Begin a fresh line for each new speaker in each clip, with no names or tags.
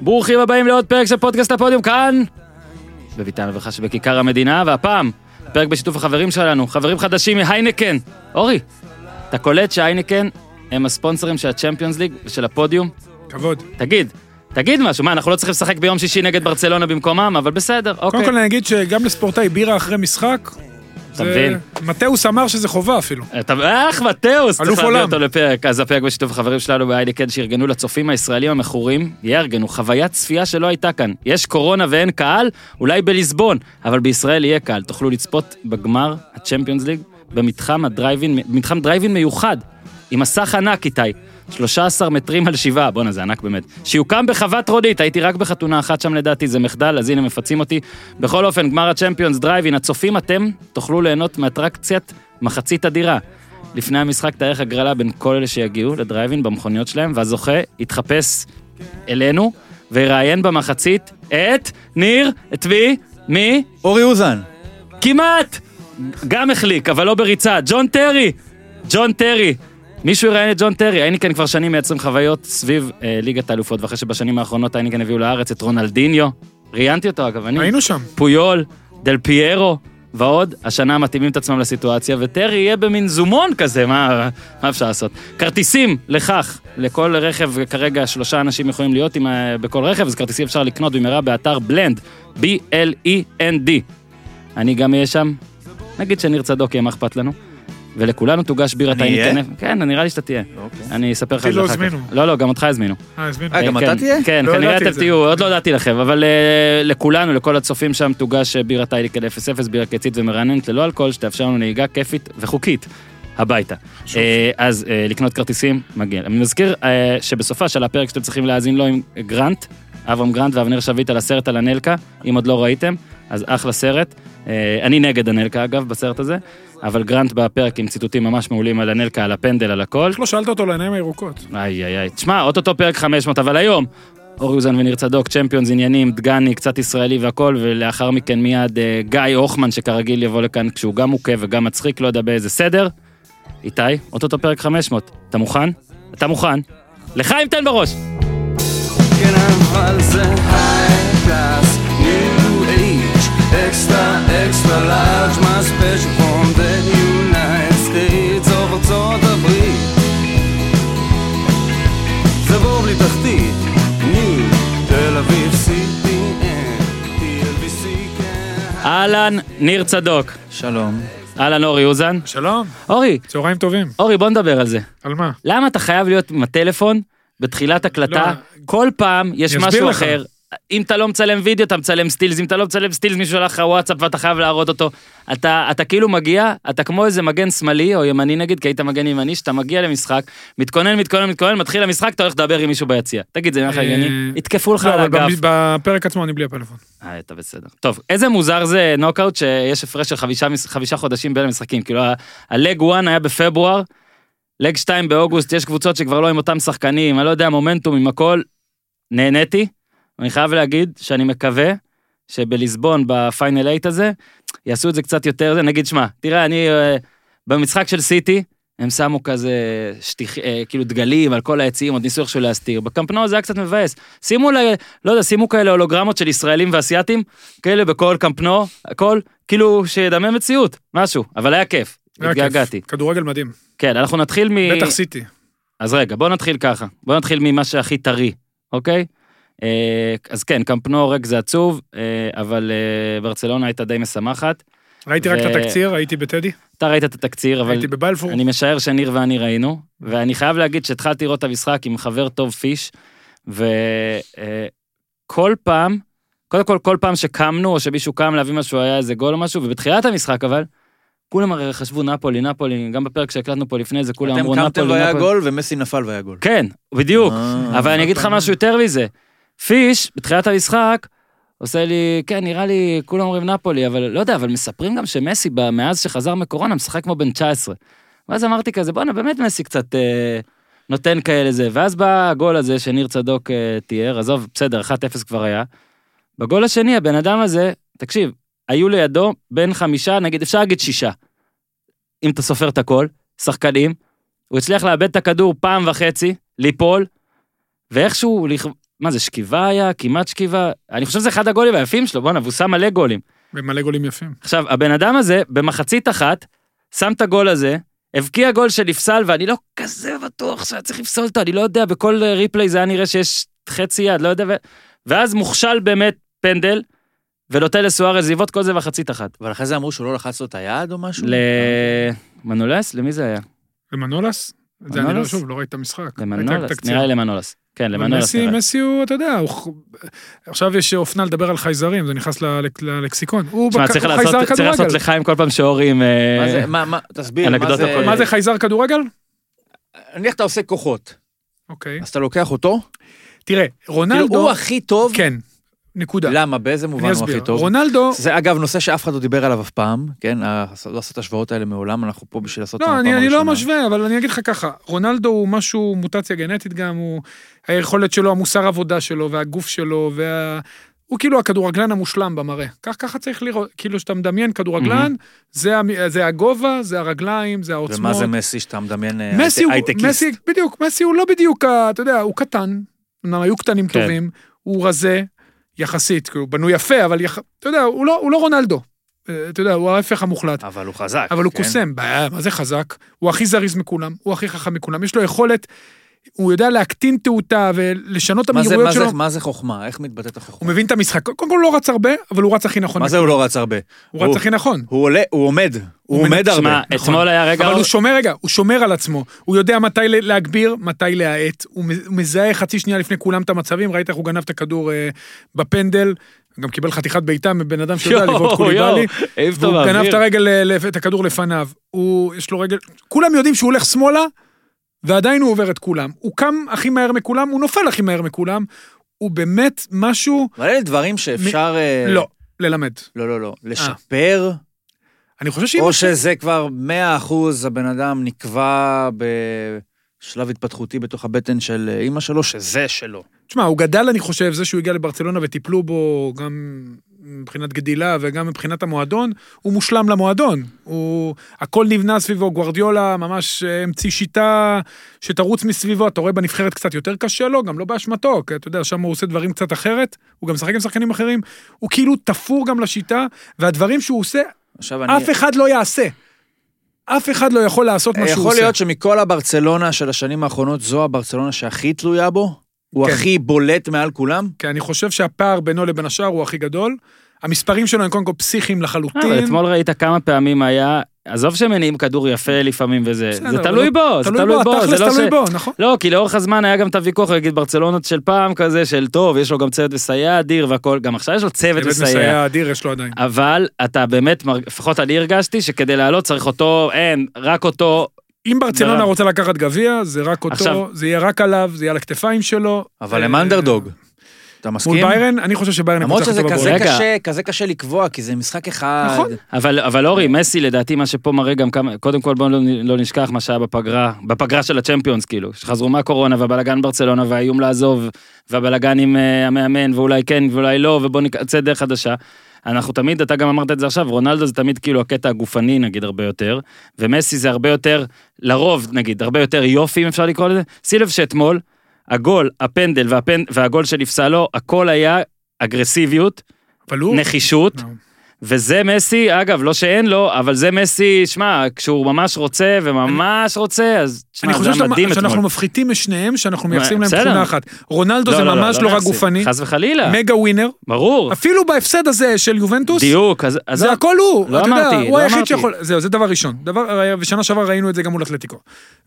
ברוכים הבאים לעוד פרק של פודקאסט הפודיום כאן, בביתן וברכה שבכיכר המדינה, והפעם, פרק בשיתוף החברים שלנו, חברים חדשים מהיינקן. אורי, אתה קולט שהיינקן הם הספונסרים של הצ'מפיונס ליג ושל הפודיום?
כבוד.
תגיד, תגיד משהו, מה, אנחנו לא צריכים לשחק ביום שישי נגד ברצלונה במקומם, אבל בסדר, אוקיי.
קודם כל אני אגיד שגם לספורטאי בירה אחרי משחק,
אתה מבין?
מתאוס אמר שזה חובה אפילו.
אתה, אך, מתאוס, צריך
אלוף
להביא
עולם.
אותו לפרק. אז הפרק בשיתוף החברים שלנו בהיינקן שארגנו לצופים הישראלים המכורים, יארגנו חוויית צפייה שלא הייתה כאן. יש קורונה ואין קהל, אולי בליסבון, אבל בישראל יהיה קהל. תוכלו לצפות בגמר הצ'מפיונס ליג במתחם הדרייבין, מתחם דרייבין מיוחד, עם מסך ענק, איתי. 13 מטרים על שבעה, בואנה זה ענק באמת. שיוקם בחוות רודית, הייתי רק בחתונה אחת שם לדעתי, זה מחדל, אז הנה מפצים אותי. בכל אופן, גמר הצ'מפיונס דרייבין, הצופים אתם, תוכלו ליהנות מאטרקציית מחצית אדירה. לפני המשחק תארך הגרלה בין כל אלה שיגיעו לדרייבין במכוניות שלהם, והזוכה יתחפש אלינו ויראיין במחצית את ניר, את מי, מי,
אורי אוזן.
כמעט! גם החליק, אבל לא בריצה. ג'ון טרי! ג'ון טרי. מישהו יראיין את ג'ון טרי, הייניקן כבר שנים מייצרים חוויות סביב אה, ליגת האלופות, ואחרי שבשנים האחרונות הייניקן הביאו לארץ את רונלדיניו, ראיינתי אותו אגב, אני,
היינו שם.
פויול, דל פיירו ועוד, השנה מתאימים את עצמם לסיטואציה, וטרי יהיה במין זומון כזה, מה, מה אפשר לעשות? כרטיסים לכך, לכל רכב, כרגע שלושה אנשים יכולים להיות עם, ה- בכל רכב, אז כרטיסים אפשר לקנות במהרה באתר בלנד, B-L-E-N-D. E אני גם אהיה שם, נגיד שניר צדוק יהיה, מה אכפת לנו? ולכולנו תוגש בירת
אני
העין
אהיה?
כנף. כן, נראה לי שאתה תהיה. אני אספר לך
אותי
את זה
לא
אחר כך.
הזמינו.
לא, לא, גם אותך הזמינו.
אה, הזמינו.
אה, גם
כן,
אתה תהיה?
כן,
לא
כנראה
ידעתי
אתם
את זה.
תהיו, עוד לא הודעתי לכם, אבל אה, לכולנו, לכל הצופים שם, תוגש אה, בירת אייליקל 0-0, בירה קיצית ומרעננת ללא אלכוהול, שתאפשר לנו נהיגה כיפית וחוקית הביתה. אה, אז אה, לקנות כרטיסים, מגיע. אני מזכיר אה, שבסופה של הפרק שאתם צריכים להאזין לו עם גרנט, אברהם גרנט ואבנר שביט על הסרט על הנלקה, אם עוד לא ראיתם, אז אחלה סרט. אה, אני נגד הנלקה אגב, בסרט הזה, אבל גרנט בפרק עם ציטוטים ממש מעולים על הנלקה, על הפנדל, על הכל.
איך לא שאלת אותו על העיניים הירוקות?
איי איי איי, תשמע, אוטוטו פרק 500, אבל היום, אורי אוזן וניר צדוק, צ'מפיונס עניינים, דגני, קצת ישראלי והכל, ולאחר מכן מיד אה, גיא הוחמן, שכרגיל יבוא לכאן כשהוא גם מוכה וגם מצחיק, לא יודע באיזה סדר. איתי, אוטוטו פרק 500, אתה מוכן? אתה מוכן? לחיים תן בראש!
כן, אבל זה הייטס, ניו אייג', אקסטרה, אקסטרה לארג', מה ספיישל פרום דה יונייט סטייטס, אוף ארצות הברית. זה בור בלי תחתית, ניו, תל אביב, CPN, TLBC, כן.
אהלן, ניר צדוק.
שלום.
אהלן, אורי אוזן.
שלום,
אורי,
צהריים טובים.
אורי, בוא נדבר על זה.
על מה?
למה אתה חייב להיות עם הטלפון בתחילת הקלטה?
לא.
כל פעם יש
אני
משהו
אסביר לך.
אחר. אם אתה לא מצלם וידאו, אתה מצלם סטילס, אם אתה לא מצלם סטילס, מישהו שלח לך וואטסאפ ואתה חייב להראות אותו. אתה, אתה כאילו מגיע, אתה כמו איזה מגן שמאלי, או ימני נגיד, כי היית מגן ימני, שאתה מגיע למשחק, מתכונן, מתכונן, מתכונן, מתחיל המשחק, אתה הולך לדבר עם מישהו ביציע. תגיד, זה נראה לך
אה,
הגיוני? יתקפו לך
לא,
על
אבל
הגב.
במ- בפרק עצמו אני בלי הפלאפון.
אה, אתה בסדר. טוב, איזה מוזר זה נוקאוט שיש הפרש של חמישה, מש- חמישה חודשים בין המשחקים. כאילו, ה- הלג 1 היה בפברואר, לג 2 באוגוסט, יש קבוצות שכבר לא עם אותם שחקנים, אני לא יודע, מומנטום עם הכל. נהניתי, אני חייב להגיד שאני מקווה שבליסבון, בפיינל 8 הזה, יעשו את זה קצת יותר, זה, נגיד, שמע, תראה, אני, אה, במשחק של סיטי, הם שמו כזה שטיח, אה, כאילו דגלים על כל העצים, עוד ניסו איכשהו להסתיר. בקמפנאו זה היה קצת מבאס. שימו, ל, לא יודע, שימו כאלה הולוגרמות של ישראלים ואסייתים, כאלה בכל קמפנאו, הכל, כאילו שידמה מציאות, משהו. אבל היה כיף,
היה כיף.
התגעגעתי.
כדורגל מדהים.
כן, אנחנו נתחיל מ...
בטח סיטי.
אז רגע, בוא נתחיל ככה. בוא נתחיל ממה שהכי טרי, אוקיי? אה, אז כן, קמפנאו ריק זה עצוב, אה, אבל אה, ברצלונה הייתה די משמחת.
ראיתי רק
ו-
את התקציר, הייתי בטדי,
אתה ראית את התקציר, אבל...
הייתי בבלפור.
אני משער שניר ואני ראינו, ואני חייב להגיד שהתחלתי לראות את המשחק עם חבר טוב פיש, וכל פעם, קודם כל, כל פעם שקמנו, או שמישהו קם להביא משהו, היה איזה גול או משהו, ובתחילת המשחק אבל, כולם הרי חשבו נפולי, נפולי, גם בפרק שהקלטנו פה לפני זה, כולם
אתם
אמרו
קמתם
נפולי,
והיה
נפולי.
גול ומסי נפל והיה גול.
כן, בדיוק.
אה,
אבל אני אגיד לך
אתה-
משהו יותר מזה. פיש, בתחילת המשחק, עושה לי, כן, נראה לי, כולם אומרים נפולי, אבל לא יודע, אבל מספרים גם שמסי, ב- מאז שחזר מקורונה, משחק כמו בן 19. ואז אמרתי כזה, בואנה, באמת מסי קצת אה, נותן כאלה זה. ואז בא הגול הזה שניר צדוק אה, תיאר, עזוב, בסדר, 1-0 כבר היה. בגול השני, הבן אדם הזה, תקשיב, היו לידו בין חמישה, נגיד, אפשר להגיד שישה. אם אתה סופר את הכל, שחקנים, הוא הצליח לאבד את הכדור פעם וחצי, ליפול, ואיכשהו, לכ- מה זה, שכיבה היה? כמעט שכיבה? אני חושב שזה אחד הגולים היפים שלו, בואנה, והוא שם מלא גולים.
ומלא גולים יפים.
עכשיו, הבן אדם הזה, במחצית אחת, שם את הגול הזה, הבקיע גול שנפסל, ואני לא כזה בטוח שהיה צריך לפסול אותו, אני לא יודע, בכל אה, ריפליי זה היה נראה שיש חצי יד, לא יודע, ו... ואז מוכשל באמת פנדל, ונותן לסוארז לבעוט כל זה במחצית אחת.
אבל אחרי זה אמרו שהוא לא לחץ לו את היד או משהו?
אה,
למנולס? למי זה היה?
ומנולס? את זה אני לא,
מנולס?
שוב, לא ראיתי את המשחק. הייתה
למנולס?
תקציר.
נראה לי למנולס. כן,
אבל
למנולס.
מסי,
נראה לי.
מסי הוא, אתה יודע, הוא... עכשיו יש אופנה לדבר על חייזרים, זה נכנס ל- ל- ללקסיקון. הוא
תשמע,
בק-
צריך
הוא
לעשות-
חייזר
צריך לעשות
כדורגל.
לחיים כל פעם שאורים... אה,
מה זה, מה, מה, תסביר, מה
אנקדוטה
זה...
קולנית.
מה זה חייזר כדורגל?
נניח אתה עושה כוחות,
אוקיי.
אז אתה לוקח אותו,
תראה,
כאילו
רונלדו...
הוא הכי טוב,
כן, נקודה.
למה, באיזה מובן
אני
הוא
אסביר.
הכי טוב?
רונלדו...
זה אגב נושא שאף אחד לא דיבר עליו אף פעם, כן? אה, לא עשו את ההשוואות האלה מעולם, אנחנו פה בשביל לעשות אותם
לא, אני,
בפעם
אני לא
הראשונה.
משווה, אבל אני אגיד לך ככה, רונלדו הוא משהו, מוטציה גנטית גם, הוא... היכולת שלו, המוסר עבודה שלו, והגוף שלו, וה... הוא כאילו הכדורגלן המושלם במראה. כך, ככה צריך לראות, כאילו שאתה מדמיין כדורגלן, זה, המ- זה הגובה, זה הרגליים, זה העוצמות.
ומה זה מסי שאתה מדמיין אה,
מסי הוא,
הייטקיסט?
מסי, בדיוק, מסי הוא לא בדיוק, ה- אתה יודע, הוא קטן, אמנם היו קטנים
כן.
טובים, הוא רזה, יחסית, כאילו, בנוי יפה, אבל יח... אתה יודע, הוא לא, הוא לא רונלדו. אה, אתה יודע, הוא ההפך המוחלט.
אבל הוא חזק.
אבל הוא
כן?
קוסם, בעיה, מה זה חזק? הוא הכי זריז מכולם, הוא הכי חכם מכולם, יש לו יכולת, הוא יודע להקטין תאותה ולשנות את
מה זה-
המהירויות
מה זה-
שלו.
מה זה חוכמה? איך מתבטאת
הוא
החוכמה?
מבין את המשחק, קודם כל הוא לא רץ הרבה, אבל הוא רץ הכי נכון.
מה זה הוא לא רץ הרבה?
הוא רץ
הוא-
הכי נכון.
הוא עולה, הוא עומד, הוא עומד
שמע,
הרבה.
אתמול היה רגע...
אבל הוא שומר רגע, הוא שומר על עצמו, הוא יודע מתי ל- להגביר, מתי להאט, הוא מ- הוא מזהה חצי שנייה לפני כולם את המצבים, ראית איך הוא גנב את הכדור אה, בפנדל, גם קיבל חתיכת בעיטה מבן אדם שיודע
יואו,
לבעוט
יואו,
קוליבאלי,
העיף אותו
והוא גנב
באוויר.
את הרגל, ל- ל- את הכדור לפניו, הוא, יש לו רגל, כולם יודעים שהוא הולך שמאלה, ועדיין הוא עובר את כולם, הוא קם הכי מהר מכולם, הוא נופל הכי מהר מכולם, הוא באמת משהו,
אבל אלה דברים שאפשר... אה,
לא, אה. ללמד.
לא, לא, לא. לשפר,
אני חושב שאם...
או שזה כבר 100% הבן אדם נקבע בשלב התפתחותי בתוך הבטן של אה, אימא שלו, שזה שלו.
תשמע, הוא גדל, אני חושב, זה שהוא הגיע לברצלונה וטיפלו בו גם מבחינת גדילה וגם מבחינת המועדון, הוא מושלם למועדון. הוא... הכל נבנה סביבו, גוורדיולה ממש אה, המציא שיטה שתרוץ מסביבו, אתה רואה בנבחרת קצת יותר קשה לו, גם לא באשמתו, כי אתה יודע, שם הוא עושה דברים קצת אחרת, הוא גם משחק עם שחקנים אחרים, הוא כאילו תפור גם לשיטה, והדברים שהוא עושה,
עכשיו אני...
אף אחד לא יעשה. אף אחד לא יכול לעשות מה שהוא עושה.
יכול להיות שמכל הברצלונה של השנים האחרונות, זו הברצלונה שהכי תלויה בו? הוא
כן.
הכי בולט מעל כולם?
כי אני חושב שהפער בינו לבין השאר הוא הכי גדול. המספרים שלו הם קודם כל פסיכיים
אבל
לחלוטין.
אה, אתמול ראית כמה פעמים היה, עזוב שמניעים כדור יפה לפעמים וזה,
בסדר,
זה
אבל
תלוי
לא-
בו, זה תלוי בו, זה
התכלס
לא ש...
תלוי בו, נכון.
לא, כי לאורך הזמן היה גם את הוויכוח, נגיד ברצלונות של פעם כזה, של טוב, יש לו גם צוות מסייע אדיר והכל, גם עכשיו יש לו צוות
באמת
מסייע.
מסייע אדיר יש לו עדיין.
אבל אתה באמת, מרג- לפחות אני הרגשתי שכדי לעלות צריך אותו, אין, רק אותו,
אם ברצלונה
ברב.
רוצה לקחת גביע, זה רק
לא- עכשיו-
אותו, זה יהיה רק עליו, זה יהיה על הכתפיים שלו.
אבל
אה,
הם אנדרדוג. אתה מסכים?
מול ביירן, אני חושב שביירן
למרות שזה
טובה
כזה
בעולם.
רגע.
קשה, כזה קשה לקבוע, כי זה משחק אחד.
נכון.
אבל, אבל אורי, מסי לדעתי מה שפה מראה גם כמה, קודם כל בואו לא, לא נשכח מה שהיה בפגרה, בפגרה של הצ'מפיונס כאילו, שחזרו מהקורונה והבלגן ברצלונה והאיום לעזוב, והבלגן עם uh, המאמן ואולי כן ואולי לא, ובואו נקצה דרך חדשה. אנחנו תמיד, אתה גם אמרת את זה עכשיו, רונלדו זה תמיד כאילו הקטע הגופני נגיד הרבה יותר, ומסי זה הרבה יותר, לרוב נגיד, הרבה יותר יופי אם אפשר לקרוא לזה. שים לב שאתמול, הגול, הפנדל והפנ... והגול שנפסל לו, הכל היה אגרסיביות,
אבל הוא...
נחישות.
לא.
וזה מסי, אגב, לא שאין לו, אבל זה מסי, שמע, כשהוא ממש רוצה וממש רוצה, אז שמע,
אני
זה
חושב
היה מדהים
שאתה- שאנחנו
אתמול.
מפחיתים משניהם, שאנחנו מייחסים להם
בסדר.
תכונה אחת. רונלדו זה ממש לא רק
מייחסים.
גופני,
חס וחלילה,
מגה ווינר,
ברור,
אפילו בהפסד הזה של יובנטוס,
דיוק, אז... אז-
זה הכל הוא,
לא
אתה יודע,
אמרתי, לא
הוא היחיד
אמרתי.
שיכול, זהו, זה דבר ראשון. דבר, ושנה שעברה ראינו את זה גם מול אתלטיקו.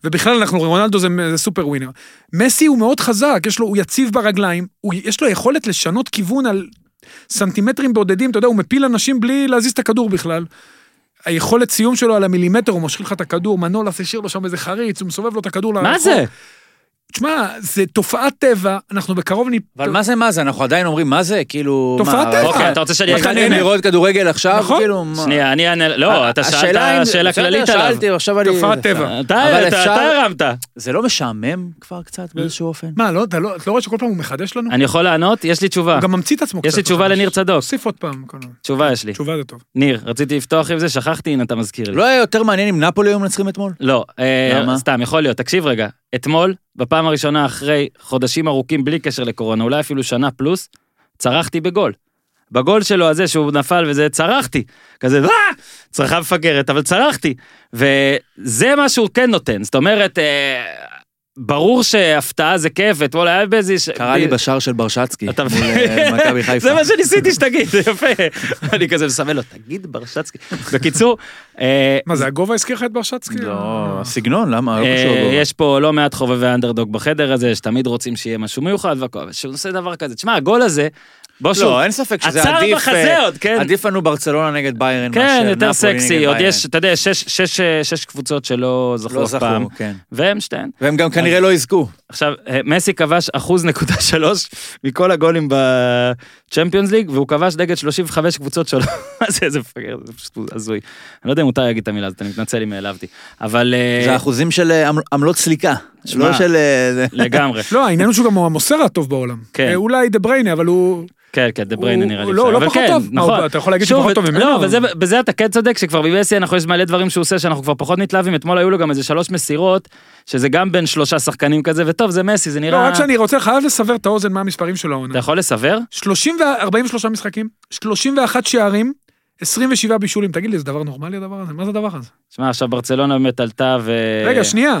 ובכלל אנחנו, רונלדו זה, זה סופר ווינר. מסי הוא מאוד חזק, יש לו, הוא יציב ברגליים, הוא, יש לו יכולת לשנות כיוון על סנטימטרים בודדים, אתה יודע, הוא מפיל אנשים בלי להזיז את הכדור בכלל. היכולת סיום שלו על המילימטר, הוא משחיל לך את הכדור, מנולס השאיר לו שם איזה חריץ, הוא מסובב לו את הכדור
מה זה?
תשמע, זה תופעת טבע, אנחנו בקרוב נ...
אבל מה זה, מה זה? אנחנו עדיין אומרים, מה זה? כאילו...
תופעת
מה,
טבע.
אוקיי, אתה רוצה שאני...
אתה
התחלתם
נהנה.
לראות כדורגל עכשיו?
נכון.
כאילו, מה?
שנייה, אני אענה... לא, אתה
השאלה אם-
שאלת שאלה
בסדר,
כללית עליו.
שאלתי, עכשיו אני...
תופעת טבע.
אתה-
אבל
אתה
אפשר-
אתה הרמת.
זה לא משעמם כבר קצת באיזשהו אופן?
מה, לא, אתה לא, אתה לא רואה שכל פעם הוא מחדש לנו?
אני יכול לענות? יש לי תשובה.
הוא גם ממציא את עצמו
יש לי תשובה
מחדש.
לניר צדוק.
תוסיף עוד פעם, כל הזמן.
תשובה יש לי.
תשובה זה טוב.
ניר, רציתי לפתוח עם זה, שכחתי, הנה אתה מזכיר לי.
לא היה יותר מעניין אם נפולי היו מנצחים אתמול?
לא, אה,
למה?
סתם, יכול להיות, תקשיב רגע. אתמול, בפעם הראשונה אחרי חודשים ארוכים בלי קשר לקורונה, אולי אפילו שנה פלוס, צרחתי בגול. בגול שלו הזה שהוא נפל וזה, צרחתי. כזה, אה! צרחה מפגרת, אבל צרחתי. וזה מה שהוא כן נותן, זאת אומרת, אה, ברור שהפתעה זה כיף, אתמול היה באיזה... ש-
קרה לי בשער של ברשצקי.
אתה
מול, אה, מכבי חיפה.
זה מה שניסיתי שתגיד, זה יפה. אני כזה מסמן לו, תגיד ברשצקי. בקיצור, אה,
מה זה, הגובה הזכיר לך את ברשצקי?
לא, הסגנון, למה? לא קשור
אה,
לגובה.
יש פה לא מעט חובבי אנדרדוג בחדר הזה, שתמיד רוצים שיהיה משהו מיוחד והכל, אבל שהוא עושה דבר כזה. תשמע, הגול הזה, בוא שוב,
לא, אין ספק שזה
עצר
עדיף...
בחזה
אה,
עוד, כן.
עדיף לנו ברצלונה נגד ביירן
כן,
מאשר
יותר
נפולי
סקסי,
נגד
עוד
ביירן.
יש, אתה יודע, שש- שש אה, שש קבוצות שלא זכו
לא
אף פעם,
זכו, כן.
והם שתיהן.
והם גם כנראה לא יזכו.
עכשיו, אה, מסי כבש אחוז נקודה שלוש מכל הגולים בצ'מפיונס ליג, והוא כבש נגד 35 קבוצות שלו. מה זה, זה מפגר, זה פשוט הזוי. אני לא יודע אם מותר להגיד את המילה הזאת, אני מתנצל אם העלבתי. אבל... אה,
זה אחוזים של אה, עמל- עמלות סליקה.
שמע,
לא של... אה, זה-
לגמרי.
לא, העניין הוא שהוא גם המוסר הטוב בעולם.
כן.
אה, אולי דה בריינה, אבל הוא...
כן, כן, דה בריינה
הוא-
נראה לי.
הוא לא-
בסדר,
לא
אבל
פחות
כן,
טוב. מה,
נכון.
הוא- אתה יכול להגיד
שוב,
שפחות טוב ממנו?
לא, אבל זה- בזה אתה כן צודק, שכבר במסי אנחנו יש מלא דברים שהוא עושה שאנחנו כבר פחות מתלהבים. אתמול היו לו גם איזה שלוש מסירות, שזה גם בין שלושה שחקנים כזה, וטוב, זה מסי, זה
לא,
נראה... נכון.
רק שאני רוצה, חייב לסבר את האוזן מה המספרים של העונה.
אתה יכול לסבר?
30 ו- 43 משחקים, 31 שערים, 27 בישולים. תגיד לי, זה דבר נורמלי הדבר הזה? מה זה הדבר הזה?
שמע, עכשיו ברצלונה באמת עלתה ו...
רגע, שנייה.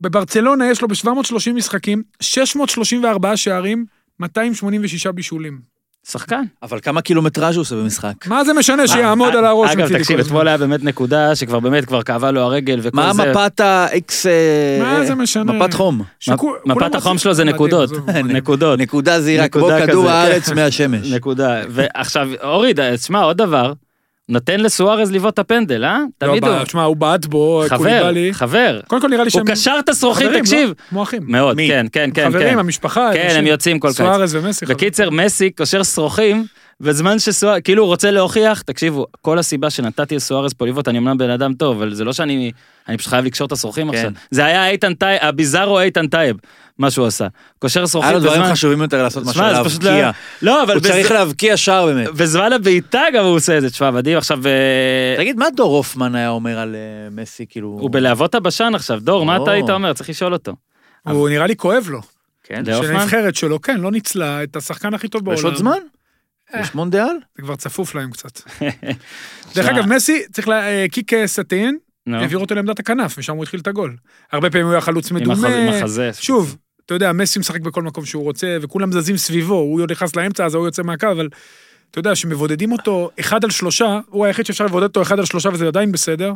בברצלונה יש לו ב-730 משחקים, 634 שערים, 286 בישולים.
שחקן. אה,
אבל כמה קילומטראז' הוא עושה במשחק?
מה זה משנה שיעמוד על הראש
אגב,
מצידי
תקשיב,
כל הזמן?
אתמול היה באמת נקודה שכבר באמת כבר כאבה לו הרגל וכל זה.
מה מפת ה-X...
מה זה משנה?
מפת חום.
שכו-
מפת
כולם
החום
רוצים-
שלו זה
מדהים,
נקודות.
עזוב, מדהים.
נקודות.
נקודה זהירה, כמו
נקודה
כדור
כזה,
הארץ
כן.
מהשמש.
נקודה. ועכשיו, אורי, תשמע, עוד דבר. נותן לסוארז לבעוט את הפנדל, אה?
לא,
תמיד הוא.
אבל, תשמע, הוא בעט בו,
חבר,
קוליבאלי.
חבר.
קודם כל נראה לי
הוא
שהם...
קשר את השרוכית,
חברים, לא?
תקשיב.
כמו אחים.
מאוד,
מי?
כן, כן, כן.
חברים,
כן.
המשפחה.
כן, הם יוצאים כל קיץ.
סוארז ומסי. חברים.
בקיצר, מסי קושר שרוכים, בזמן שסוארז, כאילו הוא רוצה להוכיח, תקשיבו, כל הסיבה שנתתי לסוארז פה לבעוט, אני אמנם בן אדם טוב, אבל זה לא שאני, אני פשוט חייב לקשור את השרוכים
כן.
עכשיו. זה היה איתן טייב, הביזארו איתן טייב, מה שהוא עשה. קושר שרוכים
היה לו
בזמן...
דברים חשובים יותר לעשות מאשר
שמע, זה פשוט לא...
להבקיע.
לא, אבל
הוא צריך
בז-
להבקיע שער באמת.
בזמן הבעיטה גם הוא עושה את זה, תשמע, מדהים, עכשיו... אה,
תגיד, מה דור הופמן היה אומר על אה, מסי, כאילו...
הוא בלהבות הבשן עכשיו, דור, מה אתה
או.
היית אומר? צריך לשאול אותו.
הוא נראה לי כואב לו.
כן,
דור הופמן?
שהנבחרת שלו, כן, לא ניצלה את השחקן הכי טוב בעולם.
יש עוד זמן?
אה.
יש מונדיאל?
זה כבר צפוף להם קצת. דרך אגב, מסי צריך לה- אה, קיק אה, סטין,
נו,
העביר אותו לעמדת הכנף, משם הוא התחיל את הגול. הרבה פעמים הוא היה חלוץ
לא? עם החזה- עם
מדומה.
החזה.
שוב, אתה יודע, מסי משחק בכל מקום שהוא רוצה, וכולם זזים סביבו, הוא נכנס לאמצע, אז ההוא יוצא מהקו, אבל אתה יודע, שמבודדים אותו אחד על שלושה, הוא היחיד שאפשר לבודד אותו אחד על שלושה וזה עדיין בסדר,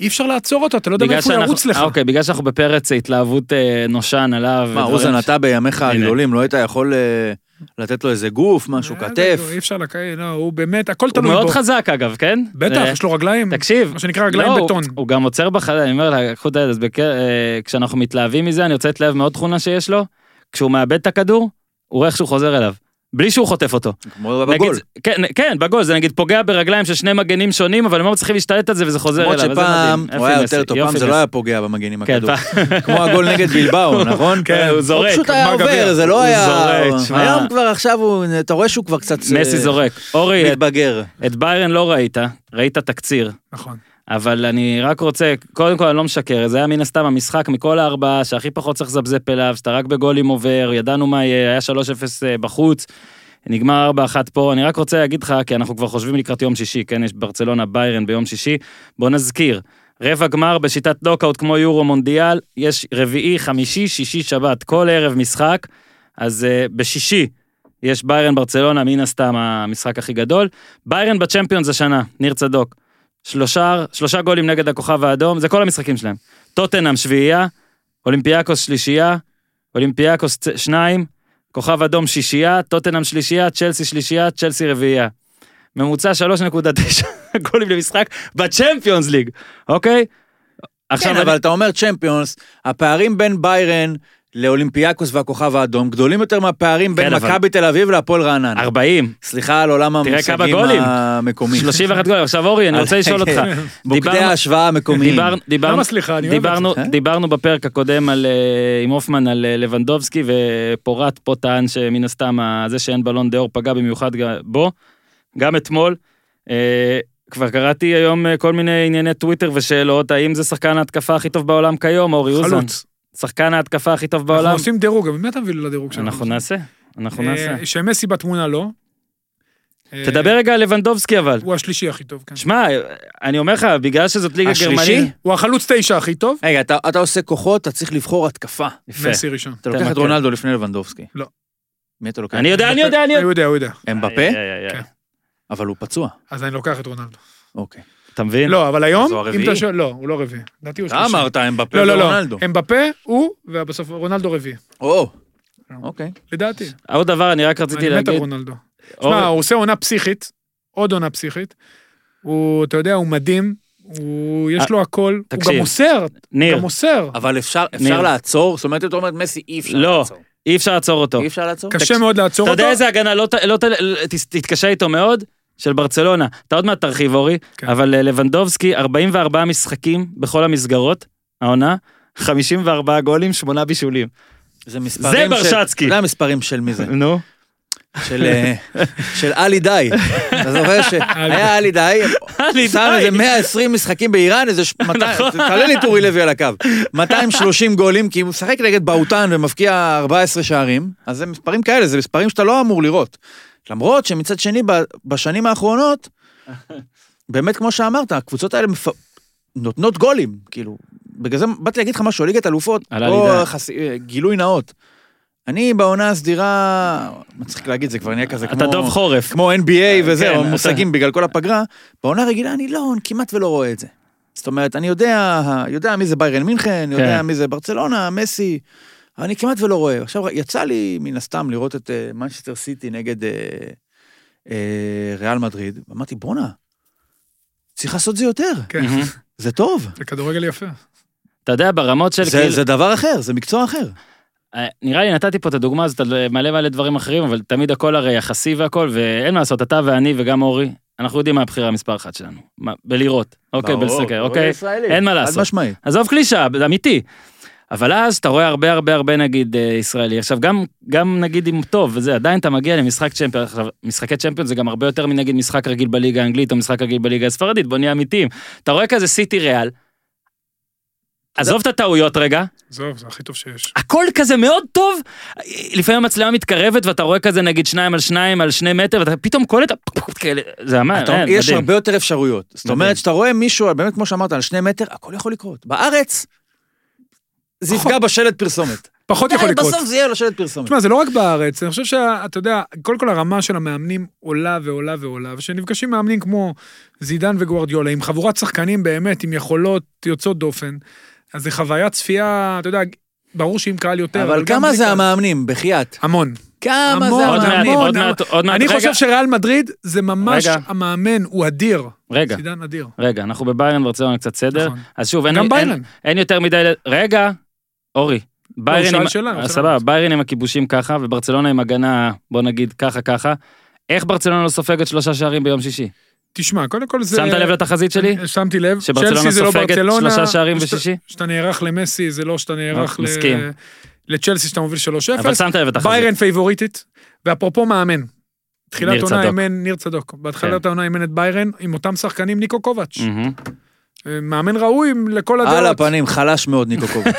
אי אפשר לעצור אותו, אתה לא יודע
בגלל
מאיפה הוא ירוץ
שאנחנו-
לך.
אה, אוקיי, בגלל שאנחנו בפרץ התלהבות אה, נושן עליו.
מה,
ודברים
אוזן,
ש-
אתה בימיך
הנה.
הגדולים, לא היית יכול אה, לתת לו איזה גוף, משהו,
אה,
כתף?
אי אפשר לק... לא, הוא באמת, הכל
הוא
תלוי
מאוד
בו.
חזק אגב, כן?
בטח,
אה,
יש לו רגליים.
תקשיב,
מה שנקרא רגליים
לא, הוא-
בטון.
הוא גם עוצר בחלל, אני אומר לך, קחו את היד, אז בק- אה, כשאנחנו מתלהבים מזה, אני רוצה להתלהב מעוד תכונה שיש לו, כשהוא מאבד את הכדור, הוא רואה איך שהוא חוזר אליו. בלי שהוא חוטף אותו.
כמו
נגיד,
בגול.
זה- כן, כן, בגול, זה נגיד פוגע ברגליים של שני מגנים שונים, אבל הם לא מצליחים להשתלט על זה וזה חוזר אליו.
למרות
וזה
שפעם
מדהים.
הוא היה
יופי
יותר
מסי,
טוב, פעם
יופי
זה
מסי.
לא היה פוגע במגנים
כן,
הכדור.
פעם-
כמו הגול נגד בלבאו, נכון?
כן, הוא זורק.
הוא פשוט היה
גמר
עובר,
גביע.
זה לא
הוא
היה...
זורק, שמע.
היום כבר עכשיו הוא, אתה רואה שהוא כבר קצת...
מסי
אה,
זורק. אורי, את-
מתבגר.
את ביירן לא ראית, ראית תקציר.
נכון.
אבל אני רק רוצה, קודם כל אני לא משקר, זה היה מן הסתם המשחק מכל הארבעה שהכי פחות צריך לזבזפ אליו, שאתה רק בגולים עובר, ידענו מה יהיה, היה 3-0 בחוץ, נגמר 4-1 פה, אני רק רוצה להגיד לך, כי אנחנו כבר חושבים לקראת יום שישי, כן, יש ברצלונה ביירן ביום שישי, בוא נזכיר, רבע גמר בשיטת נוקאוט כמו יורו מונדיאל, יש רביעי, חמישי, שישי, שבת, כל ערב משחק, אז אה, בשישי. יש ביירן ברצלונה, מן הסתם המשחק הכי גדול. ביירן בצ'מפיונס השנה, ניר צדוק. שלושה, שלושה גולים נגד הכוכב האדום, זה כל המשחקים שלהם. טוטנאם שביעייה, אולימפיאקוס שלישייה, אולימפיאקוס צ- שניים, כוכב אדום שישייה, טוטנאם שלישייה, צ'לסי שלישייה, צ'לסי רביעייה. ממוצע 3.9 גולים למשחק בצ'מפיונס ליג, אוקיי?
כן,
אני-
אבל אתה אומר צ'מפיונס, הפערים בין ביירן לאולימפיאקוס והכוכב האדום גדולים יותר מהפערים בין
כן, אבל-
מכבי תל אביב להפועל רעננה.
40,
סליחה על עולם
תראה כמה
המושגים
גולים.
המקומי.
31 גולים. עכשיו אורי, אני רוצה לשאול אותך.
כן. מוקדי
דיברנו-
ההשוואה המקומיים.
דיבר- דיברנו-
כן. למה סליחה? אני אוהב את אה?
דיברנו-
זה.
דיברנו בפרק הקודם על, אה, עם הופמן על אה, לבנדובסקי, ופורט פה טען שמן הסתם ה- זה שאין בלון דה-אור פגע במיוחד ג- בו. גם אתמול, אה, כבר קראתי היום אה, כל מיני ענייני טוויטר ושאלות, האם זה שחקן ההתקפה הכי טוב בעולם כיום, אורי אוזן?
חלוץ.
שחקן ההתקפה הכי טוב
אנחנו
בעולם.
עושים דירוג, אבל מי אתה מביא לדרוג שלנו?
אנחנו נעשה, אנחנו
אה,
נעשה.
שמסי בתמונה לא. אה,
תדבר רגע על לבנדובסקי אבל.
הוא השלישי הכי טוב, כן.
שמע, אני אומר לך, בגלל שזאת ליגה
השלישי?
גרמנית...
הוא החלוץ תשע הכי טוב,
רגע, אתה אתה עושה כוחות, אתה צריך לבחור התקפה.
יפה.
מסי ראשון.
אתה לוקח את
מכיר.
רונלדו לפני לבנדובסקי.
לא.
מי אתה לוקח?
אני אה, יודע, אני יודע, אני יודע.
הוא יודע, הוא יודע.
אמבפה?
איי, איי, איי,
כן.
איי.
אבל הוא פצוע.
אז אני לוקח את רונלדו.
אוקיי.
אתה מבין?
לא, אבל היום,
אז הוא
אם
הרביעי?
אתה שואל, לא, הוא לא רביעי. לדעתי הוא
אתה
שלישי.
אמרת אמבפה
לא, לא,
ורונלדו.
לא. הם בפה, הוא, ובסוף רונלדו רביעי,
או,
לא.
אוקיי.
לדעתי.
עוד דבר, אני רק רציתי
אני מת על
להגיד...
רונלדו.
אור-
שמע, הוא עושה עונה פסיכית, עוד עונה פסיכית. הוא, אתה יודע, הוא מדהים, הוא, יש לו הכל. הוא
תקשיב.
גם מוסר,
ניר,
גם מוסר.
אבל אפשר
ניר.
אפשר לעצור? זאת אומרת, אתה אומר, מסי, אי אפשר
לא.
לעצור.
אי אפשר לעצור אותו.
אי אפשר לעצור?
קשה מאוד לעצור
אתה
אותו.
יודע איזה הגנה לא, ת- לא ת- ת- תתקשה איתו מאוד? של ברצלונה. אתה עוד מעט תרחיב אורי,
כן.
אבל אה, לבנדובסקי 44 משחקים בכל המסגרות, העונה, 54 גולים, 8 בישולים.
זה מספרים
זה
של-
ברשצקי.
אתה יודע המספרים של מי זה?
נו.
של, אה, של עלי דאי. אתה זוכר שהיה עלי דאי,
עלי
שם
דאי. נכון.
איזה 120 משחקים באיראן, איזה... ש- 200 תעלה לי טורי לוי על הקו. 230 גולים, כי הוא משחק נגד באוטן ומבקיע 14 שערים, אז זה מספרים כאלה, זה מספרים שאתה לא אמור לראות. למרות שמצד שני, ב- בשנים האחרונות, באמת, כמו שאמרת, הקבוצות האלה מפ... נותנות גולים, כאילו. בגלל זה באתי להגיד לך משהו, ליגת אלופות,
על
פה
הלידה.
חס... גילוי נאות. אני בעונה הסדירה, מצחיק להגיד, זה כבר נהיה כזה
אתה דוב חורף.
כמו NBA וזה,
כן,
או
אתה-
מושגים בגלל כל הפגרה, בעונה רגילה אני לא, אני כמעט ולא רואה את זה. זאת אומרת, אני יודע, יודע מי זה ביירן מינכן, יודע
כן.
מי זה ברצלונה, מסי, אני כמעט ולא רואה. עכשיו, יצא לי מן הסתם לראות את אה, מנצ'סטר סיטי נגד אה, אה, ריאל מדריד, ואמרתי, בואנה, צריך לעשות זה יותר,
כן,
מהמם.
זה טוב.
זה כדורגל יפה.
אתה יודע, ברמות של כאילו-
זה, זה דבר אחר, זה מקצוע אחר.
אה, נראה לי נתתי פה את הדוגמה הזאת על מלא מלא דברים אחרים, אבל תמיד הכל הרי יחסי והכל, ואין מה לעשות, אתה ואני וגם אורי, אנחנו יודעים מה הבחירה המספר אחת שלנו. מה- בלראות, אוקיי,
ברור,
בלסקר,
ברור
אוקיי?
לישראלי.
אין מה
חד
לעשות.
משמעית.
עזוב קלישאה, זה אמיתי. אבל אז אתה רואה הרבה הרבה הרבה נגיד אה, ישראלי. עכשיו גם, גם נגיד אם טוב וזה, עדיין אתה מגיע למשחק צ'מפיון. עכשיו, משחקי צ'מפיון זה גם הרבה יותר מנגיד משחק רגיל בליגה האנגלית או משחק רגיל בליגה הספרדית, בוא נהיה אמיתיים. אתה רואה כזה סיטי ריאל. עזוב את הטעויות רגע,
עזוב, זה הכי טוב שיש.
הכל כזה מאוד טוב, לפעמים המצלמה מתקרבת ואתה רואה כזה נגיד שניים על שניים על שני מטר ואתה פתאום קולט, כאלה, זה אמר,
אתה, יש מדהים. הרבה יותר אפשרויות. זאת
אה, מדהים.
אומרת, כשאתה רואה מישהו, באמת, כמו שאמרת, על שני מטר, הכל יכול לקרות. בארץ, זה יפגע בשלט פרסומת. כן,
פחות יכול לקרות.
בסוף זה יהיה על השלט פרסומת.
תשמע, זה לא רק בארץ, אני חושב שאתה יודע, קודם כל הרמה של המאמנים עולה ועולה ועולה, וכשנפגשים מאמנים כמו זידן וגוארדיולה, עם חבורת שחקנים באמת, עם יכולות יוצאות דופן, אז זה חוויה צפייה, אתה יודע, ברור שעם קהל יותר,
אבל
גם
כמה
בלי
זה
קהל.
המאמנים, בחייאת?
המון.
כמה
המון,
זה
עוד מעט,
המאמנים?
עוד מעט, עוד מעט,
אני
רגע,
חושב שריאל מדריד זה ממש
רגע.
המאמן, הוא אדיר.
רגע,
זידן אדיר.
רגע, אנחנו בביירן ברצלונה קצת סדר,
נכון.
אז שוב, אין,
גם
אין,
ביירן.
אין, אין יותר מדי... ל- רגע, אורי. ביירן
שאל
עם...
שאלה, הוא
אה,
שאל.
סבבה, ביירן עם הכיבושים ככה, וברצלונה עם הגנה, בוא נגיד ככה ככה. איך ברצלונה לא סופגת שלושה שערים ביום שישי?
תשמע, קודם כל זה...
שמת לב לתחזית שלי?
שמתי לב.
שברצלונה
צ'לסי זה לא
סופגת
ברצלונה,
שלושה שערים
שאתה-
בשישי?
שאתה נערך למסי, זה לא שאתה נערך ל...
מסכים.
לצ'לסי שאתה מוביל 3-0.
אבל שמת לב לתחזית.
ביירן פייבוריטית, ואפרופו מאמן. תחילת
ניר
עונה
צדוק.
אימן ניר צדוק. בהתחלת
כן. Mm.
העונה אימן את ביירן עם אותם שחקנים ניקו קובץ'. אה,
מהמם.
מאמן ראוי לכל
על
הדעות.
הפנים, חלש מאוד, ניקו קובץ'.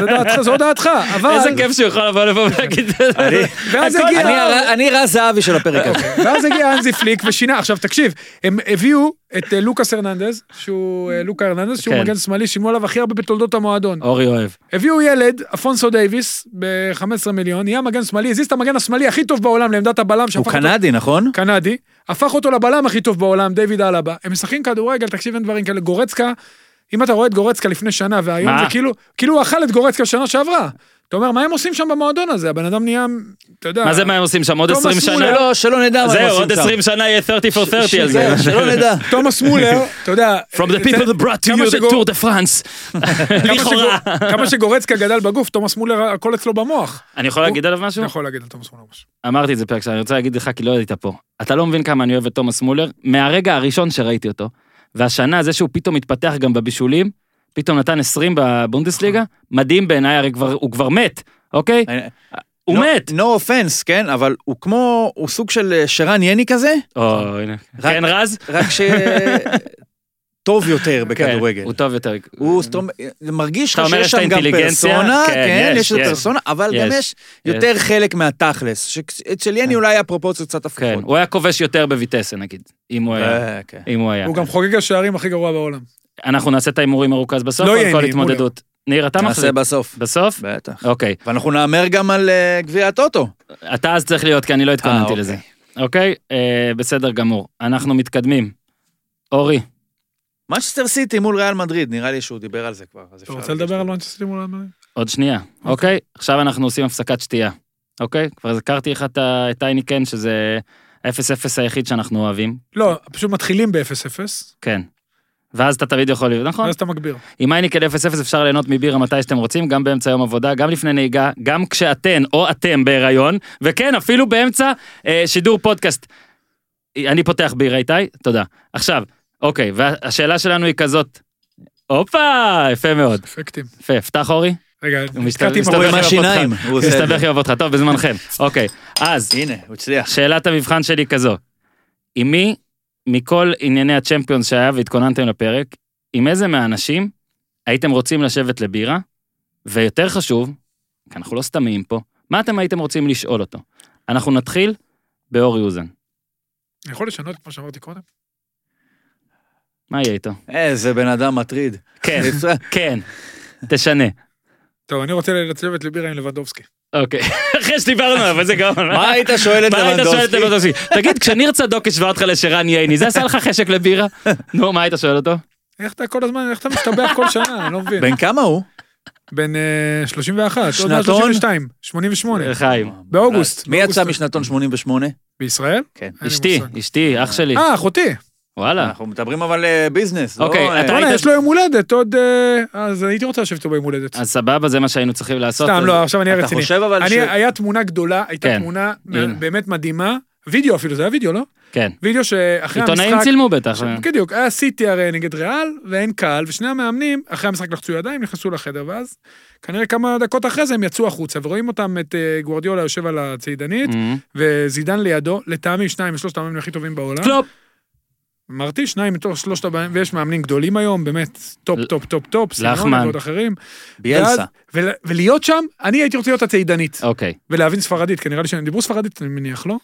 זה דעתך, זו דעתך, אבל...
איזה כיף שהוא יכול לבוא לפה ולהגיד את זה.
ואז
הכל-
הגיע-
אני הר- אני רז זהבי של הפרק הזה.
ואז הגיע אנזי פליק ושינה, עכשיו תקשיב, הם הביאו את אה, לוקאס הרננדז, שהוא אה, לוקה הרננדז, שהוא
כן.
מגן שמאלי, שילמו עליו הכי הרבה בתולדות המועדון.
אורי אוהב.
הביאו ילד, אפונסו דייוויס, ב-15 מיליון, נהיה מגן שמאלי, הזיז את המגן השמאלי הכי טוב בעולם לעמדת הבלם,
הוא
שהפך
קנדי, נכון?
אותו- קנדי, הפך אותו לבלם הכי טוב בעולם, דיוויד אלבה. הם משחקים כדורגל, תקשיב, אין דברים כאלה. גורצקה, אם אתה רואה את גורצקה לפני שנה והיום,
מה?
זה כאילו, כאילו הוא אכל את גורצקה שנה שעברה. אתה אומר, מה הם עושים שם במועדון הזה? הבן אדם נהיה, אתה יודע...
מה זה מה הם עושים שם עוד
תומאס
20 שנה?
מולר.
שלא, שלא נדע
לא,
מה הם
זהו,
עושים
עוד
שם.
20 שנה יהיה 30 for 30 על זה.
זהו, שלא נדע.
תומאס מולר, אתה יודע...
From the people that brought to
כמה
you the
שגור-
tour de France.
כמה
לכאורה.
שגור- כמה שגורצקה גדל בגוף, תומאס מולר, הכל אצלו במוח.
אני יכול להגיד עליו משהו?
אתה יכול להגיד על תומאס מולר משהו.
אמרתי את זה פרק שאני רוצה להגיד לך כי לא היית פה. אתה לא מבין כמה אני אוהב את תומאס מולר, מהרגע הראשון שראיתי אותו, והשנה זה שהוא פתאום התפתח גם בבישולים, פתאום נתן 20 בבונדסליגה, מדהים בעיניי, הרי כבר- הוא כבר מת, אוקיי?
אני-
הוא
no-
מת!
No offense, כן, אבל הוא כמו, הוא סוג של אה, שרן יני כזה,
או, הנה. כן, רז?
רק ש... טוב יותר
כן,
בכדורגל.
הוא טוב יותר.
הוא זאת אומרת, מרגיש
אתה
לך
אומר, יש
שיש
את
שם גם
האינטליגנציה?
פרסונה,
כן,
כן,
יש,
יש את
יש.
הפרסונה, אבל גם
יש,
יש יותר חלק מהתכלס, שאצל יני אולי הפרופורציות קצת
כן,
הפוכות.
הוא היה כובש יותר בויטסה נגיד, אם הוא היה.
אה, כן.
אם הוא היה.
הוא גם חוגג השערים הכי גרוע בעולם.
אנחנו נעשה את ההימורים מרוכז בסוף,
לא
או
יהיה
על כל
לי,
התמודדות. ניר, אתה מחזיק.
נעשה בסוף.
בסוף?
בטח.
אוקיי.
ואנחנו נהמר גם על אה, גביע הטוטו.
אתה אז צריך להיות, כי אני לא
אה,
התכוננתי
אוקיי.
לזה. אוקיי? אה, בסדר גמור. אנחנו מתקדמים. אורי,
מנצ'סטר סיטי מול ריאל מדריד, נראה לי שהוא דיבר על זה כבר.
אתה
אז אפשר
רוצה
להגיד.
לדבר על מנצ'סטרים מול המאמן?
עוד שנייה. אוקיי? עכשיו אנחנו עושים הפסקת שתייה. אוקיי? כבר הזכרתי לך את ה- את הייניקן, שזה 0-0 היחיד שאנחנו אוהבים.
לא, פשוט מתחילים ב-0-0,
כן. ואז אתה תמיד יכול להיות, נכון?
ואז אתה מגביר.
עם הייניקן 0-0 אפשר ליהנות מבירה מתי שאתם רוצים, גם באמצע יום עבודה, גם לפני נהיגה, גם כשאתן או אתם בהיריון, וכן, אפילו באמצע אה, שידור פודקאסט. אני פותח בירה איתי, תודה. עכשיו, אוקיי, והשאלה שלנו היא כזאת, הופה, יפה מאוד.
אפקטים.
יפה, פתח אורי,
רגע,
הוא מסתובב-
נתקעתי עם
מסתובב
הוא
הרבה...
עם
עם
השיניים,
הפודקאסט.
הוא עושה את
מסתבך
זה.
עם אבותך, טוב, בזמנכם. אוקיי, אז,
הנה, הוא הצליח.
שאלת המבחן שלי כזו, עם מי מכל ענייני הצ'מפיונס שהיה והתכוננתם לפרק, עם איזה מהאנשים הייתם רוצים לשבת לבירה, ויותר חשוב, כי אנחנו לא סתמיים פה, מה אתם הייתם רוצים לשאול אותו? אנחנו נתחיל באורי אוזן.
אני יכול לשנות את מה שאמרתי קודם?
מה יהיה איתו?
איזה בן אדם מטריד.
כן, כן, תשנה.
טוב, אני רוצה לצוות לבירה עם לבנדובסקי.
אוקיי, אחרי שדיברנו עליו, איזה גאון.
מה היית שואל את
מה היית שואל את
לבנדובסקי?
לבנדובסקי? תגיד, כשניר צדוק השווה אותך לשרן ייני, זה עשה לך חשק לבירה? נו, מה היית שואל אותו?
איך אתה כל הזמן, איך אתה משתבח כל שנה, אני לא מבין.
בן כמה הוא?
בן אה, 31, עוד מעט
שנתון? אה,
32, 88.
חיים.
באוגוסט.
מי
באוגוסט.
יצא משנתון 88?
בישראל?
כן.
אין לי
אשתי,
מושג.
אשתי, אח שלי.
אה, אחותי.
וואלה.
אנחנו מדברים אבל אה, ביזנס. לא,
אוקיי,
אה,
אתה ראית-
בוא'נה, יש לו יום הולדת עוד... אה, אז הייתי רוצה לשבת איתו ביום הולדת.
אז סבבה, זה מה שהיינו צריכים לעשות.
סתם,
אז-
לא, עכשיו אני אהיה
אתה
רציני.
חושב אבל ש...
אני, היה תמונה גדולה, הייתה
כן.
תמונה
הנה.
באמת מדהימה, וידאו אפילו, זה היה וידאו, לא?
כן.
וידאו שאחרי המשחק...
עיתונאים צילמו בטח.
ש-
כן,
בדיוק, היה סיטי הרי נגד ריאל, ואין קהל, ושני המאמנים, אחרי המשחק לחצו ידיים, נכנסו לחדר, ואז כנראה כמה דקות אחרי זה הם יצאו החוצה, ורואים אותם, את אה, גוורדיולה יושב על הצעידנית,
כן.
אמ,
אה?
וזידן לידו, לטעמי שניים משלושת המאמנים הכי טובים בעולם.
קלופ.
אמרתי, שניים מתוך שלושת הבאים, ויש מאמנים גדולים היום, באמת, טופ,
ל-
טופ, טופ, טופ, סימון
לחמן.
ועוד אחרים.
ביאלסה.
ואז- ול- ולהיות שם, אני הייתי רוצה להיות הצעידנית,
אוקיי.
ולהבין ספרדית, כי נראה לי שהם דיברו ספרדית, אני מניח, לא?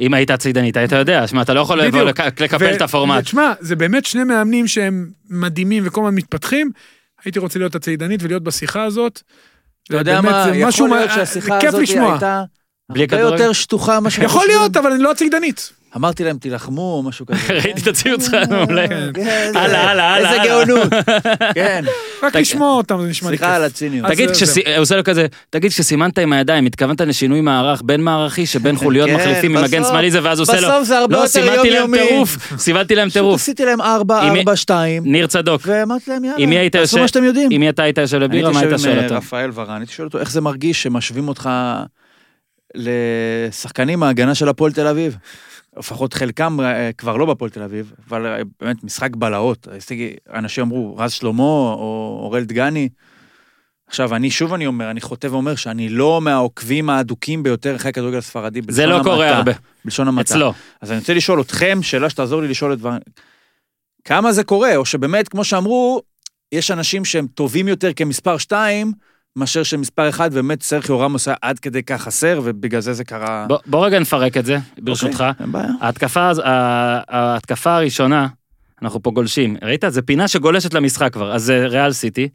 אם היית צידנית, היית יודע, שמע, אתה לא יכול לבוא
בדיוק.
לק- לקפל
ו-
את הפורמט.
ותשמע, זה באמת שני מאמנים שהם מדהימים וכל הזמן מתפתחים. הייתי רוצה להיות הצעידנית ולהיות בשיחה הזאת.
אתה יודע
ובאמת,
מה,
זה משהו
יכול להיות
מה-
שהשיחה
כיף
הזאת
לשמוע.
הייתה
בלי
הרבה
כדורגל?
יותר שטוחה ממה שאנחנו
יכול
חושבים.
להיות, אבל אני לא הצעידנית.
אמרתי להם, תילחמו או משהו כזה.
ראיתי את הציוץ שלך, מעולה.
כן,
הלאה,
איזה-
הלאה, הלאה,
איזה
הלאה.
גאונות. כן,
רק לשמוע אותם זה נשמע לי כיף.
סליחה על הציניות.
אז
תגיד,
זה-
כשסי- הוא עושה לו כזה, תגיד, כשסימנת עם הידיים, התכוונת לשינוי מערך בין מערכי שבין חוליות
כן,
מחליפים ממגן
בסוף-
שמאלי זה, ואז הוא עושה לו,
בסוף זה הרבה
לא,
יותר
סימנתי להם
יומיומי.
טירוף, סימנתי להם
פשוט
טירוף.
עשיתי להם 4,
אם-
4, 2,
ניר צדוק,
ואמרתי להם,
אם היא
יאללה,
היית
תעשו מה
יושב-
שאתם יודעים.
אם אתה היית יושב לבירה, מה היית שואל
הייתי יושב
אותו?
עם אה, רפאל ורן, הייתי שואל אותו, איך זה מרגיש שמשווים אותך לשחקנים מההגנה של הפועל תל אביב? לפחות חלקם אה, כבר לא בפועל תל אביב, אבל אה, באמת משחק בלהות. עשיתי- אנשים אמרו, רז שלמה או אורל דגני. עכשיו, אני שוב אני אומר, אני חוטא ואומר שאני לא מהעוקבים האדוקים ביותר אחרי הכדורגל הספרדי.
זה
בלשון
לא
המעטה.
קורה הרבה,
בלשון המעטה.
אצלו.
אז אני רוצה לשאול אתכם, שאלה שתעזור לי לשאול את דבר... כמה זה קורה, או שבאמת, כמו שאמרו, יש אנשים שהם טובים יותר כמספר 2, מאשר שמספר 1, ובאמת סרחיו רמוס היה עד כדי כך חסר, ובגלל זה זה קרה...
בוא- בוא רגע נפרק את זה,
אוקיי.
ברשותך.
אין בעיה.
ההתקפה, הז- ה- ההתקפה הראשונה, אנחנו פה גולשים, ראית? זה פינה שגולשת למשחק כבר, אז זה ריאל סיטי.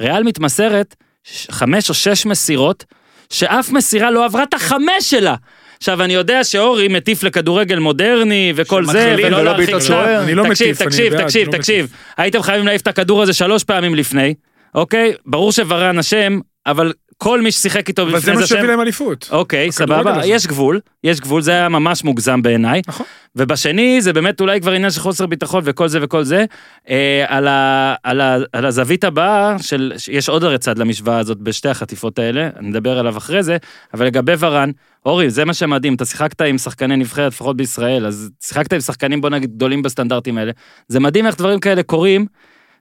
ריאל מתמסרת ש- חמש או שש מסירות, שאף מסירה לא עברה את החמש שלה. עכשיו, אני יודע שאורי מטיף לכדורגל מודרני וכל זה,
שמתחילים
ולא
ולא
להרחיק
בעיטות
שם.
שוער.
אני לא
תקשיב,
מטיף, אני
תקשיב,
בעד,
תקשיב,
לא מטיף.
תקשיב. הייתם חייבים להעיף את הכדור הזה שלוש פעמים לפני, אוקיי? ברור שוורן אשם, אבל כל מי ששיחק איתו
אבל זה
לפני
מה
זה אשם.
שהביא להם אליפות.
אוקיי,
הכדורגל
סבבה,
הזה.
יש גבול, יש גבול, זה היה ממש מוגזם בעיניי.
נכון.
ובשני, זה באמת אולי כבר עניין של חוסר ביטחון וכל זה וכל זה. אה, על, ה, על, ה, על הזווית הבאה, של, יש עוד הרי צד למשוואה הזאת בשתי החטיפות האלה, נדבר עליו אחרי זה, אבל לגבי ורן, אורי, זה מה שמדהים, אתה שיחקת עם שחקני נבחרת, לפחות בישראל, אז שיחקת עם שחקנים, בוא נגיד, גדולים בסטנדרטים האלה. זה מדהים איך דברים כאלה קורים,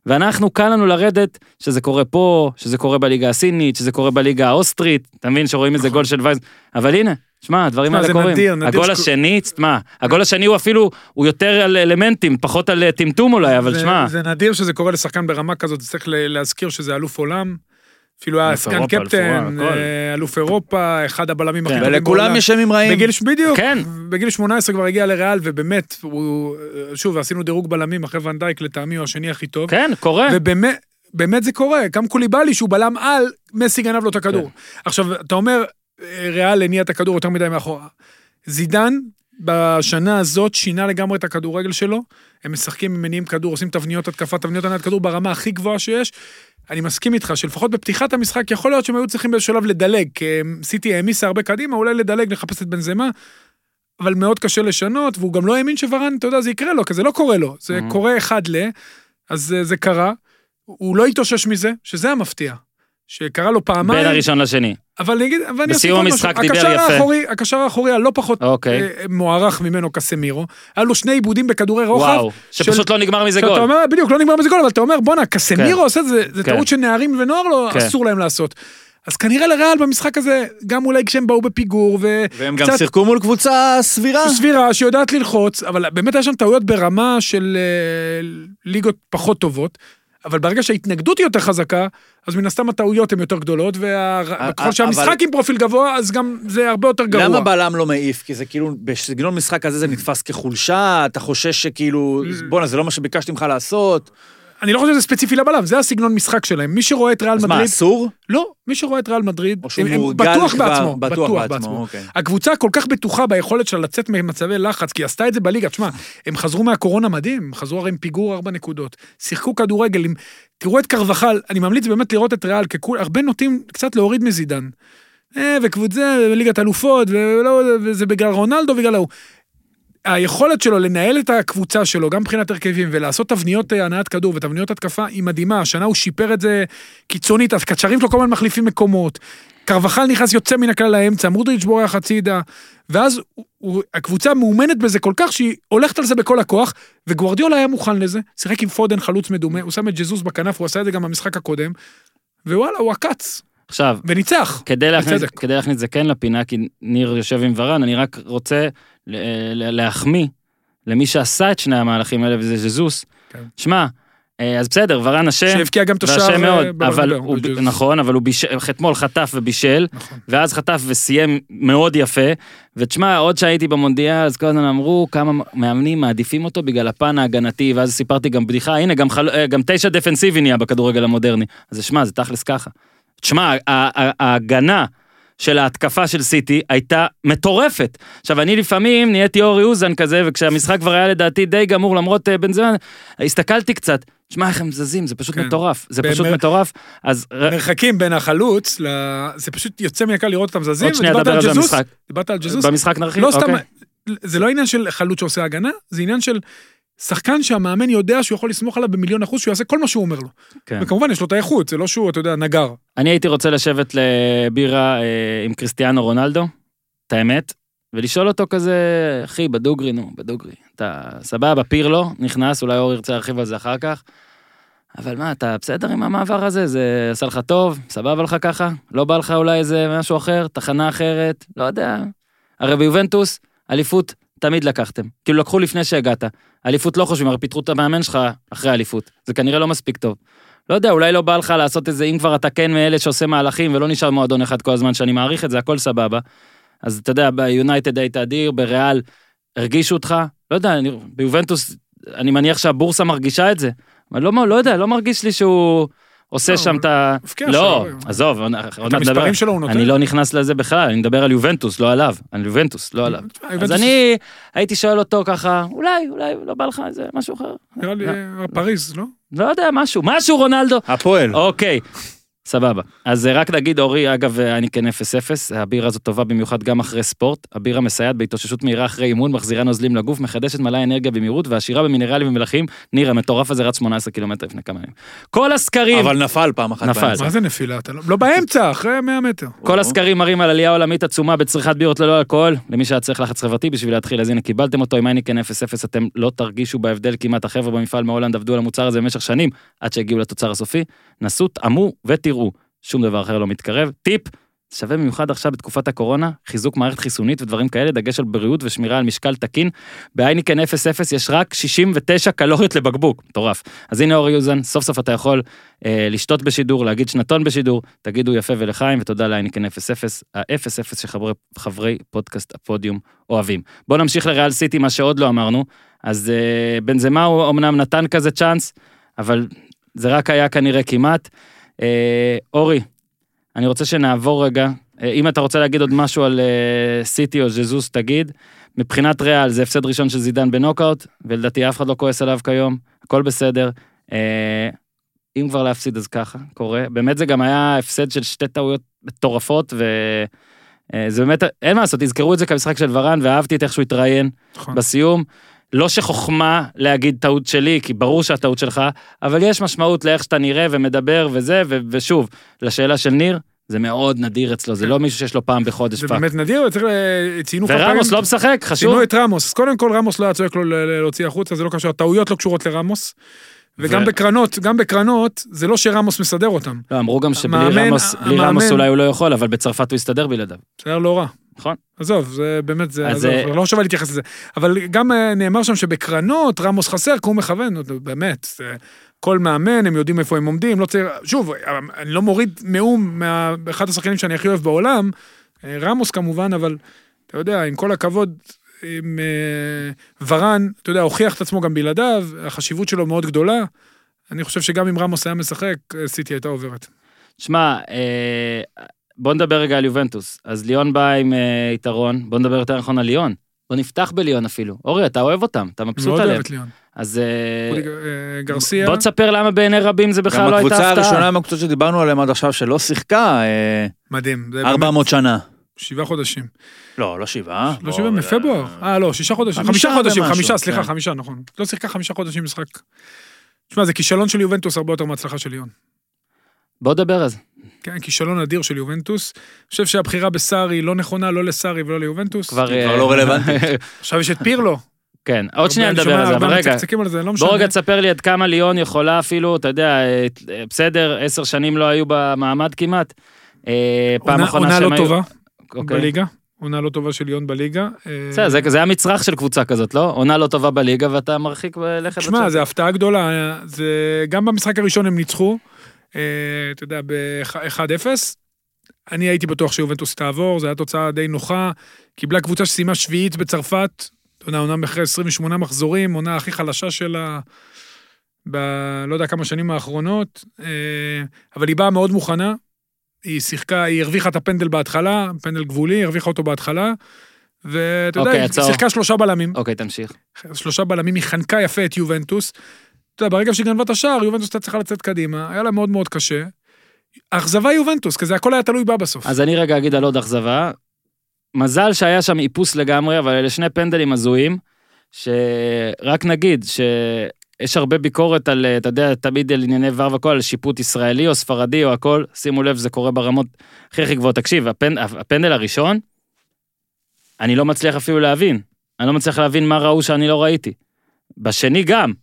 ואנחנו, קל לנו לרדת, שזה קורה פה, שזה קורה בליגה הסינית, שזה קורה בליגה האוסטרית, אתה מבין שרואים איזה גול של וייז, אבל הנה, שמע, הדברים האלה
נכון. שמע, זה
קורים.
נדיר, נדיר
הגול
שקו-
השני, תשמע, הגול השני הוא אפילו, הוא יותר על אלמנטים, פחות על אה, טמטום אולי, אבל
זה-
שמע,
זה נדיר שזה קורה לשחקן ברמה כזאת, צריך ל- להזכיר שזה אלוף עולם. אפילו היה
אלוף
סגן
אירופה, אלוף
קפטן,
העולם, הכל.
אה, אלוף אירופה, אחד הבלמים הכי
כן.
טובים בעולם.
ולכולם יש ימים רעים.
בגיל, ש- בדיוק,
כן.
בגיל 18 כבר הגיע לריאל, ובאמת, הוא, שוב, עשינו דירוג בלמים אחרי ון דייק, לטעמי הוא השני הכי טוב.
כן, קורה.
ובאמת, באמת זה קורה, גם קוליבאלי שהוא בלם על, מסי גנב לו את הכדור.
כן.
עכשיו, אתה אומר, אה, ריאל הניע את הכדור יותר מדי מאחורה. זידן, בשנה הזאת, שינה לגמרי את הכדורגל שלו. הם משחקים, הם מניעים כדור, עושים תבניות התקפה, תבניות הנעת כדור ברמה הכי גבוהה שיש. אני מסכים איתך שלפחות בפתיחת המשחק, יכול להיות שהם היו צריכים באיזשהו שלב לדלג, כי הם- סיטי העמיסה הרבה קדימה, אולי לדלג, לחפש את בנזמה, אבל מאוד קשה לשנות, והוא גם לא האמין שוורן, אתה יודע, זה יקרה לו, כי זה לא קורה לו, זה
Mhm.
קורה אחד ל... אז אה, זה קרה, הוא לא התאושש מזה, שזה המפתיע. שקרה לו
בין
פעמיים,
הראשון לשני.
אבל אני אגיד, ואני אוסיף
בסיום
עוד
המשחק
משהו.
דיבר
הקשר
יפה.
האחורי, הקשר האחורי הלא פחות
אוקיי.
אה, מוערך ממנו קסמירו, היה לו שני עיבודים בכדורי רוחב.
וואו, שפשוט לא נגמר מזה
שאתה
גול.
אומר, בדיוק, לא נגמר בזה גול, אבל אתה אומר, בואנה, קסמירו עושה את זה, זה
כן.
טעות שנערים ונוער לא,
כן.
אסור להם לעשות. אז כנראה לריאל במשחק הזה, גם אולי כשהם באו בפיגור, ו...
והם גם
קצת-
שיחקו מול קבוצה סבירה.
סבירה שיודעת ללחוץ, אבל באמת היה שם טעויות ברמה של אה, ליגות פחות טובות. אבל ברגע שההתנגדות היא יותר חזקה, אז מן הסתם הטעויות הן יותר גדולות,
א-
וככל
א-
שהמשחק
אה, אבל-
עם פרופיל גבוה, אז גם זה הרבה יותר גרוע.
למה בלם לא מעיף? כי זה כאילו, בסגנון משחק הזה זה נתפס כחולשה, אתה חושש שכאילו, בואנה, זה לא מה שביקשתי ממך לעשות.
אני לא חושב שזה ספציפי לבלם, זה הסגנון משחק שלהם. מי שרואה את ריאל
אז מה,
מדריד...
אסור?
לא, מי שרואה את ריאל מדריד,
או שהוא
הם- הם
מורגל
בטוח
כבר-
בעצמו,
בטוח
בטוח
בעצמו,
בעצמו.
אוקיי.
הקבוצה כל כך בטוחה ביכולת שלה לצאת ממצבי לחץ, כי היא עשתה את זה בליגה. תשמע, הם חזרו מהקורונה מדהים, הם חזרו הרי עם פיגור ארבע נקודות, שיחקו כדורגל, עם... תראו את קרבחל, אני ממליץ באמת לראות את ריאל, ככול, הרבה נוטים קצת להוריד מזידן. אה, וקבוצה, וליגת אלופות, ולא, וזה בגלל רונלדו, בגלל ההוא. היכולת שלו לנהל את הקבוצה שלו, גם מבחינת הרכבים, ולעשות תבניות אה, הנעת כדור ותבניות התקפה, היא מדהימה. השנה הוא שיפר את זה קיצונית, הקצ'רים שלו כל הזמן מחליפים מקומות. קרבחל נכנס יוצא מן הכלל לאמצע, מודריץ' בורח הצידה, ואז הוא- הוא, הקבוצה מאומנת בזה כל כך שהיא הולכת על זה בכל הכוח, וגוורדיולה היה מוכן לזה, שיחק עם פודן חלוץ מדומה, הוא שם את ג'זוס בכנף, הוא עשה את זה גם במשחק הקודם, ווואלה, הוא עקץ,
עכשיו,
וניצח.
כדי להכניס,
בצדק.
כדי להכניס את זה כן לפינה, כי ניר יושב עם ורן, אני רק רוצה ל- ל- להחמיא למי שעשה את שני המהלכים האלה, וזה ז'זוס.
כן.
שמע, אה, אז בסדר, ורן אשם,
שהבקיע גם את השער
ואשם מאוד,
אה,
אבל
בברנבאו,
הוא,
בג'זוס.
נכון, אבל הוא בישל, אתמול חטף ובישל,
נכון.
ואז חטף וסיים מאוד יפה, ותשמע, עוד שהייתי במונדיאל, אז כל הזמן אמרו כמה מאמנים מעדיפים אותו בגלל הפן ההגנתי, ואז סיפרתי גם בדיחה, הנה, גם, חל... אה, גם תשע דפנסיבי נהיה בכדורגל המודרני. אז שמע, זה תכלס ככה. תשמע, ה- ה- ההגנה של ההתקפה של סיטי הייתה מטורפת. עכשיו, אני לפעמים נהייתי אורי אוזן כזה, וכשהמשחק כבר היה לדעתי די גמור, למרות אה, בן זמן, הסתכלתי קצת. שמע, איך הם זזים, זה פשוט
כן.
מטורף. זה
באמת.
פשוט מטורף. אז... ר-
מרחקים בין החלוץ, ל... זה פשוט יוצא מן הכלל לראות אותם זזים,
עוד שנייה
ודיברת
נדבר על זה
ג'זוס,
במשחק.
דיברת על ג'זוס,
במשחק נרחיב,
לא סתם,
אוקיי.
זה לא עניין של חלוץ שעושה הגנה, זה עניין של שחקן שהמאמן יודע שהוא יכול לסמוך עליו במיליון אחוז, שהוא יעשה כל מה שהוא אומר לו.
כן.
וכמובן, יש לו את האיכות, זה לא שהוא, אתה יודע, נגר.
אני הייתי רוצה לשבת לבירה אה, עם קריסטיאנו רונלדו, את האמת, ולשאול אותו כזה, אחי, בדוגרי, נו, בדוגרי. אתה סבבה, פירלו, נכנס, אולי אור ירצה להרחיב על זה אחר כך. אבל מה, אתה בסדר עם המעבר הזה? זה עשה לך טוב? סבבה לך ככה? לא בא לך אולי איזה משהו אחר? תחנה אחרת? לא יודע. הרי ביובנטוס, אליפות תמיד לקחתם. כאילו, לקחו לפני שהגעת. אליפות לא חושבים, הרי פיטרו את המאמן שלך אחרי אליפות. זה כנראה לא מספיק טוב. לא יודע, אולי לא בא לך לעשות את זה, אם כבר אתה כן מאלה שעושה מהלכים ולא נשאר מועדון אחד כל הזמן, שאני מעריך את זה, הכל סבבה. אז אתה יודע, ביונייטד היית אדיר, בריאל הרגישו אותך, לא יודע, אני, ביובנטוס, אני מניח שהבורסה מרגישה את זה. אבל לא, לא יודע, לא מרגיש לי שהוא עושה
לא,
שם
אבל
את ה...
מבקיע
לא,
שערים.
עזוב, עוד
את
מעט נדבר.
המספרים שלו הוא נותן.
אני לא נכנס לזה בכלל, אני מדבר על יובנטוס, לא עליו. על יובנטוס, לא עליו. אז
יובנטוס-
אני הייתי שואל אותו ככה, אולי, אולי לא בא לך איזה משהו אחר.
נראה לי, אה, פריז, לא?
לא יודע, משהו, משהו רונלדו.
הפועל.
אוקיי, סבבה. אז אה, רק נגיד, אורי, אגב, אה, אני כן 0-0, הבירה הזאת טובה במיוחד גם אחרי ספורט. הבירה מסייעת בהתאוששות מהירה אחרי אימון, מחזירה נוזלים לגוף, מחדשת מלאה אנרגיה במהירות, ועשירה במינרלים ומלחים. ניר, המטורף הזה רץ 18 קילומטר לפני כמה ימים. כל הסקרים...
אבל נפל פעם אחת.
נפל.
באמצע.
מה זה נפילה? אתה לא- לא באמצע, אחרי 100 מטר.
כל
או.
הסקרים מראים על עלייה עולמית עצומה בצריכת בירות ללא אלכוהול. למי שהיה צריך לחץ חברתי בשביל להתחיל, אז הנה קיבלתם אותו עם אייניקן 0-0, אתם לא תרגישו בהבדל כמעט. החבר'ה במפעל מהולנד עבדו על המוצר הזה במשך שנים, עד שהגיעו לתוצר הסופי. נסו, טעמו ותראו. שום דבר אחר לא מתקרב. טיפ, שווה במיוחד עכשיו בתקופת הקורונה, חיזוק מערכת חיסונית ודברים כאלה, דגש על בריאות ושמירה על משקל תקין. בהייניקן 0-0 יש רק 69 קלוריות לבקבוק, מטורף. אז הנה אור יוזן, סוף סוף אתה יכול אה, לשתות בשידור, להגיד שנתון בשידור, תגידו יפה ולחיים, ותודה להייניקן 0-0, ה-0-0 שחברי חברי פודקאסט הפודיום אוהבים. בואו נמשיך לריאל סיטי, מה שעוד לא אמרנו. אז אה, בנזמה הוא אמנם נתן כזה צ'אנס, אבל זה רק היה כנראה כמעט. אה, אורי, אני רוצה שנעבור רגע, אה, אם אתה רוצה להגיד עוד משהו על אה, סיטי או ז'זוס, תגיד. מבחינת ריאל זה הפסד ראשון של זידן בנוקאוט, ולדעתי אף אחד לא כועס עליו כיום, הכל בסדר. אה, אם כבר להפסיד אז ככה, קורה. באמת זה גם היה הפסד של שתי טעויות מטורפות, ו... אה, זה באמת, אין מה לעשות, תזכרו את זה כמשחק של ורן, ואהבתי את איך שהוא התראיין
נכון.
בסיום. לא שחוכמה להגיד טעות שלי, כי ברור שהטעות שלך, אבל יש משמעות לאיך שאתה נראה ומדבר וזה, ו- ושוב, לשאלה של ניר, זה מאוד נדיר אצלו, זה לא מישהו שיש לו פעם בחודש
זה
פאק.
באמת נדיר, צריך ל... ציינו כמה
ורמוס
פעמים-
לא משחק, חשוב.
ציינו את רמוס. אז קודם כל רמוס לא היה צועק לו ל- ל- להוציא החוצה, זה לא קשור, הטעויות לא קשורות לרמוס. וגם
ו-
בקרנות, גם בקרנות, זה לא שרמוס מסדר אותם.
לא, אמרו גם שבלי
המאמן-
רמוס, בלי
המאמן-
רמוס אולי הוא לא יכול, אבל בצרפת הוא יסתדר בלעדיו.
זה היה לא רע.
נכון.
עזוב, זה באמת, זה,
אז אה,
עזוב,
זה-
לא שווה להתייחס לזה. אבל גם אה, נאמר שם שבקרנות רמוס חסר, כי הוא מכוון, נו, באמת. זה- כל מאמן, הם יודעים איפה הם עומדים, לא צריך... שוב, אה, אני לא מוריד מאום מאחד השחקנים שאני הכי אוהב בעולם, אה, רמוס כמובן, אבל אתה יודע, עם כל הכבוד, עם אה, ורן, אתה יודע, הוכיח את עצמו גם בלעדיו, החשיבות שלו מאוד גדולה. אני חושב שגם אם רמוס היה משחק, אה, סיטי הייתה עוברת.
שמע, אה, בוא נדבר רגע על יובנטוס. אז ליאון בא עם אה, יתרון, בוא נדבר יותר נכון על ליאון. בוא נפתח בליאון אפילו. אורי, אתה אוהב אותם, אתה מבסוט
מאוד
עליהם.
אוהבת ליאון.
אז אה,
אודי, אה, גרסיה.
בוא תספר למה בעיני רבים זה בכלל
גם
לא הייתה
הקבוצה
הפתעה.
הראשונה מהקבוצות שדיברנו עליהן עד עכשיו שלא שיחקה, אה,
מדהים. זה
400 שנה.
שבעה חודשים.
לא, לא שבעה.
לא
בוא,
שבעה
אה,
מפברואר. אה, לא, שישה חודשים.
חמישה
חמישה חודשים,
ומשהו,
חמישה, סליחה,
כן.
חמישה, נכון. לא שיחקה חמישה חודשים משחק. תשמע, זה כישלון של יובנטוס הרבה יותר מהצלחה של ליון.
בוא נדבר על זה.
כן, כישלון אדיר של יובנטוס. אני חושב שהבחירה בסאר היא לא נכונה, לא לסארי ולא ליובנטוס.
כבר
כבר
אה,
לא רלוונטי.
עכשיו יש את פירלו.
כן, עוד שנייה
הרבה- אני
נדבר
שומע
על זה, אבל
הרבה
רגע,
מצקצקים על זה, לא משנה.
בוא רגע תספר לי עד כמה ליאון יכולה אפילו, אתה יודע, אה, אה, בסדר, עשר שנים לא היו במעמד כמעט. אה, פעם
עונה-
אחרונה
עונה
שהם
לא
היו...
טובה
אוקיי.
בליגה. עונה לא טובה של ליון בליגה. אה,
בסדר, זה- זה היה מצרך של קבוצה כזאת, לא? עונה לא טובה בליגה ואתה מרחיק לכת
שמע,
לצאת.
זו הפתעה גדולה. זה... גם במשחק הראשון הם ניצחו, אה, אתה יודע, ב-1-0. אני הייתי בטוח שיובנטוס תעבור, זו הייתה תוצאה די נוחה. קיבלה קבוצה שסיימה שביעית בצרפת, אתה יודע, עונה אחרי 28 מחזורים, עונה הכי חלשה שלה ב... לא יודע כמה שנים האחרונות, אה, אבל היא באה מאוד מוכנה. היא שיחקה, היא הרוויחה את הפנדל בהתחלה, פנדל גבולי, הרוויחה אותו בהתחלה. ואתה יודע,
אוקיי,
היא
הצהוב.
שיחקה שלושה בלמים.
אוקיי, תמשיך.
שלושה בלמים, היא חנקה יפה את יובנטוס. אתה יודע, ברגע שהיא גנבה את השער, יובנטוס הייתה צריכה לצאת קדימה, היה לה מאוד מאוד קשה. אכזבה יובנטוס, כי זה הכל היה תלוי בה בסוף.
אז אני רגע אגיד על עוד אכזבה. מזל שהיה שם איפוס לגמרי, אבל אלה שני פנדלים הזויים, שרק נגיד שיש הרבה ביקורת על, אה, אתה יודע, תמיד על ענייני ור והכל, על שיפוט ישראלי או ספרדי או הכל, שימו לב, זה קורה ברמות הכי הכי גבוהות. תקשיב, הפנ... הפנדל הראשון, אני לא מצליח אפילו להבין. אני לא מצליח להבין מה ראו שאני לא ראיתי. בשני גם.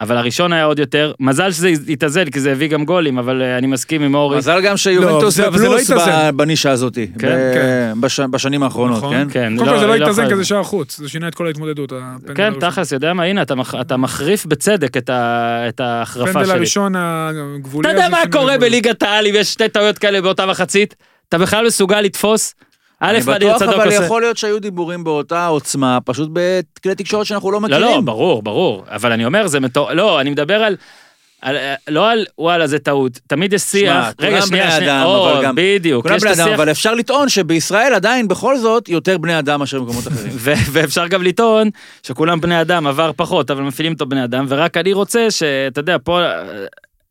אבל הראשון היה עוד יותר, מזל שזה התאזל, כי זה הביא גם גולים, אבל אה, אני מסכים עם אורי.
מזל גם שיובנטוס
לא, זה- אבל זה לא
בפלוס
התאזן.
ב- בנישה הזאתי.
כן,
ב-
כן.
בש- בשנים האחרונות,
נכון.
כן?
כן,
קודם כל זה לא
אני
התאזן
יכול-
כי זה שער חוץ, זה שינה את כל ההתמודדות, הפנדל
כן,
הראשון.
תכלס, יודע מה, הנה, אתה מח- אתה מחריף בצדק את ה- את ההחרפה
הפנדל
שלי.
הראשון הגבולי.
אתה יודע
הזה
מה
שינה את
קורה
ההתמודדות.
בליגת העל אם יש שתי טעויות כאלה באותה מחצית? אתה בכלל מסוגל לתפוס? א',
אני
נדיר
בטוח,
צדוק
אבל
עושה...
יכול להיות שהיו דיבורים באותה עוצמה, פשוט בכלי תקשורת שאנחנו לא
לא,
מכירים.
לא, ברור, ברור. אבל אני אומר, זה מטור... לא, אני מדבר על... על... לא על וואלה, זה טעות. תמיד יש שיח.
שמע, כולם בני אדם,
או,
אבל גם-
בדיוק.
כולם
יש
בני
את
אדם,
השיח-
אבל אפשר לטעון שבישראל עדיין בכל זאת יותר בני אדם מאשר במקומות אחרים.
ו- ואפשר גם לטעון שכולם בני אדם, עבר פחות, אבל מפעילים אותו בני אדם, ורק אני רוצה שאתה יודע, פה, אה,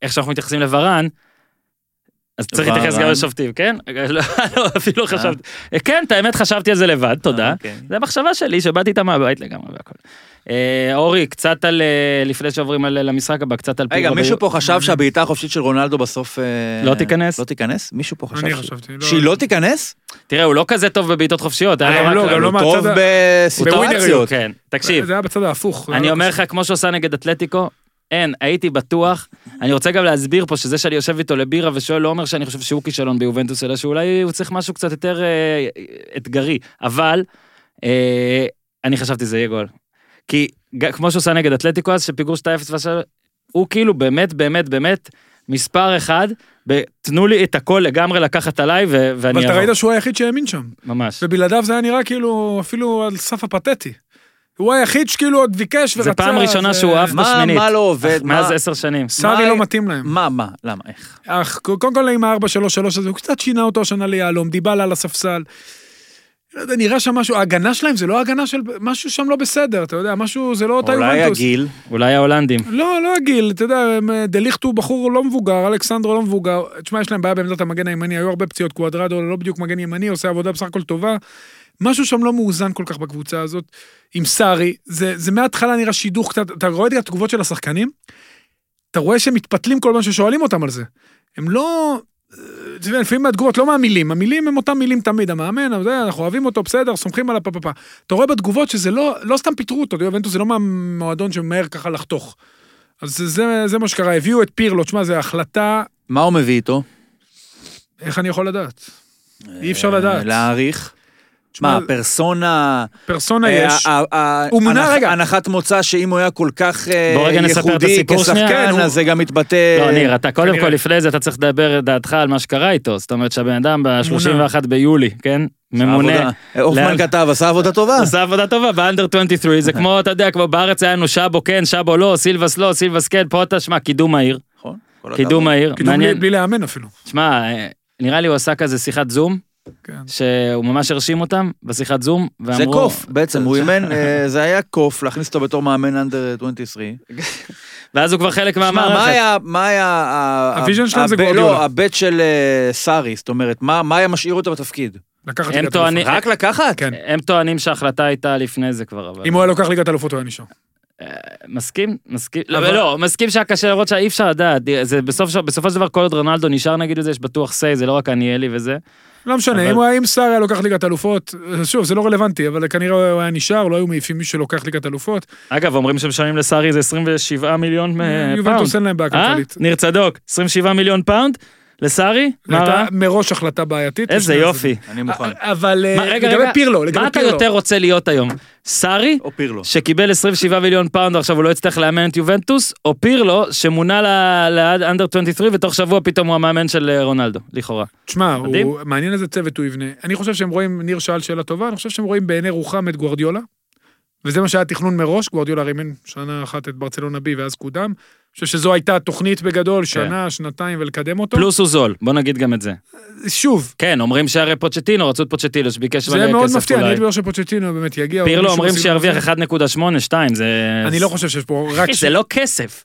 איך שאנחנו מתייחסים לברן, אז צריך להתייחס גם
ורן?
לשופטים, כן? לא, לא, אפילו
אה?
לא חשבתי. כן, את האמת חשבתי על זה לבד, תודה.
אוקיי.
זה המחשבה שלי, שבאתי איתה מהבית לגמרי והכל. אה, אורי, קצת על, אה, לפני שעוברים על- למשחק הבא, קצת על
רגע,
פירו
מישהו
ביו-
פה חשב שהבעיטה החופשית של רונלדו בסוף... אה,
לא תיכנס?
לא תיכנס? מישהו פה חשב...
אני
ש-
חשבתי, לא-
שהיא לא תיכנס?
תראה, הוא לא כזה טוב בבעיטות חופשיות, היה
אה,
לו
לא,
רק-
גם לא אה,
הוא
מהצד
טוב
ה-
בסיטואציות.
כן, תקשיב.
זה היה בצד ההפוך.
אני אומר לך, כמו שהוא עשה נגד אתלטיקו, אין, הייתי בטוח. אני רוצה גם להסביר פה שזה שאני יושב איתו לבירה ושואל, לא אומר שאני חושב שהוא כישלון ביובנטוס, אלא שאולי הוא צריך משהו קצת יותר אה, אתגרי. אבל, אה, אני חשבתי זה יהיה גול. כי ג- כמו שהוא עשה נגד אתלטיקו אז, שפיגור 2-0 ועכשיו, הוא כאילו באמת, באמת, באמת, מספר אחד, ב- תנו לי את הכל לגמרי לקחת עליי ו- ואני
אבל אתה
אעבור.
ראית שהוא היחיד שהאמין שם.
ממש.
ובלעדיו זה היה נראה כאילו אפילו על סף הפתטי. הוא היחיד שכאילו עוד ביקש ורצה.
זה פעם ראשונה
זה-
שהוא אהב
מה-
בשמינית.
מה לא עובד? מה-
מאז עשר שנים.
סארי
מה-
לא מתאים להם.
מה, מה, למה, איך?
אך, קודם כל עם ה-4-3-3 הזה, הוא קצת שינה אותו השנה ליהלום, דיבלה על הספסל. לא יודע, נראה שם משהו, ההגנה שלהם זה לא הגנה של... משהו שם לא בסדר, אתה יודע, משהו, זה לא אותה
אולי
יובנטוס.
הגיל?
אולי ההולנדים.
לא, לא הגיל, אתה יודע, הם, אה, דליכט הוא בחור לא מבוגר, אלכסנדרו לא מבוגר. תשמע, יש להם בעיה בעמדת המגן הימני, היו הרבה פציעות, קוואדרדו לא בדיוק מגן ימני, עושה עבודה בסך הכל טובה. משהו שם לא מאוזן כל כך בקבוצה הזאת, עם סארי, זה, זה מההתחלה נראה שידוך קצת, אתה רואה את התגובות של השחקנים? אתה רואה שהם מתפתלים כל פעם ששואלים אותם על זה. הם לא... אה, אתה יודע, לפעמים מהתגובות, לא מהמילים, המילים הם אותם מילים תמיד, המאמן, אתה יודע, אנחנו אוהבים אותו, בסדר, סומכים עליו, פפפפה. אתה רואה בתגובות שזה לא, לא סתם פיטרו אותו, יובנטוס זה לא מהמועדון שממהר ככה לחתוך. אז זה, זה, זה מה שקרה, הביאו את פירלו, תשמע, זו החלטה,
מה הוא מביא איתו?
איך אני יכול לדעת? אי אפשר
אה,
לדעת.
לא.
להעריך?
תשמע,
מה, פרסונה...
פרסונה
אה,
יש.
ה- ה-
הוא מונה,
הנח-
רגע.
הנחת מוצא שאם הוא היה כל כך אה,
בוא רגע נספר את
ייחודי
הסיפור שנייה.
כשחקן,
כן, הוא-
אז זה גם מתבטא...
לא, ניר, אתה קודם
כנראה.
כל לפני זה אתה צריך לדבר את דעתך על מה שקרה איתו. זאת אומרת שהבן אדם ב-31 ביולי, כן? ממונה.
עבודה. אה, הופמן
לאן-
כתב, עשה עבודה טובה.
עשה עבודה טובה באנדר 23, זה כמו, אתה יודע, כמו בארץ היה לנו שבו כן, שבו לא, סילבס לא, סילבס כן, פה אתה, שמע, קידום מהיר.
נכון, כל
קידום
הכבוד.
מהיר.
כאילו בלי,
מעניין.
בלי לאמן אפילו.
שמע, אה, נראה לי הוא עשה כזה שיחת זום,
כן.
שהוא ממש הרשים אותם בשיחת זום, ואמרו...
זה קוף, בעצם, הוא אימן, אה, זה היה קוף, להכניס אותו בתור מאמן אנדר 23.
ואז הוא כבר חלק
שמע, מה
מהמערכת.
היה, מה היה, ה-
הוויז'ן שלהם זה
הב-
גוורדיולה.
לא, הבט של אה, סארי, זאת אומרת, מה מה היה משאיר אותו בתפקיד?
לקחת
הם
ליגת
טוענים-
אלופות.
אה,
רק לקחת?
כן.
הם טוענים שההחלטה הייתה לפני זה כבר, אבל...
אם הוא היה לוקח ליגת אלופות הוא היה נשאר.
מסכים, מסכים, לא,
אבל-
לא, מסכים שהיה קשה לראות שאי אפשר לדעת, זה בסוף, בסופו של דבר כל עוד רונלדו נשאר נגיד לזה, יש בטוח סיי, זה לא רק אני אלי וזה.
לא משנה,
אבל-
אם הוא היה עם סער היה לוקח ליגת אלופות, שוב, זה לא רלוונטי, אבל כנראה הוא היה נשאר, לא היו מעיפים מישהו שלוקח ליגת אלופות.
אגב, אומרים שמשלמים לסארי זה 27 מיליון אה, פאונד.
יובנטוס אין להם בעיה
אה?
כלכלית.
ניר צדוק, 27 מיליון פאונד? לסארי? מה רע?
הייתה מראש החלטה בעייתית.
איזה
לשני
יופי.
אני מוכן.
הצדדים. אבל אה,
מה, רגע,
לגבי
רגע,
פירלו, לגבי פירלו.
מה אתה יותר רוצה להיות היום? סארי?
או פירלו.
שקיבל 27 מיליון פאונד עכשיו הוא לא יצטרך לאמן את יובנטוס, או פירלו שמונה ל- לעד אנדר 23 ותוך שבוע פתאום הוא המאמן של אה, רונלדו, לכאורה.
תשמע,
מדהים.
הוא- מעניין איזה צוות הוא יבנה. אני חושב שהם רואים, ניר שאל שאלה טובה, אני חושב שהם רואים בעיני רוחם את גוורדיולה, וזה מה שהיה תכנון מראש, גוורדיולה הרי אימן שנה אחת את ברצלונה בי ואז קודם. אני חושב שזו הייתה התוכנית בגדול, שנה, שנתיים ולקדם אותו.
כן. פלוס הוא זול, בוא נגיד גם את זה.
שוב,
כן, אומרים שהרי פוצ'טינו, רצו את פוצ'טינו שביקש
זה היה מאוד
כסף
מפתיע, אני לא
אולי.
הייתי אומר שפוצ'טינו באמת יגיע. או
פירלו
מישהו
אומרים
בסגנון הזה.
שירוויח 1.8, 2, זה...
לא אני לא חושב שיש פה, רק
אחי,
ש-
זה לא כסף.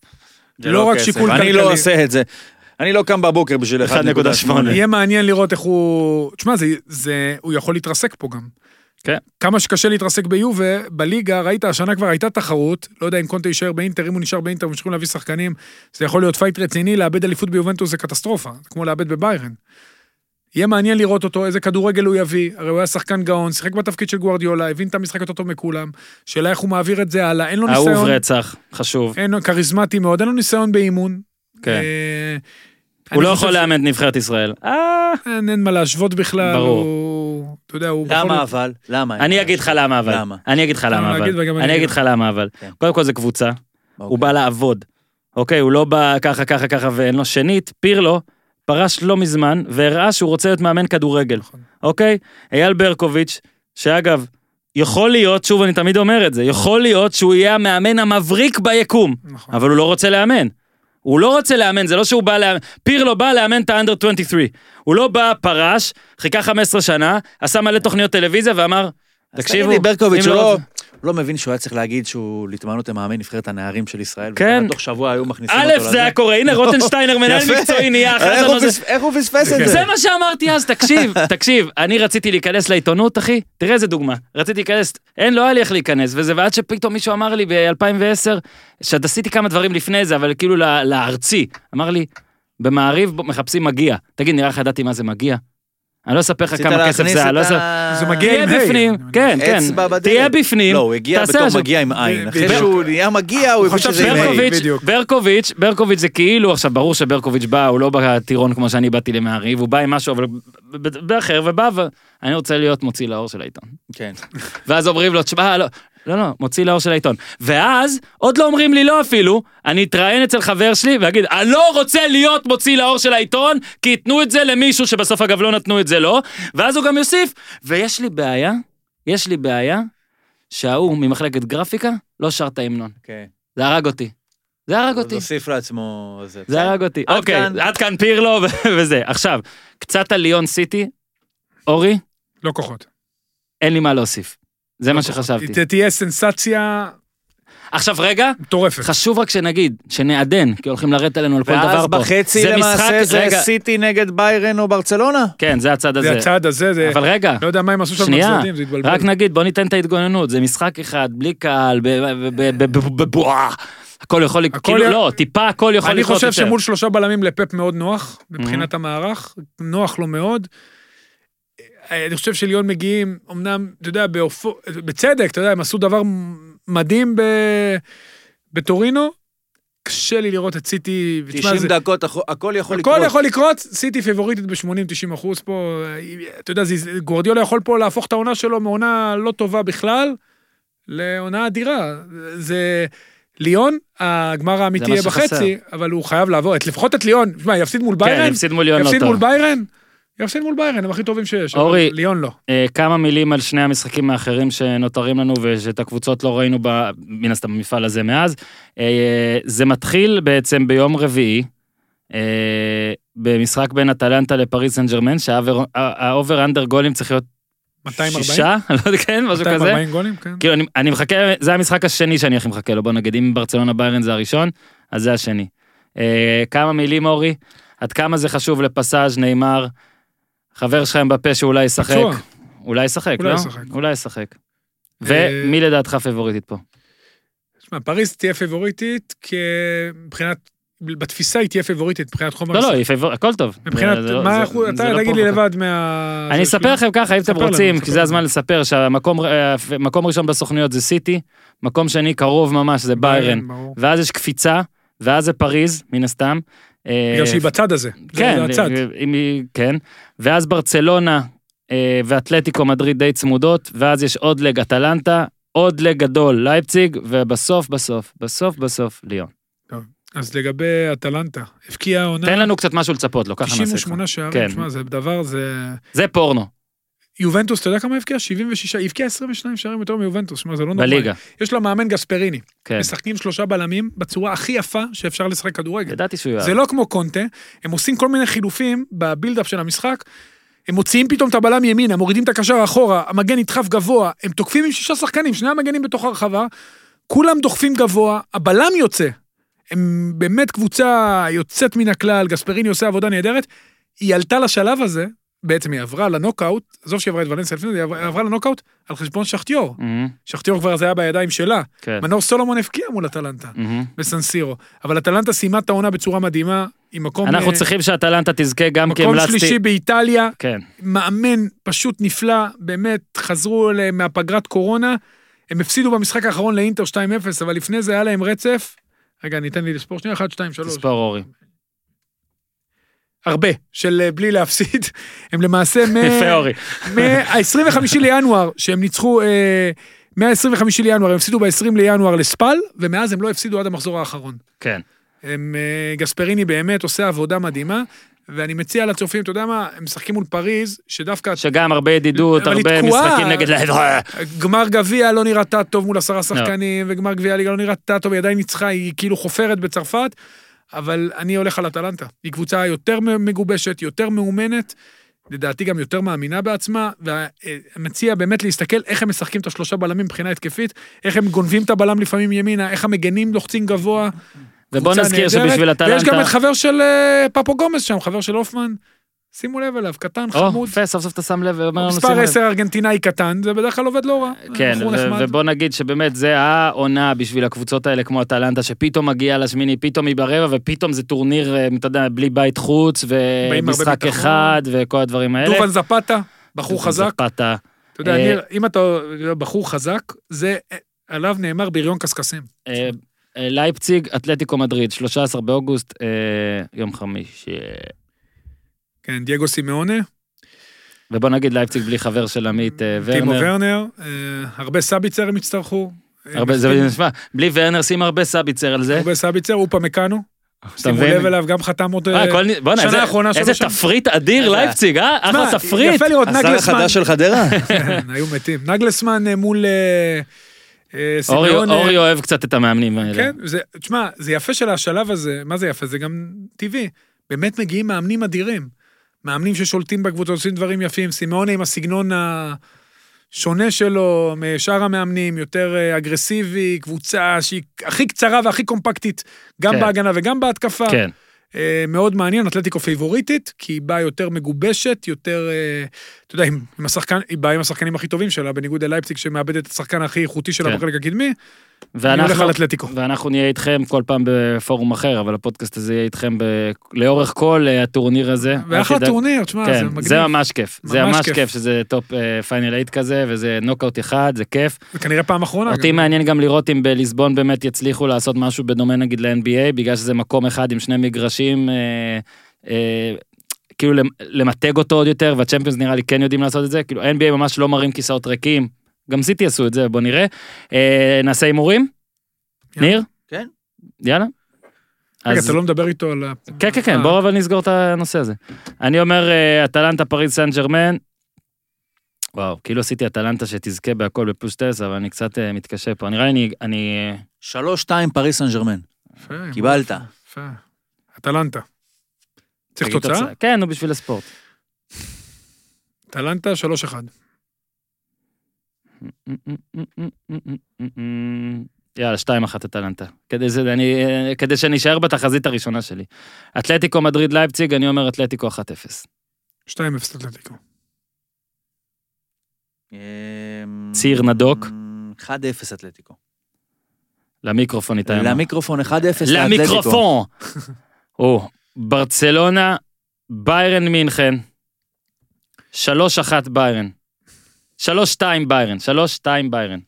לא רק
כסף.
שיקול
אני
כלכלי.
לא עושה את זה. אני לא קם בבוקר בשביל 1.8.
1.8.
יהיה מעניין לראות איך הוא... תשמע, זה, זה, הוא יכול להתרסק פה גם.
כן.
כמה שקשה להתרסק ביובה, בליגה, ראית, השנה כבר הייתה תחרות, לא יודע אם קונטה יישאר באינטר, אם הוא נשאר באינטר, ממשיכים להביא שחקנים, זה יכול להיות פייט רציני, לאבד אליפות ביובנטוס זה קטסטרופה, זה כמו לאבד בביירן. יהיה מעניין לראות אותו, איזה כדורגל הוא יביא, הרי הוא היה שחקן גאון, שיחק בתפקיד של גוארדיולה, הבין את המשחק יותר טוב מכולם, שאלה איך הוא מעביר את זה הלאה, אין לו לא ניסיון. אה,
אהוב רצח, חשוב.
אין לו כריזמטי מאוד, אין לו ניסיון באימון.
כן.
אה,
הוא
אני
לא
חושב
יכול
ש-
לאמן את נבחרת ישראל. אה,
אין, אין מה להשוות בכלל,
ברור.
הוא... אתה יודע, הוא... בכל
למה
זאת-
אבל? למה?
אני אגיד לך למה אבל.
למה?
אני אגיד לך למה
להגיד וגם
אבל.
אני
אני
אגיד.
אגיד לך למה אבל.
כן.
קודם כל זה קבוצה, הוא
אוקיי.
בא לעבוד. אוקיי, הוא לא בא ככה, ככה, ככה, ואין לו. שנית, פירלו פרש לא מזמן, והראה שהוא רוצה להיות מאמן כדורגל.
נכון.
אוקיי? אייל ברקוביץ', שאגב, יכול להיות, שוב, אני תמיד אומר את זה, יכול להיות שהוא יהיה המאמן המבריק ביקום,
נכון.
אבל הוא לא רוצה לאמן. הוא לא רוצה לאמן, זה לא שהוא בא לאמן, פירלו בא לאמן את האנדר 23. הוא לא בא, פרש, חיכה 15 שנה, עשה מלא תוכניות טלוויזיה ואמר,
אז
תקשיבו,
תגיד לי, ברקוביץ',
אם
הוא לא-
רוצ-
הוא לא מבין שהוא היה צריך להגיד שהוא להתמנות למאמן נבחרת הנערים של ישראל.
כן.
וכבר תוך שבוע היו מכניסים אותו
א', זה היה קורה, הנה רוטנשטיינר מנהל
לא. יפה.
מקצועי נהיה אחרי
איך הוא
זה.
פס- איך הוא פספס את זה?
זה מה שאמרתי אז, תקשיב, תקשיב, אני רציתי להיכנס לעיתונות, אחי, תראה איזה דוגמה, רציתי להיכנס, אין, לא היה לי איך להיכנס, וזה, ועד שפתאום מישהו אמר לי ב-2010, שעוד עשיתי כמה דברים לפני זה, אבל כאילו לה- לארצי, אמר לי, במעריב בו- מחפשים מגיע, תגיד, נראה לך ידעתי מה זה מגיע? אני לא אספר לך
רצית
כמה כסף
להכניס
זה, אני לא
את
אספר...
ה-
זה מגיע
תהיה
עם היי.
בפנים, כן, כן.
אצבע בדלת.
תהיה בפנים,
לא, הוא הגיע
תעשה
בתור
משהו.
מגיע עם עין. אחרי
בדיוק.
שהוא נהיה מגיע, הוא הבין
חשב
שזה עם
ברקוביץ'.
עין.
ברקוביץ',
בדיוק.
ברקוביץ', ברקוביץ' זה כאילו, עכשיו ברור שברקוביץ' בא, הוא לא בטירון כמו שאני באתי למעריב, הוא בא עם משהו, אבל ב- ב- באחר, ובא, ואני רוצה להיות מוציא לאור של העיתון.
כן.
ואז אומרים לו, תשמע, לא, לא, לא, מוציא לאור של העיתון. ואז, עוד לא אומרים לי לא אפילו, אני אתראיין אצל חבר שלי ואגיד, אני לא רוצה להיות מוציא לאור של העיתון, כי ייתנו את זה למישהו שבסוף אגב לא נתנו את זה לו, ואז הוא גם יוסיף, ויש לי בעיה, יש לי בעיה, שההוא ממחלקת גרפיקה לא שר את ההמנון.
כן.
זה הרג אותי. זה הרג
אז
אותי.
הוסיף לעצמו... זה.
זה הרג אותי.
עד
אוקיי,
כאן.
עד כאן פירלו ו- וזה. עכשיו, קצת על ליון סיטי. אורי,
לא כוחות.
אין לי מה להוסיף. זה מה שחשבתי.
ת- תהיה סנסציה
עכשיו רגע,
מטורפת.
חשוב רק שנגיד, שנעדן, כי הולכים לרדת עלינו על כל דבר
ואז
פה.
בחצי
זה
למעשה
משחק-
זה
רגע,
סיטי נגד ביירן או ברצלונה?
כן, זה הצד
זה
הזה.
הצעד הזה, זה...
אבל רגע,
לא יודע מה הם עשו שם
שנייה,
בצדדים, זה התבלבל.
רק נגיד, בוא ניתן את ההתגוננות, זה משחק אחד, בלי קהל, ב- ב- ב- ב- ב- בבועה. הכל יכול לקרות,
הכל
כאילו
י-
לא, טיפה הכל יכול
אני
לקרות
חושב
יותר.
שמול שלושה בלמים לפפ מאוד נוח, מבחינת המערך, נוח לו מאוד. אה, אני חושב שליון מגיעים, אמנם, אתה יודע, באופו, בצדק, אתה יודע, הם עשו דבר מדהים ב... בטורינו, קשה לי לראות את סיטי, ותשמע,
90
זה-
דקות, הכ- הכל יכול לקרות.
הכל יכול לקרות, סיטי פיבוריטית ב-80-90 אחוז פה, אה, אתה יודע, זה- גוורדיולה יכול פה להפוך את העונה שלו מעונה לא טובה בכלל, לעונה אדירה. זה ליון, הגמר האמיתי
זה מה
יהיה בחצי, אבל הוא חייב לעבור, את- לפחות את ליון, שמע, יפסיד מול
כן,
ביירן?
הפסיד מול ליון לא
יפסיד
טוב.
מול ביירן? יפסיד מול ביירן, הם הכי טובים שיש, אבל
אורי.
ליון לא.
אה, כמה מילים על שני המשחקים האחרים שנותרים לנו ושאת הקבוצות לא ראינו ב- מן הסתם במפעל הזה מאז. אה, זה מתחיל בעצם ביום רביעי, אה, במשחק בין אטלנטה לפריס סן ג'רמן, שהאובר אנדר גולים צריך להיות
240?
שישה, אני לא יודע, כן, משהו כזה.
240 גולים, כן.
כאילו אני, אני מחכה, זה המשחק השני שאני הכי מחכה לו, בוא נגיד, אם ברצלונה ביירן זה הראשון, אז זה השני. אה, כמה מילים אורי, עד כמה זה חשוב לפסאז' נאמר, חבר שלכם בפה שאולי ישחק.
פצוע.
אולי ישחק,
אולי
לא?
ישחק.
אולי ישחק.
אה,
ומי לדעתך פבוריטית פה?
תשמע, פריז תהיה פיבוריטית, כי מבחינת, בתפיסה היא תהיה פיבוריטית, מבחינת חומר
לא, לא,
המשחק.
היא פייבור- הכל טוב.
מבחינת,
זה- זה לא-
מה,
זה-
אנחנו-
זה לא
אתה תגיד
פחות.
לי לבד מה...
אני
זה שלי.
אספר לכם ככה, אם אתם
ספר לנו,
רוצים, כי
ספר
זה
לנו.
הזמן לספר שהמקום אה, מקום ראשון בסוכנויות זה סיטי, מקום שני קרוב ממש זה ביירן,
כן, ברור.
ואז יש קפיצה, ואז זה פריז, מן הסתם. אה,
בגלל שהיא בצד הזה. כן. זה
כן,
הצד.
אם היא, כן. ואז ברצלונה אה, ואתלטיקו מדריד די צמודות, ואז יש עוד לג אטלנטה, עוד לג גדול לייפציג, ובסוף, בסוף, בסוף, בסוף, ליון.
אז לגבי אטלנטה, הבקיעה העונה
תן לנו קצת משהו לצפות לו, ככה נעשה.
98
כן.
שערים, שמע, זה דבר, זה...
זה
לא
פורנו,
יובנטוס, אתה יודע כמה הבקיעה? 76, היא הבקיעה 22 שערים יותר מיובנטוס, שמע, זה לא נורמלי.
בליגה.
יש לה מאמן גספריני.
כן.
משחקים שלושה בלמים בצורה הכי יפה שאפשר לשחק כדורגל.
ידעתי שהוא יאהב.
זה לא כמו קונטה, הם עושים כל מיני חילופים בבילדאפ של המשחק, הם מוציאים פתאום את הבלם ימינה, מורידים את הקשר אחורה, המגן נדחף גבוה, הם תוקפים עם שישה שחקנים, שני המגנים בתוך הרחבה, כולם דוחפים גבוה, הבלם יוצא. הם באמת קבוצה יוצאת מן הכלל, גספריני עושה עבודה נהדרת. היא עלתה לשלב הזה, בעצם היא עברה לנוקאוט, עזוב שהיא עברה את ולנסיה לפני זה, היא עברה- עברה לנוקאוט על חשבון שחטיור.
מהמם,
שחטיור כבר זה היה בידיים שלה.
Mm. כן.
מנור סולומון הבקיע מול אטלנטה.
מהמם.
בסנסירו. אבל אטלנטה סיימה את העונה בצורה מדהימה, עם מקום,
אנחנו
אה,
צריכים שאטלנטה תזכה גם כי
מקום
המלצתי.
שלישי באיטליה,
כן,
מאמן פשוט נפלא, באמת, חזרו אליהם מהפגרת קורונה. הם הפסידו במשחק האחרון לאינטר 2-0, אבל לפני זה היה להם רצף. רגע, ניתן לי לספור שנייה, 1, 2, 3.
תספור אורי.
הרבה, של אה, בלי להפסיד. הם למעשה מ...
יפה אורי.
מה-25 לינואר, שהם ניצחו, אה, מה-25 לינואר, הם הפסידו ב-20 לינואר לספל, ומאז הם לא הפסידו עד המחזור האחרון.
כן.
הם, אה, גספריני באמת עושה עבודה מדהימה, ואני מציע לצופים, אתה יודע מה, הם משחקים מול פריז, שדווקא
שגם הרבה ידידות,
אבל היא
הרבה
תקועה.
משחקים נגד... אה,
גמר גביע לא נראתה טוב מול עשרה שחקנים, וגמר גביע ליגה לא נראתה טוב, היא עדיין ניצחה, היא כאילו חופרת בצרפת, אבל אני הולך על אטלנטה. היא קבוצה יותר מגובשת, יותר מאומנת, לדעתי גם יותר מאמינה בעצמה, ומציע באמת להסתכל איך הם משחקים את השלושה בלמים מבחינה התקפית, איך הם גונבים את הבלם לפעמים ימינה, איך המגנים לוחצים גבוה.
ובוא
קבוצה
נזכיר
נהדרת,
שבשביל
ויש גם
אטלנטה...
את חבר של אה, פאפו גומז שם, חבר של הופמן, שימו לב אליו, קטן,
או,
חמוד.
יפה, סוף סוף אתה שם לב ואומר לנו
מספר
שים לב.
10 ארגנטינאי קטן, זה בדרך כלל עובד לא רע.
כן,
בחור
ו-
נחמד.
ובוא נגיד שבאמת זה העונה בשביל הקבוצות האלה כמו אטלנטה, שפתאום מגיעה לשמיני, פתאום היא ברבע, ופתאום זה טורניר, אה, אתה יודע, בלי בית חוץ,
הרבה
ומשחק
ביטחון.
אחד, וכל הדברים האלה.
דובן זפתה, בחור חזק.
זפתה.
אתה יודע,
אה,
ניר, אם אתה בחור חזק, זה, אה, עליו נאמר בריון קשקשים.
אה, אה, לייפציג, אתלטיקו מדריד, 13 באוגוסט, אה, יום חמישי.
כן, דייגו סימאונה,
ובוא נגיד לייפציג בלי חבר של עמית אה,
טימו
ורנר.
ורנר, אה, הרבה סביצר הם יצטרכו. אה,
הרבה, זה נשמע, בלי ורנר שים הרבה סאביצר על זה.
הרבה סביצר, אופה מקאנו,
אתה
שימו
מבין?
לב אליו, גם חתם עוד...
אה,
אה,
כל נ- בואנה,
שנה
איזה-
האחרונה שלו
איזה
שם.
תפריט אדיר
איזה-
לייפציג, אה? אחלה
שמע,
תפריט.
יפה לראות
השר
נגלסמן,
החדש של חדרה?
כן, היו מתים. נגלסמן אה, מול אה, אה,
אורי-
סימאונה.
אורי אוהב קצת את המאמנים האלה.
כן, זה, תשמע, זה יפה שלשלב הזה, מה זה יפה? זה גם טבעי. באמת מגיעים מאמנים אדירים. מאמנים ששולטים בקבוצות, עושים דברים יפים. סימאונה עם הסגנון השונה שלו משאר המאמנים, יותר אה, אגרסיבי, קבוצה שהיא הכי קצרה והכי קומפקטית, גם
כן.
כן. בהגנה וגם בהתקפה.
כן.
אה, מאוד מעניין, אתלטיקו פייבוריטית, כי היא באה יותר מגובשת, יותר, אה, אתה יודע, עם, עם השחקן, היא באה עם השחקנים הכי טובים שלה, בניגוד ללייפציג שמאבד את השחקן הכי איכותי שלה
כן.
בחלק הקדמי, אני הולך
ואנחנו,
על אתלטיקו.
ואנחנו נהיה איתכם כל פעם בפורום אחר, אבל הפודקאסט הזה יהיה איתכם ב... לאורך כל אה, הטורניר הזה.
ואחלה
אנחנו-
טורניר, תשמע, זה
כן,
מגניב.
זה ממש כיף, זה
ממש
ממש
כיף.
כיף שזה טופ פיינל 8 כזה, וזה נוקאוט אחד, זה כיף.
זה כנראה פעם אחרונה.
אותי
גם.
מעניין גם לראות אם בליסבון באמת יצליחו לעשות משהו בדומה נגיד ל-NBA, בגלל שזה מקום אחד עם שני מגרשים, אה, אה, כאילו למ- למתג אותו עוד יותר, והצ'מפיונס נראה לי כן יודעים לעשות את זה, כאילו NBA ממש לא מראים כיסאות ריקים, גם סיטי עשו את זה, בוא נראה. אה, נעשה הימורים?
יאללה.
ניר?
כן.
יאללה.
רגע,
אז-
אתה לא מדבר איתו על ה...
כן, כן, כן,
אה,
בואו אבל נסגור את הנושא הזה. אני אומר, אה, אטלנטה, פריז סן ג'רמן. וואו, כאילו עשיתי אטלנטה שתזכה בהכל בפלוס 12, אבל אני קצת אה, מתקשה פה. נראה לי אני... אני... אה,
3-2 פריס סן ג'רמן.
יפה,
קיבלת.
יפה. אטלנטה. צריך
אגיד
תוצאה?
כן, נו, בשביל הספורט.
אטלנטה 3-1.
יאללה, 2-1 אטלנטה. כדי, זה, אני, אה, כדי שאני אשאר בתחזית הראשונה שלי. אתלטיקו מדריד לייפציג, אני אומר אתלטיקו 1-0.
2-0 אטלטיקו.
אמ, ציר נדוק.
1-0 אמ, אתלטיקו.
למיקרופון איתי. אמר.
למיקרופון 1-0 לאתלטיקו.
למיקרופון. או, ברצלונה, ביירן מינכן, 3-1 ביירן. 3-2 ביירן, 3-2 ביירן.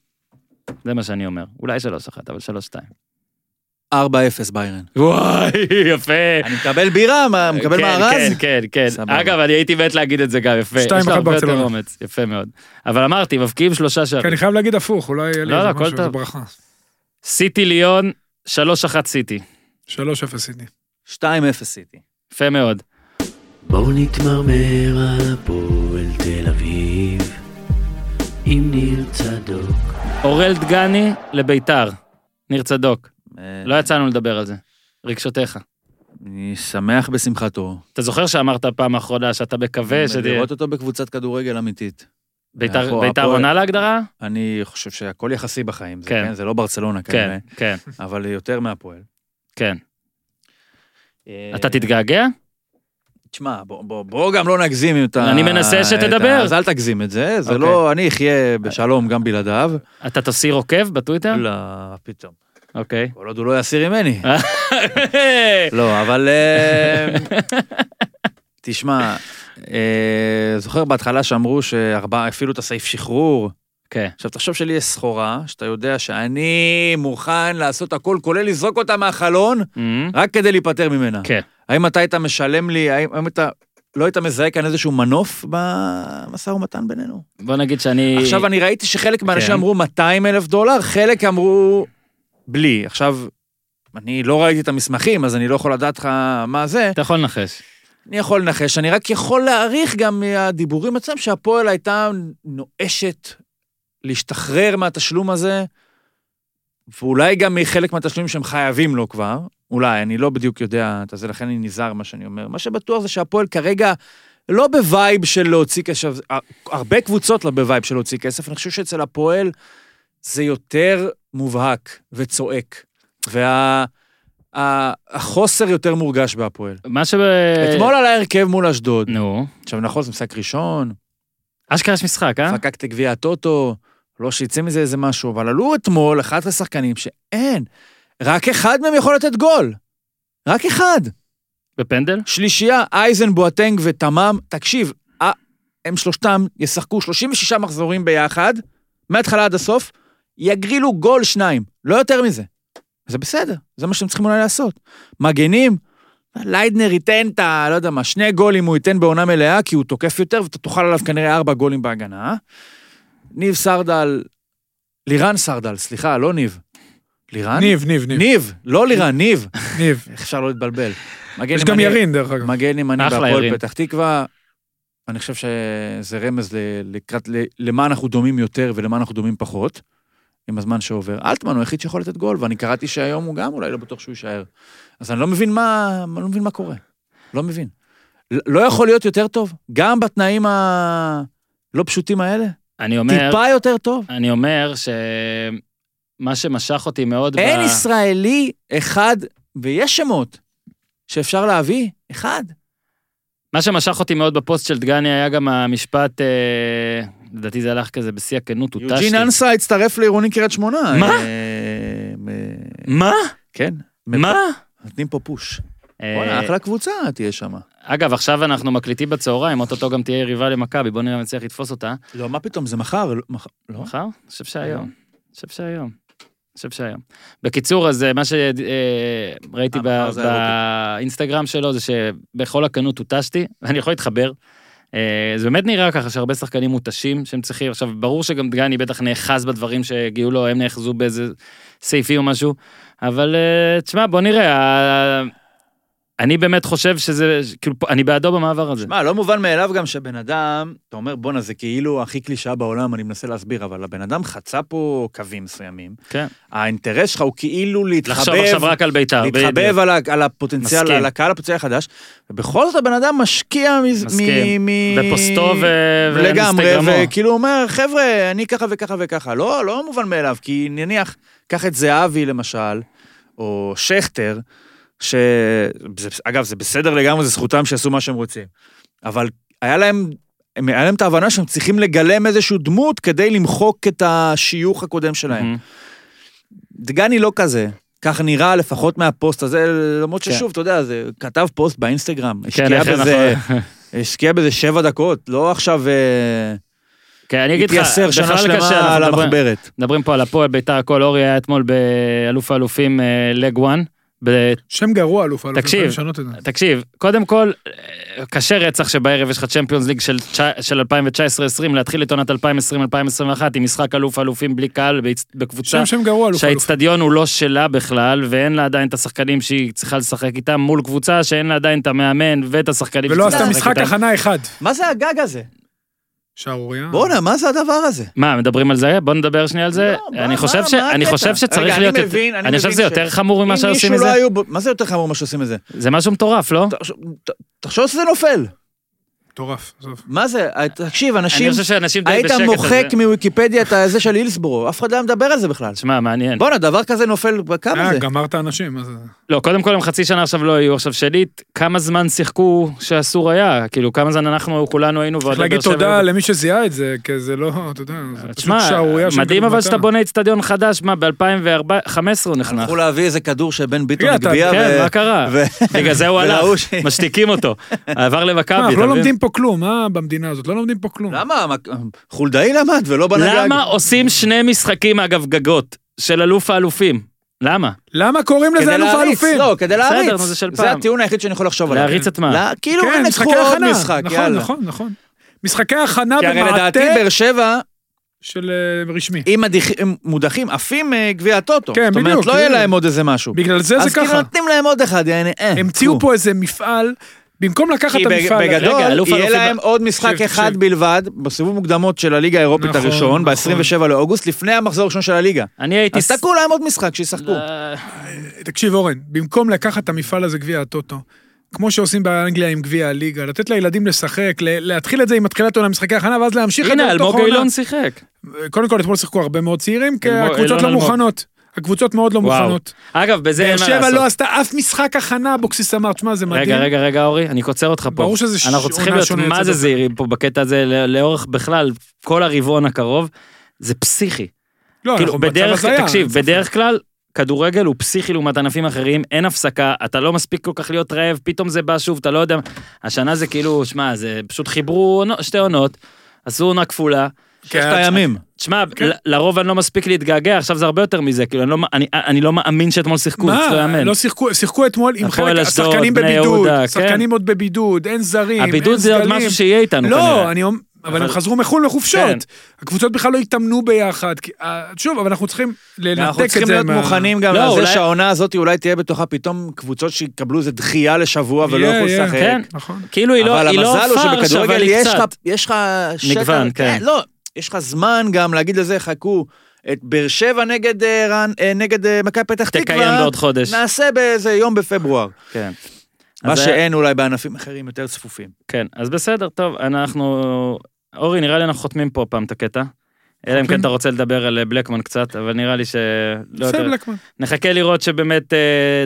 זה מה שאני אומר. אולי 3-1, אבל 3-2.
4-0 ביירן.
וואי, יפה.
אני מקבל בירה, מה, מקבל
כן, כן,
מארז?
כן, כן.
סבבה.
אגב, אני הייתי מת להגיד את זה גם, יפה.
שתיים
יש לו
אחת
הרבה יותר
ברצלונה.
אומץ, יפה מאוד. אבל אמרתי, מבקיעים שלושה
כי
שערים.
כן, אני חייב להגיד הפוך, אולי יהיה לי
לא, לא,
איזה
הכל
משהו,
טוב.
איזה ברכה.
סיטי ליון, 3-1 סיטי.
3-0 סידני.
2-0 סיטי.
יפה מאוד.
בואו נתמרמר על הפועל תל אביב עם ניר צדוק
אורל דגני לביתר. ניר צדוק.
אה,
לא יצאנו לדבר על זה. רגשותיך.
אני שמח בשמחתו.
אתה זוכר שאמרת פעם האחרונה שאתה מקווה שתהיה...
לראות אותו בקבוצת כדורגל אמיתית.
ביתר
הפועל-
ביתר
הפועל-
עונה להגדרה?
אני חושב שהכל יחסי בחיים, זה,
כן.
כן. זה לא ברצלונה
כן,
כנראה,
כן,
אבל יותר מהפועל.
כן.
אה,
אתה תתגעגע?
תשמע, בוא, בוא, בוא גם לא נגזים את ה...
אני מנסה
את
שתדבר.
ה- אז אל תגזים את זה, זה
אוקיי.
לא... אני אחיה בשלום גם בלעדיו.
אתה תסיר עוקב בטוויטר?
לא, פתאום.
אוקיי.
כל עוד הוא לא יסיר ממני. לא, אבל... אה, תשמע, אה, זוכר בהתחלה שאמרו שארבעה, הפעילו את הסעיף שחרור.
כן.
עכשיו, תחשוב שלי יש סחורה, שאתה יודע שאני מוכן לעשות הכל, כולל לזרוק אותה מהחלון,
אמ,
רק כדי להיפטר ממנה.
כן.
האם אתה היית משלם לי, האם, האם אתה לא היית מזהה כאן איזשהו מנוף במשא ומתן בינינו?
בוא נגיד שאני...
עכשיו, אני ראיתי שחלק מהאנשים
אה, כן.
אמרו 200 אלף דולר, חלק אמרו בלי. עכשיו, אני לא ראיתי את המסמכים, אז אני לא יכול לדעת לך מה זה.
אתה יכול לנחש.
אני יכול לנחש, אני רק יכול להעריך גם מהדיבורים עצמם שהפועל הייתה נואשת להשתחרר מהתשלום הזה, ואולי גם מחלק מהתשלומים שהם חייבים לו כבר, אולי, אני לא בדיוק יודע את זה, לכן אני נזהר מה שאני אומר. מה שבטוח זה שהפועל כרגע לא בווייב של להוציא כסף, הרבה קבוצות לא בווייב של להוציא כסף, אני חושב שאצל הפועל זה יותר מובהק וצועק. וה... ה- החוסר יותר מורגש בהפועל.
מה ש...
אתמול עלה הרכב מול אשדוד.
נו.
עכשיו נכון, זה משחק ראשון,
אשכרה יש משחק, אה?
חקקת גביע הטוטו, לא שיצא מזה איזה משהו, אבל עלו אתמול 11 שחקנים שאין, רק אחד מהם יכול לתת גול. רק אחד.
בפנדל?
שלישייה, אייזן, בואטנג ותמם. תקשיב, אה, הם שלושתם ישחקו 36 מחזורים ביחד, מההתחלה עד הסוף, יגרילו גול שניים, לא יותר מזה. זה בסדר, זה מה שהם צריכים אולי לעשות. מגנים, ליידנר ייתן את ה... לא יודע מה, שני גולים הוא ייתן בעונה מלאה, כי הוא תוקף יותר, ואתה תאכל עליו כנראה ארבע גולים בהגנה. ניב סרדל, לירן סרדל, סליחה, לא ניב. לירן?
ניב, ניב, ניב.
ניב, לא לירן, ניב.
ניב.
איך אפשר לא להתבלבל? מגן
יש גם
ימני-
ירין, דרך אגב.
מגן ימני
אחלה ירין.
בהפועל פתח תקווה, אני חושב שזה רמז ל- לקראת, ל- למה אנחנו דומים יותר ולמה אנחנו דומים פחות, עם הזמן שעובר. אלטמן הוא היחיד שיכול לתת גול, ואני קראתי שהיום הוא גם אולי לא בטוח שהוא יישאר. אז אני לא מבין מה, אני לא מבין מה קורה. לא מבין. ל- לא יכול להיות יותר טוב? גם בתנאים הלא פשוטים האלה?
אני אומר...
טיפה יותר טוב?
אני אומר ש... מה שמשך אותי מאוד...
אין
ב-
ישראלי אחד, ויש שמות, שאפשר להביא, אחד.
מה שמשך אותי מאוד בפוסט של דגני היה גם המשפט, אה, לדעתי זה הלך כזה בשיא הכנות, הותשתי.
יוג'ין אנסה הצטרף לעירוני קריית שמונה.
מה?
אה, אה,
מה?
כן.
מה?
נותנים פה פוש.
אה,
בואנה, אחלה קבוצה תהיה שם.
אגב, עכשיו אנחנו מקליטים בצהריים, אוטוטו גם תהיה יריבה למכבי, בוא נראה אם נצליח לתפוס אותה.
לא, מה פתאום, זה מחר. לא, מח- לא?
מחר? נכון? אני חושב שהיום. אני חושב שהיום. אני חושב שהיום. בקיצור, אז אה, מה שראיתי
אה, מחר זה
באינסטגרם שלו זה שבכל הכנות הותשתי, ואני יכול להתחבר. אה, זה באמת נראה ככה שהרבה שחקנים מותשים שהם צריכים, עכשיו ברור שגם דגני בטח נאחז בדברים שהגיעו לו, הם נאחזו באיזה סעיפים או משהו, אבל אה, תשמע בוא נראה, אה, אני באמת חושב שזה, כאילו פה- אני בעדו במעבר הזה.
מה, לא מובן מאליו גם שבן אדם, אתה אומר, בואנה, זה כאילו הכי קלישאה בעולם, אני מנסה להסביר, אבל הבן אדם חצה פה קווים מסוימים.
כן.
האינטרס שלך הוא כאילו
לחשוב
להתחבב,
עכשיו רק על בית"ר.
להתחבב
בדיוק.
על ה- על הפוטנציאל,
מסכים.
על הקהל הפוטנציאל החדש, ובכל זאת הבן אדם משקיע מ-
מסכים.
מ... מ-
ופוסטו ו...
לגמרי,
ואינסטגרמו.
וכאילו אומר, חבר'ה, אני ככה וככה וככה. לא, לא מובן מאליו, כי נניח, קח את זהבי למשל, או שכטר, ש... זה, אגב, זה בסדר לגמרי, זה זכותם שיעשו מה שהם רוצים. אבל היה להם, הם- היה להם את ההבנה שהם צריכים לגלם איזושהי דמות כדי למחוק את השיוך הקודם שלהם.
מהמם.
דגני לא כזה. כך נראה לפחות מהפוסט הזה, למרות
כן.
ששוב, אתה יודע, זה כתב פוסט באינסטגרם,
כן,
השקיע
לכן
בזה,
אנחנו-
השקיע בזה שבע דקות, לא עכשיו... אה,
כן, אני אגיד לך,
התייסר שנה
בכלל קשה,
שלמה
אנחנו
על
מדברים-
המחברת.
מדברים פה על הפועל ביתר, הכל אורי היה אתמול באלוף האלופים אה, לג וואן. ב-
שם גרוע, אלוף האלופים.
תקשיב.
תקשיב. לשנות את זה.
תקשיב, קודם כל, אה, קשה רצח שבערב יש לך צ'מפיונס ליג של תשע- של 2019-2020, להתחיל את עונת 2020-2021 עם משחק אלוף האלופים בלי קהל בהצ- בקבוצה
שם שם גרוע, אלוף האלופים.
שהאיצטדיון הוא לא שלה בכלל, ואין לה עדיין את השחקנים שהיא צריכה לשחק איתם, מול קבוצה שאין לה עדיין את המאמן ואת השחקנים
ולא
שצריכה
עשתה
לשחק
משחק
איתם.
הכנה אחד.
מה זה הגג הזה?
שערורייה.
בואנה, מה זה הדבר הזה?
מה, מדברים על זה? בוא נדבר שנייה על זה.
לא,
אני
מה-
חושב
מה-
ש-
מה
אני
הקטע?
חושב שצריך
רגע,
להיות... יותר-
אני מבין,
אני חושב
מבין
שזה
ש-
יותר חמור ממה
אם
שעושים
מישהו
מזה.
לא היו בו- מה זה יותר חמור ממה שעושים מזה?
זה משהו מטורף, לא?
תחשוב- ת- תחשוב שזה נופל.
מטורף, עזוב.
מה זה? אה, תקשיב,
אני
אנשים...
חושב שאנשים די
היית
בשקט על זה.
מוחק מוויקיפדיה את הזה של אילסבורו, אף אחד לא היה מדבר על זה בכלל.
תשמע, מעניין.
בואנה, דבר כזה נופל, כמה
אה,
זה?
גמרת אנשים, מה זה?
לא, קודם כל הם חצי שנה עכשיו לא היו. עכשיו, שנית, כמה זמן שיחקו שאסור היה? כאילו, כמה זמן אנחנו כולנו היינו
צריך
ועוד
להגיד תודה למי שזיהה את זה, כי זה לא, אתה יודע, זה פשוט
אה, תשמע,
שערורייה. שאין
מדהים אבל
כדוגמתה.
שאתה בונה אצטדיון חדש, מה, ב-2015 הוא נחנך.
הלכו להביא איזה כדור שבן ביטון
רגע, אתה-
הגביה,
כן,
ו-
מה קרה?
אה, ו-
בגלל זה הוא
ולהוא
הלך,
ש-
משתיקים אותו. עבר למכבי,
מה,
אתה
אנחנו לא
מבין?
לומדים פה כלום, אה, במדינה הזאת, לא לומדים פה כלום.
למה? חולדאי למד ולא בנה גג.
למה עושים שני משחקים, אגב, גגות, של אלוף האלופים? למה?
למה קוראים לזה
כדי
אלוף
להריץ,
האלופים?
לא, כדי
בסדר,
להריץ.
נו, זה של
זה
פעם.
הטיעון היחיד שאני יכול לחשוב עליו.
להריץ את מה?
לא, כאילו,
כן,
הם
משחקי
ינצחו עוד
הכנה.
משחק,
נכון,
יאללה.
נכון, נכון. משחקי הכנה
כי הרי לדעתי
במעטה
באר שבע,
של אה, רשמי.
אם מדיח- אם מודחים, עפים אה, גביע הטוטו.
כן,
זאת אומרת,
בדיוק,
לא יהיה
בדיוק.
להם עוד איזה משהו.
בגלל זה זה
אז כאילו
ככה.
נותנים להם עוד אחד, יעני, אה.
המציאו
קחו.
פה איזה מפעל, במקום לקחת
כי
את
בג-
המפעל...
בגדול,
רגע, אלוף
יהיה
אלופים-
להם עוד משחק
תקשיב,
אחד
תקשיב.
בלבד, בסיבוב מוקדמות של הליגה האירופית
נכון,
הראשון,
נכון.
ב-27 לאוגוסט, לפני המחזור הראשון של הליגה.
אני הייתי...
אז תקעו להם עוד משחק, שישחקו.
לא,
אה,
תקשיב אורן, במקום לקחת את המפעל הזה גביע הטוטו, כמו שעושים באנגליה עם גביע הליגה, לתת לילדים לשחק, ל- להתחיל את זה עם התחילת עונה משחקי הכנה, ואז להמשיך את זה
הנה,
לתוך
אלמוג
העונה.
אילון שיחק.
קודם כל, אתמול שיחקו הרבה מאוד צעירים, כי
אלמוג-
הקבוצות
אילון
לא
אלמוג.
מוכנות. הקבוצות מאוד לא מוכנות.
אגב, בזה אין
באר
מה
שבע
לעשות.
לא עשתה אף משחק הכנה, אבוקסיס אמר, תשמע, זה מדהים.
רגע, רגע, רגע, אורי, אני קוצר אותך פה.
ברור שזה ש-
אנחנו צריכים
עונה
להיות
שונה
מה
יוצאת
זה
דופן.
זהירים פה בקטע הזה, ל- לאורך בכלל, כל הרבעון הקרוב, זה פסיכי.
לא,
כאילו,
אנחנו במצב
בדרך,
הזיה.
תקשיב, בדרך כלל, כדורגל הוא פסיכי לעומת ענפים אחרים, אין הפסקה, אתה לא מספיק כל כך להיות רעב, פתאום זה בא שוב, אתה לא יודע. השנה זה כאילו, שמע, זה פשוט חיברו עונו- שתי עונות, עשו עונה כפולה.
כן,
ששת הימים.
תשמע, ל- לרוב אני לא מספיק להתגעגע, עכשיו זה הרבה יותר מזה, כאילו, אני לא מ- אני- אני לא מאמין שאתמול שיחקו, זה לא
מה,
יאמן.
לא שיחקו, שיחקו אתמול עם
הפועל
חלק,
אשדוד,
השחקנים
בני
בבידוד,
יהודה, כן.
שחקנים עוד בבידוד, אין זרים, אין סגלים.
הבידוד זה עוד משהו שיהיה איתנו
לא,
כנראה.
אני אומר, אבל
אבל-
הם חזרו מחו"ל
כן.
לחופשות. הקבוצות בכלל לא התאמנו ביחד. כי, אה, שוב, אבל אנחנו צריכים
אנחנו
לנתק
צריכים
את זה.
להיות
מה-
מוכנים גם
לא,
לזה
אולי-
שהעונה הזאת אולי תהיה בתוכה פתאום קבוצות שיקבלו איזה דחייה לשבוע ולא
יהיה,
יוכלו
יהיה.
לשחק.
כן,
נכון.
כאילו היא לא
אבל
היא לא
המזל הוא
פרש, אבל
שבכדורגל
היא
יש לך,
קצת.
יש לך
מגוון, כן.
לא, יש לך זמן גם להגיד לזה, חכו, את באר שבע נגד אה, רן, אה, נגד אה, מכבי פתח תקווה.
תקיים בעוד חודש.
נעשה באיזה יום בפברואר.
כן.
מה
אז אה, זה-
שאין אולי בענפים אחרים יותר צפופים.
כן, אז בסדר, טוב, אנחנו... אורי, נראה לי אנחנו חותמים פה פעם את הקטע. אלא אם כן
חותמים?
אתה רוצה לדבר על אה, בלקמן קצת, אבל נראה לי ש... לא
בסדר,
יותר.
בלקמן.
נחכה לראות שבאמת אה,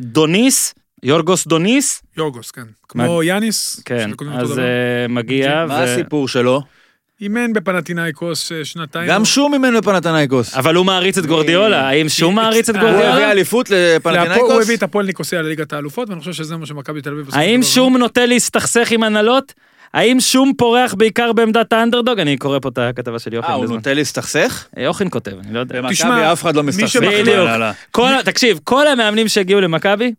דוניס, יורגוס דוניס,
יורגוס, כן. כמו יאניס.
כן,
שקוראים אותו
אז
דבר.
אה, מגיע.
מה
ו-
הסיפור שלו?
אימן בפנטינאיקוס אה, שנתיים.
גם שהוא ממנו לפנתנייקוס.
אבל הוא מעריץ את גורדיולה, האם שהוא מעריץ את
הוא
הוא
גורדיולה?
הביא אליפות
להפועל-
לפנתנייקוס?
הוא הביא את הפועל ניקוסיה לליגת האלופות, ואני חושב שזה מה שמכבי תל אביב... בסופו של
האם
דבר.
שום נוטה להסתכסך עם הנהלות? האם שום פורח בעיקר בעמדת האנדרדוג? אני קורא פה את הכתבה של
אה,
יוחנן
הוא
בזמן.
נוטה להסתכסך?
יוחנן כותב, אני לא יודע.
במכבי אף אחד לא
מי
מסתכסך.
שמחליט-
בדיוק.
לא, לא.
כל, תקשיב, כל המאמנים שהגיעו למכבי,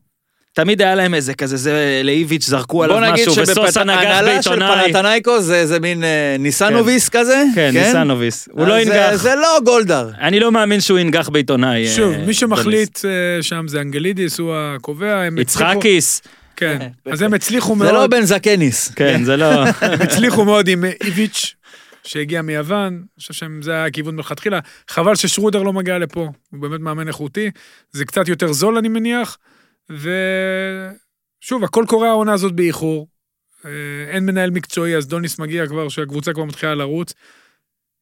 תמיד היה להם איזה כזה, זה לאיביץ' זרקו עליו
בוא נגיד
משהו, וסוסה נגח
שבהנהלה של
בעיתונאי.
פנתנייקוס זה איזה מין אה, ניסנוביס כזה?
כן, ניסנוביס. הוא לא
אז, אה,
ינגח.
זה לא גולדהר.
אני לא מאמין שהוא ינגח בעיתונאי. אה,
שוב, מי
דוניס.
שמחליט אה, שם זה אנגלידיס, הוא הקובע. הם הצליחו-
יצחקיס.
כן. אז הם הצליחו מאוד.
זה לא בן זקניס.
כן, זה לא...
הצליחו מאוד עם איביץ', שהגיע מיוון, אני חושב שזה היה הכיוון מלכתחילה. חבל ששרודר לא מגיע לפה, הוא באמת מאמן איכותי. זה קצת יותר זול, אני מניח. ושוב, הכל קורה העונה הזאת באיחור. אה, אין מנהל מקצועי, אז דוניס מגיע כבר, שהקבוצה כבר מתחילה לרוץ.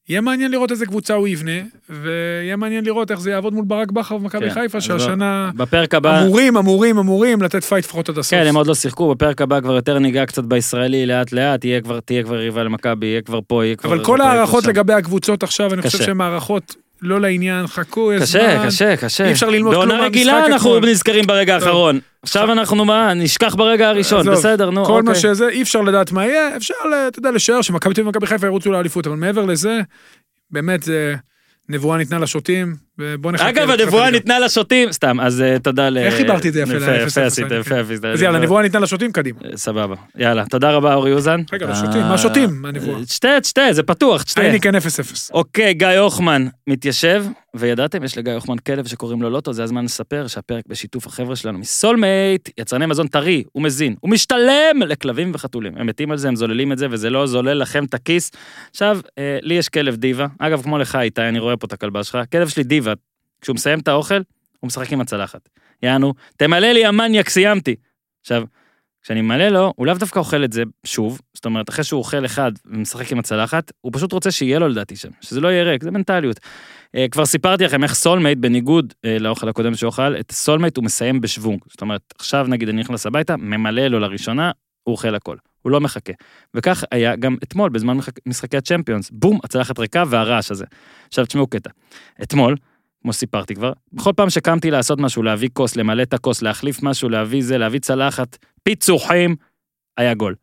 יהיה מעניין לראות איזה קבוצה הוא יבנה, ויהיה מעניין לראות איך זה יעבוד מול ברק בכר ומכבי
כן,
חיפה,
אז לא.
שהשנה
בפרק הבא...
אמורים, אמורים, אמורים לתת פייט לפחות עד הסוף.
כן, הם עוד לא שיחקו, בפרק הבא כבר יותר ניגע קצת בישראלי לאט לאט, יהיה כבר תהיה כבר יריבה למכבי, יהיה כבר פה, יהיה כבר...
אבל כל
פה, יהיה
ההערכות
כבר שם.
לגבי הקבוצות עכשיו, אני חושב
קשה.
שהן הערכות לא לעניין, חכו, יש זמן.
קשה, קשה, קשה.
אי אפשר ללמוד כלום
בעונה
מהמשחק
רגילה אנחנו
אתמול.
נזכרים ברגע
טוב.
האחרון. עכשיו אנחנו מה, נשכח ברגע הראשון,
עזוב,
בסדר, נו,
כל מה
אוקיי.
שזה, אי אפשר לדעת מה יהיה, אפשר, ל- אתה יודע, לשער שמכבי תל אביב ומכבי חיפה ירוצו לאליפות, אבל מעבר לזה, באמת, זה נבואה ניתנה לשוטים, ובוא נחכה.
אגב,
לתחילת
הנבואה
הליגה.
ניתנה לשוטים, סתם, אז אה, תודה ל...
כאילו איך חיברתי את זה יפה
יפה,
ל-
יפה
0-0,
עשית,
כן.
יפה עשית.
אז יאללה,
לא-
נבואה ניתנה לשוטים, קדימה.
אה, סבבה, יאללה, תודה רבה אורי אוזן.
רגע, אבל שותים, מה שותים, הנבואה?
תשתה, תשתה, זה פתוח, תשתה.
הייניק 0-0.
אוקיי, גיא הוחמן מתיישב, וידעתם, יש לגיא הוחמן כלב שקוראים לו לוטו, זה הזמן לספר שהפרק בשיתוף החבר'ה שלנו מסולמייט, יצרני מזון טרי ומזין ומשתלם לכלבים וחתולים. הם מתים על זה, הם זוללים את זה, וזה לא זולל לכם את הכיס. עכשיו, אה, לי יש כלב דיווה, אגב, כמו לך איתי, אני רואה פה את הכלבה שלך, הכלב שלי דיווה, כשהוא מסיים את האוכל, הוא משחק עם הצלחת. יענו, תמלא לי המניאק, סיימתי. עכשיו, כשאני מעלה לו, הוא לאו דווקא אוכל את זה שוב, זאת אומרת, אחרי שהוא אוכל אחד ומשחק עם הצלחת, הוא פשוט רוצה שיהיה לו לדעתי שם, שזה לא יהיה ריק, זה מנטליות. אה, כבר סיפרתי לכם איך סולמייט, בניגוד אה, לאוכל הקודם שהוא אכל, את סולמייט הוא מסיים בשוונג. זאת אומרת, עכשיו נגיד אני נכנס הביתה, ממלא לו לראשונה, הוא אוכל הכל. הוא לא מחכה. וכך היה גם אתמול, בזמן משחק- משחקי הצ'מפיונס. בום, הצלחת ריקה והרעש הזה. עכשיו תשמעו קטע. אתמול, כמו שסיפרתי כבר, בכל פעם שקמתי לעשות משהו, להביא כוס, למלא את הכוס, להחליף משהו, להביא זה, להביא צלחת, פיצוחים, היה גול.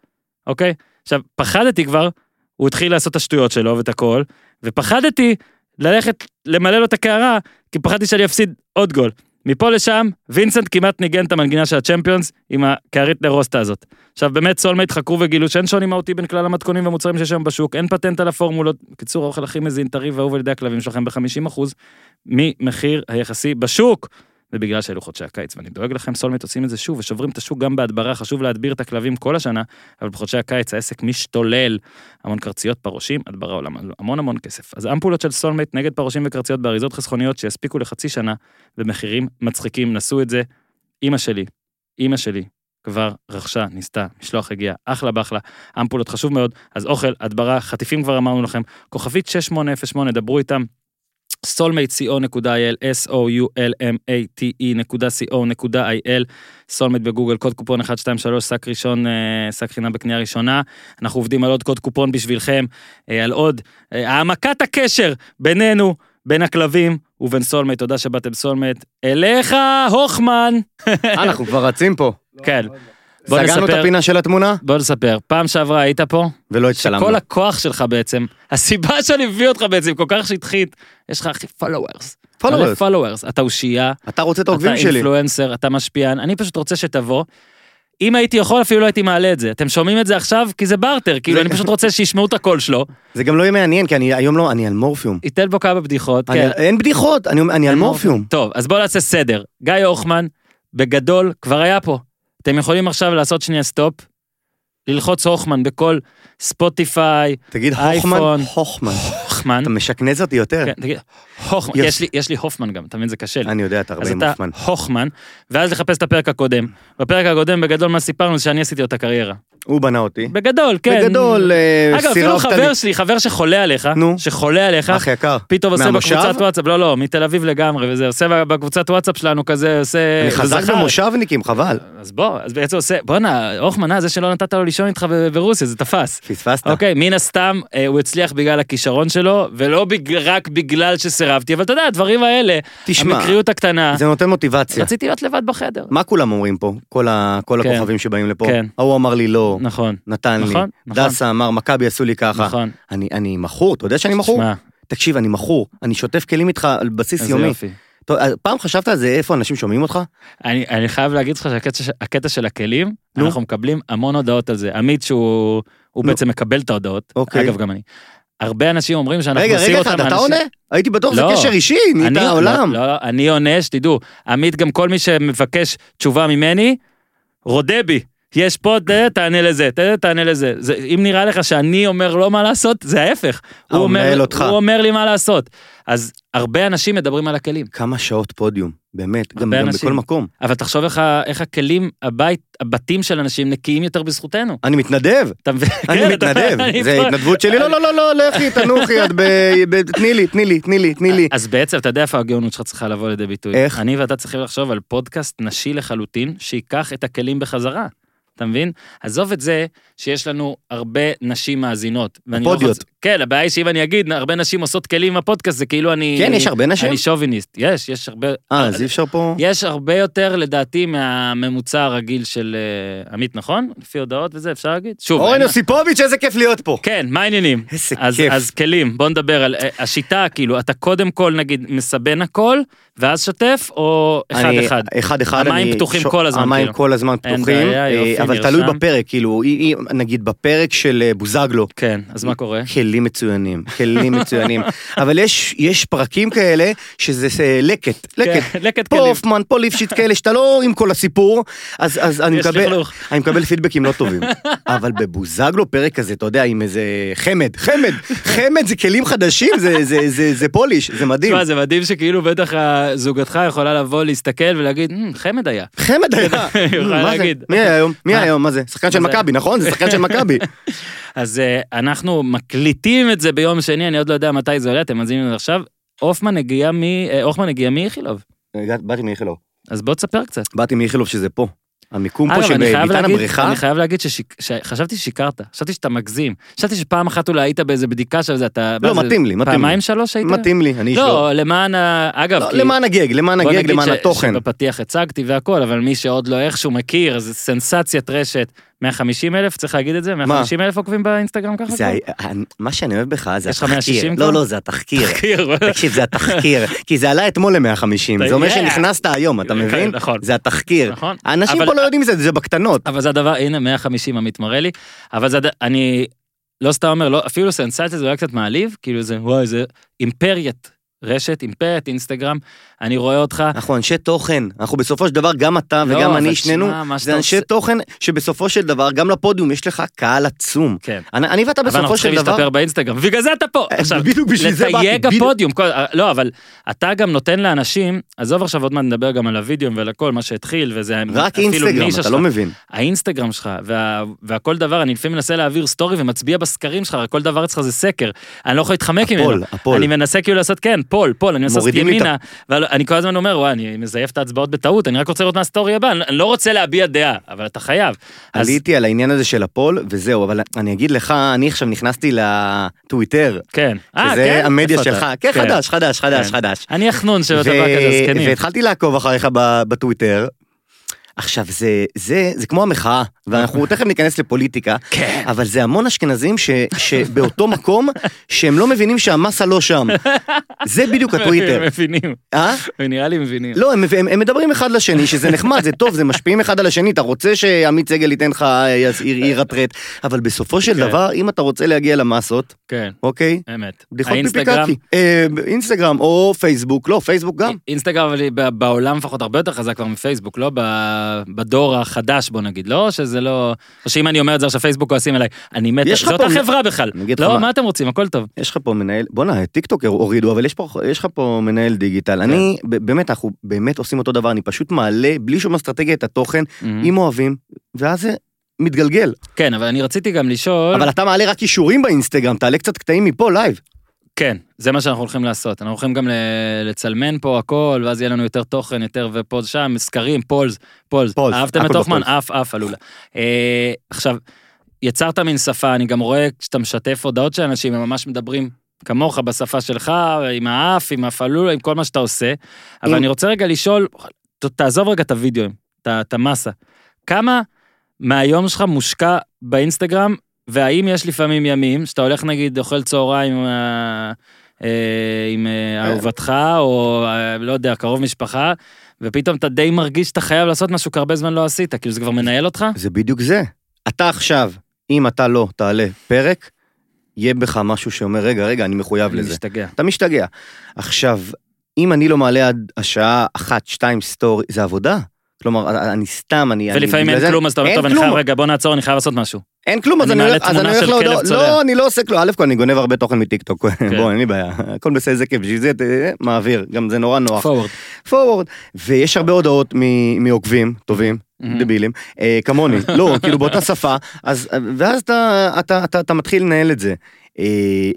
אוקיי? עכשיו, פחדתי כבר, הוא התחיל לעשות את השטויות שלו ואת הכל, ופחדתי ללכת למלא לו את הקערה, כי פחדתי שאני אפסיד עוד גול. מפה לשם, וינסנט כמעט ניגן את המנגינה של הצ'מפיונס עם הקערית לרוסטה הזאת. עכשיו באמת סולמייט חקרו וגילו שאין שוני מהותי בין כלל המתכונים והמוצרים שיש היום בשוק, אין פטנט על הפורמולות. בקיצור, האוכל הכי מזין, טרי ואהוב על ידי הכלבים שלכם ב-50% ממחיר היחסי בשוק. ובגלל שאלו חודשי הקיץ, ואני דואג לכם, סולמייט עושים את זה שוב, ושוברים את השוק גם בהדברה, חשוב להדביר את הכלבים כל השנה, אבל בחודשי הקיץ העסק משתולל. המון קרציות, פרושים, הדברה עולם, המון המון כסף. אז אמפולות של סולמייט נגד פרושים וקרציות באריזות חסכוניות שיספיקו לחצי שנה, במחירים מצחיקים, נסו את זה. אימא שלי, אימא שלי, כבר רכשה, ניסתה, משלוח הגיע, אחלה באחלה, אמפולות חשוב מאוד, אז אוכל, הדברה, חטיפים כבר אמרנו לכם, כוכבית 6808, דברו איתם, soulmate.co.il, E s-o-u-l-m-a-t-e.co.il, soulmate בגוגל, קוד קופון 123, שק ראשון, אה, שק חינם בקנייה ראשונה. אנחנו עובדים על עוד קוד קופון בשבילכם, אה, על עוד אה, העמקת הקשר בינינו, בין הכלבים ובין סולמייט. תודה שבאתם סולמייט. אליך, הוכמן!
אה, אנחנו כבר רצים פה.
כן. בוא
סגרנו את
נספר,
הפינה של התמונה,
בוא נספר. פעם שעברה היית פה,
ולא הצטלמנו.
שכל הכוח שלך בעצם, הסיבה שאני מביא אותך בעצם כל כך שטחית, יש לך הכי followers.
Followers.
followers. אתה אושייה,
אתה רוצה את
אתה
העוקבים שלי.
אינפלואנסר, אתה משפיען, אני פשוט רוצה שתבוא. אם הייתי יכול אפילו לא הייתי מעלה את זה. אתם שומעים את זה עכשיו? כי זה בארטר, כאילו אני פשוט רוצה שישמעו את הקול שלו,
זה גם לא יהיה מעניין, כי אני היום לא, אני על מורפיום.
ייתן פה כמה בדיחות.
אני-
כן.
אין בדיחות, אני אני על מורפיום.
טוב, אז בואו נעשה סדר. גיא הוכמן, בגדול, כבר היה פה. אתם יכולים עכשיו לעשות שנייה סטופ, ללחוץ הוכמן בכל ספוטיפיי,
תגיד
אייפון.
הוכמן, הוכמן.
הוכמן.
אתה משכנז אותי יותר.
כן, תגיד, הוכמן,
יופי.
יש לי- יש לי הופמן גם, אתה מבין, זה קשה לי.
אני יודע, אתה
אז
הרבה עם
אתה
הוכמן.
הוכמן, ואז לחפש את הפרק הקודם. בפרק הקודם, בגדול, מה סיפרנו? זה שאני עשיתי אותה קריירה.
הוא בנה אותי.
בגדול, כן.
בגדול, אה,
אגב, אפילו
סירבת
חבר
לי.
שלי, חבר שחולה עליך,
נו.
שחולה עליך,
אח יקר.
פתאום עושה
מהמושב?
בקבוצת וואטסאפ, לא, לא, מתל אביב לגמרי, וזה עושה בקבוצת וואטסאפ שלנו כזה, עושה...
אני חזק
זכר.
במושבניקים, חבל.
אז בוא, אז בעצם עושה, בואנה, הוכמן, אה, זה שלא נתת לו לישון איתך ב- ברוסיה, זה תפס.
פספסת.
אוקיי, מן הסתם, אה, הוא הצליח בגלל הכישרון שלו, ולא בג... רק בגלל שסירבתי, אבל אתה יודע, הדברים האלה,
תשמע,
המקריות הקטנה,
זה נותן מוטיבציה.
רציתי להיות לבד בחדר.
מה כולם אומרים פה? כל ה- כל
כן.
הכוכבים שבאים לפה.
כן.
ההוא אמר לי לא,
נכון,
נתן לי.
נכון, נכון.
דסה אמר, מכבי עשו לי ככה.
נכון.
אני- אני מכור, אתה יודע שאני מכור?
שמע,
תקשיב, אני מכור, אני שוטף כלים איתך על בסיס
איזה
יומי.
יופי.
טוב, אז פעם חשבת על זה איפה אנשים שומעים אותך?
אני, אני חייב להגיד לך שהקטע ש- הקטע של הכלים, אנחנו מקבלים המון הודעות על זה. עמית שהוא הוא
נו.
בעצם מקבל את ההודעות,
אוקיי.
אגב גם אני. הרבה אנשים אומרים שאנחנו
רגע,
עושים
רגע
אותם...
אחד, אתה
אנשים-
עונה? הייתי בטוח שזה
לא.
קשר אישי, נהיית
אני-
העולם.
לא, לא, אני עונה, שתדעו. עמית, גם כל מי שמבקש תשובה ממני, רודה בי. יש פה, ת- תענה לזה, ת- תענה לזה. זה, אם נראה לך שאני אומר לא מה לעשות, זה ההפך.
אה, הוא מנהל אותך.
הוא אומר לי מה לעשות. אז הרבה אנשים מדברים על הכלים.
כמה שעות פודיום, באמת, גם
הרבה
גם
אנשים.
בכל מקום.
אבל תחשוב איך, ה- איך הכלים, הבית, הבתים של אנשים נקיים יותר בזכותנו.
אני מתנדב,
אתה מבין?
אני
כן, אתה-
מתנדב,
אני
זה
פה-
התנדבות שלי, לא, לא, לא, לא, לכי, תנוחי, את ב... ב- תני לי, תני לי, תני לי, תני לי.
אז בעצם אתה יודע איפה הגאונות שלך צריכה לבוא לידי ביטוי.
איך?
אני ואתה צריכים לחשוב על פודקאסט נשי לחלוטין, שייקח את הכלים בחזרה. אתה מבין? עזוב את זה שיש לנו הרבה נשים מאזינות. ואני לא
הפודיות.
רוצה- כן, הבעיה היא שאם אני אגיד, הרבה נשים עושות כלים עם הפודקאסט, זה כאילו אני...
כן, יש הרבה נשים?
אני שוביניסט. יש, יש הרבה...
אה, אז אי אפשר פה...
יש הרבה יותר לדעתי מהממוצע הרגיל של אה, עמית, נכון? לפי הודעות וזה, אפשר להגיד? שוב,
אורן
אין-
יוסיפוביץ', איזה כיף להיות פה.
כן, מה העניינים?
איזה
אז,
כיף.
אז כלים, בוא נדבר על אה, השיטה, כאילו, אתה קודם כל נגיד מסבן הכל, ואז שוטף, או
אני-
אחד-אחד?
אחד אחד.
המים
אני-
פתוחים
ש-
כל הזמן,
המים
כאילו.
כל הזמן
אין
פתוחים,
בעיה, יופי,
אה, אבל
נרשם.
תלוי בפרק, כאילו, אי- אי- נגיד בפרק של אה, בוזגלו,
כן, אז מה קורה?
כלים מצוינים, כלים מצוינים. אבל יש, יש פרקים כאלה שזה זה, לקט,
כן,
לקט.
לקט
פה
כלים.
הופמן, פה ליפשיץ כאלה, שאתה לא עם כל הסיפור, אז, אז אני,
יש
מקבל,
לכלוך.
אני מקבל פידבקים לא טובים. אבל בבוזגלו פרק כזה, אתה יודע, עם איזה חמד, חמד, חמד זה כלים חדשים, זה, זה, זה, זה פוליש, זה מדהים.
תשמע, זה מדהים שכאילו בטח אה, זוגתך יכולה לבוא להסתכל ולהגיד, "מ, חמד היה.
חמד היה,
יכולה
מה זה?
להגיד.
מי היה היום? מי
מה?
היה היום? מה זה? שחקן של
מה זה?
מכבי, נכון? זה שחקן של מכבי.
אז אה, אנחנו מקליטים את זה ביום שני, אני עוד לא יודע מתי זה עולה, אתם מאזינים לזה עכשיו. הופמן הגיע מ... אה, הופמן הגיע מאיכילוב,
הגעת- באתי מאיכילוב.
אז בוא תספר קצת.
באתי מאיכילוב שזה פה. המיקום פה
אגב, אני חייב
שבביתן
להגיד-
הבריכה,
אני חייב להגיד ששיק- שחשבתי ששיקרת, חשבתי שאתה מגזים. חשבתי שפעם אחת אולי היית באיזה בדיקה של זה, אתה...
לא,
מה זה,
מתאים לי, מתאים לי.
פעמיים שלוש היית?
מתאים לי, אני איש
לא, למען ה... אגב,
לא,
כי-
למען הגג, למען
בוא
הגג,
נגיד
למען
ש-
התוכן.
שבפתיח הצגתי והכל, אבל מי שעוד לא איכשהו מכיר, אז סנסציית רשת. 150 אלף, צריך להגיד את זה? 150 אלף עוקבים באינסטגרם ככה?
זה, ה- מה שאני אוהב בך זה
יש לך 160
התחקיר.
כבר?
לא, לא, זה התחקיר.
מכיר.
תקשיב, זה התחקיר. כי זה עלה אתמול ל-150, זה אומר
Yeah.
שנכנסת היום, אתה מבין?
נכון.
זה התחקיר.
נכון.
האנשים
אבל-
פה לא יודעים מזה, זה בקטנות.
אבל זה הדבר, הנה 150 עמית מראה לי, אבל זה, הד- אני לא סתם אומר, לא, אפילו סנסציה זה אולי קצת מעליב, כאילו זה, וואי, זה אימפריית רשת, אימפריית אינסטגרם, אני רואה אותך,
אנחנו אנשי תוכן, אנחנו בסופו של דבר, גם אתה
לא,
וגם
אבל
אני,
תשמע,
שנינו,
מה
זה
שאתה
אנשי
עושה-
תוכן שבסופו של דבר, גם לפודיום יש לך קהל עצום.
כן.
אני אני ואתה
אבל אנחנו
בסופו
צריכים
של דבר, אה,
להשתפר באינסטגרם, בגלל זה אתה פה. עכשיו,
בדיוק בשביל זה באתי,
לתייג
בדיוק.
הפודיום, כל- לא, אבל אתה גם נותן לאנשים, עזוב עכשיו עוד מעט נדבר גם על הוידאו ועל הכל, מה שהתחיל, וזה
רק
אפילו
אינסטגרם,
נישה
אתה
שלך.
לא מבין.
האינסטגרם שלך וה, והכל דבר, אני לפעמים מנסה להעביר סטורי ומצביע בסקרים שלך, הרי כל דבר אצלך זה סקר. אני לא יכול להתחמק
הפול,
ממנו.
הפול.
אני מנסה כאילו לעשות, כן, פול, פול, אני מנסה לעשות
מורידים לי את
ימינה, אבל אני כל הזמן אומר, וואי, אני מזייף את ההצבעות בטעות, אני רק רוצה לראות מה הסטורי הבא, אני אני לא רוצה להביע דעה, אבל אתה חייב. אז
עליתי על העניין הזה של הפול, וזהו, אבל אני אגיד לך, אני עכשיו נכנסתי לטוויטר,
כן. אה, כן?
שזה המדיה
איפה אתה?
שלך, כן, חדש, חדש, חדש,
כן.
חדש.
אני החנון של
ו-
הדבר כזה, זקנים.
והתחלתי לעקוב אחריך ב- בטוויטר. עכשיו זה, זה, זה כמו המחאה, ואנחנו תכף ניכנס לפוליטיקה,
אה. כן.
אבל זה המון אשכנזים ש, שבאותו מקום, שהם לא מבינים שהמסה לא שם. זה בדיוק הטוויטר.
מבינים,
אה?
נראה לי מבינים.
לא, הם, הם, הם מדברים אחד לשני, שזה נחמד, זה טוב, זה משפיעים אחד על השני, אתה רוצה שעמית סגל ייתן לך ירטרט, אבל בסופו של
כן.
דבר, אם אתה רוצה להגיע למסות,
כן,
אוקיי?
אמת.
בדיחות פיקי
האינסטגרם- אה,
קקי. אה, אינסטגרם או פייסבוק, לא, פייסבוק גם.
אינסטגרם אבל ב- בעולם לפחות הרבה יותר חזק כבר מפייסבוק, לא ב- בדור החדש בוא נגיד, לא שזה לא, או שאם אני אומר את זה עכשיו פייסבוק כועסים אליי, אני מת,
יש לך
זו
פה-
אותה חברה בכלל,
אני אגיד לך
לא
מה.
מה אתם רוצים הכל טוב,
יש לך פה מנהל, בואנה, טיק טוק הורידו, אבל יש פה- יש לך פה מנהל דיגיטל. אני,
כן.
ב- באמת, אנחנו באמת עושים אותו דבר, אני פשוט מעלה, בלי שום אסטרטגיה, את התוכן,
Mm-hmm.
אם אוהבים, ואז זה מתגלגל.
כן אבל אני רציתי גם לשאול,
אבל אתה מעלה רק אישורים באינסטגרם, תעלה קצת קטעים מפה לייב.
כן זה מה שאנחנו הולכים לעשות, אנחנו הולכים גם ל- לצלמן פה הכל ואז יהיה לנו יותר תוכן יותר ופה שם, סקרים, פולס, פולס,
פולס,
אהבתם
הכל
את הוכמן,
בפולס.
אף אף עלולה, אה, עכשיו יצרת מין שפה, אני גם רואה כשאתה משתף הודעות של אנשים הם ממש מדברים. כמוך בשפה שלך, עם האף, עם הפעלולה, עם כל מה שאתה עושה. אבל
אם-
אני רוצה רגע לשאול, ת- תעזוב רגע את הוידאוים, את ה- את המסה. כמה מהיום שלך מושקע באינסטגרם, והאם יש לפעמים ימים שאתה הולך נגיד אוכל צהריים עם ה- אה, עם אה, אהובתך, או אה, לא יודע, קרוב משפחה, ופתאום אתה די מרגיש שאתה חייב לעשות משהו כי הרבה זמן לא עשית, כאילו זה כבר מנהל אותך?
זה בדיוק זה. אתה עכשיו, אם אתה לא תעלה פרק, יהיה בך משהו שאומר, רגע, רגע, אני מחויב
אני
לזה.
משתגע.
אתה משתגע. עכשיו, אם אני לא מעלה עד השעה אחת, שתיים סטורי, זה עבודה. כלומר, אני סתם, אני... אני-
ולפעמים
בגלל
אין
זה-
כלום, אז אתה אומר,
אין
טוב, אני
כלום.
חייב, רגע, בוא נעצור, אני חייב לעשות משהו.
אין כלום, אז
אני
אני
מעלה
הולך אז
תמונה
אני הולך
של
להודעות.
כלב צולע. כן.
לא, אני לא עושה כלום. א' כל, אני גונב הרבה תוכן מטיקטוק. בוא, אין לי בעיה. הכל בסדר, זה כיף. בשביל זה, אה, מעביר. גם זה נורא נוח.
פורוורד.
פורוורד. ויש הרבה הודעות מ- מעוקבים טובים.
Mhm.
דבילים, אה, כמוני, לא, כאילו באותה שפה, אז, אה, ואז אתה, אתה, אתה, אתה מתחיל לנהל את זה. אה,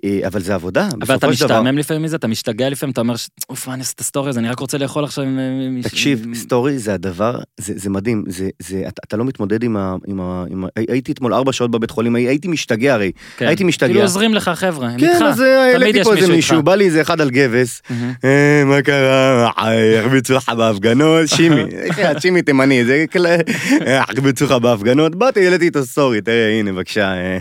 אה, אבל זה עבודה,
אבל אתה
בסופו של דבר.
משתעמם לפעמים מזה, אתה משתגע לפעמים, אתה אומר, ש- אוף, מה אני אעשה את הסטורי הזה, אני רק רוצה לאכול עכשיו עם- עם... עם-
תקשיב,
עם-
סטורי זה הדבר, זה, זה מדהים, זה, זה, אתה, אתה לא מתמודד עם ה... עם ה, עם ה הי- הייתי אתמול ארבע שעות בבית חולים, הי- הייתי משתגע הרי.
כן.
הייתי משתגע.
כאילו עוזרים לך, חבר'ה, הם איתך.
כן, אז אה,
תמיד
העליתי
יש
פה איזה
מישהו
מישהו,
איתך.
בא לי איזה אחד על גבס,
מהמם.
אה, מה קרה, אה, החביצו לך בהפגנות, שימי, כן, שימי תימני, זה כאלה, אה, החביצו לך בהפגנות, באתי, העליתי איתו סטורי, תראה, הנה, בבקשה. אה.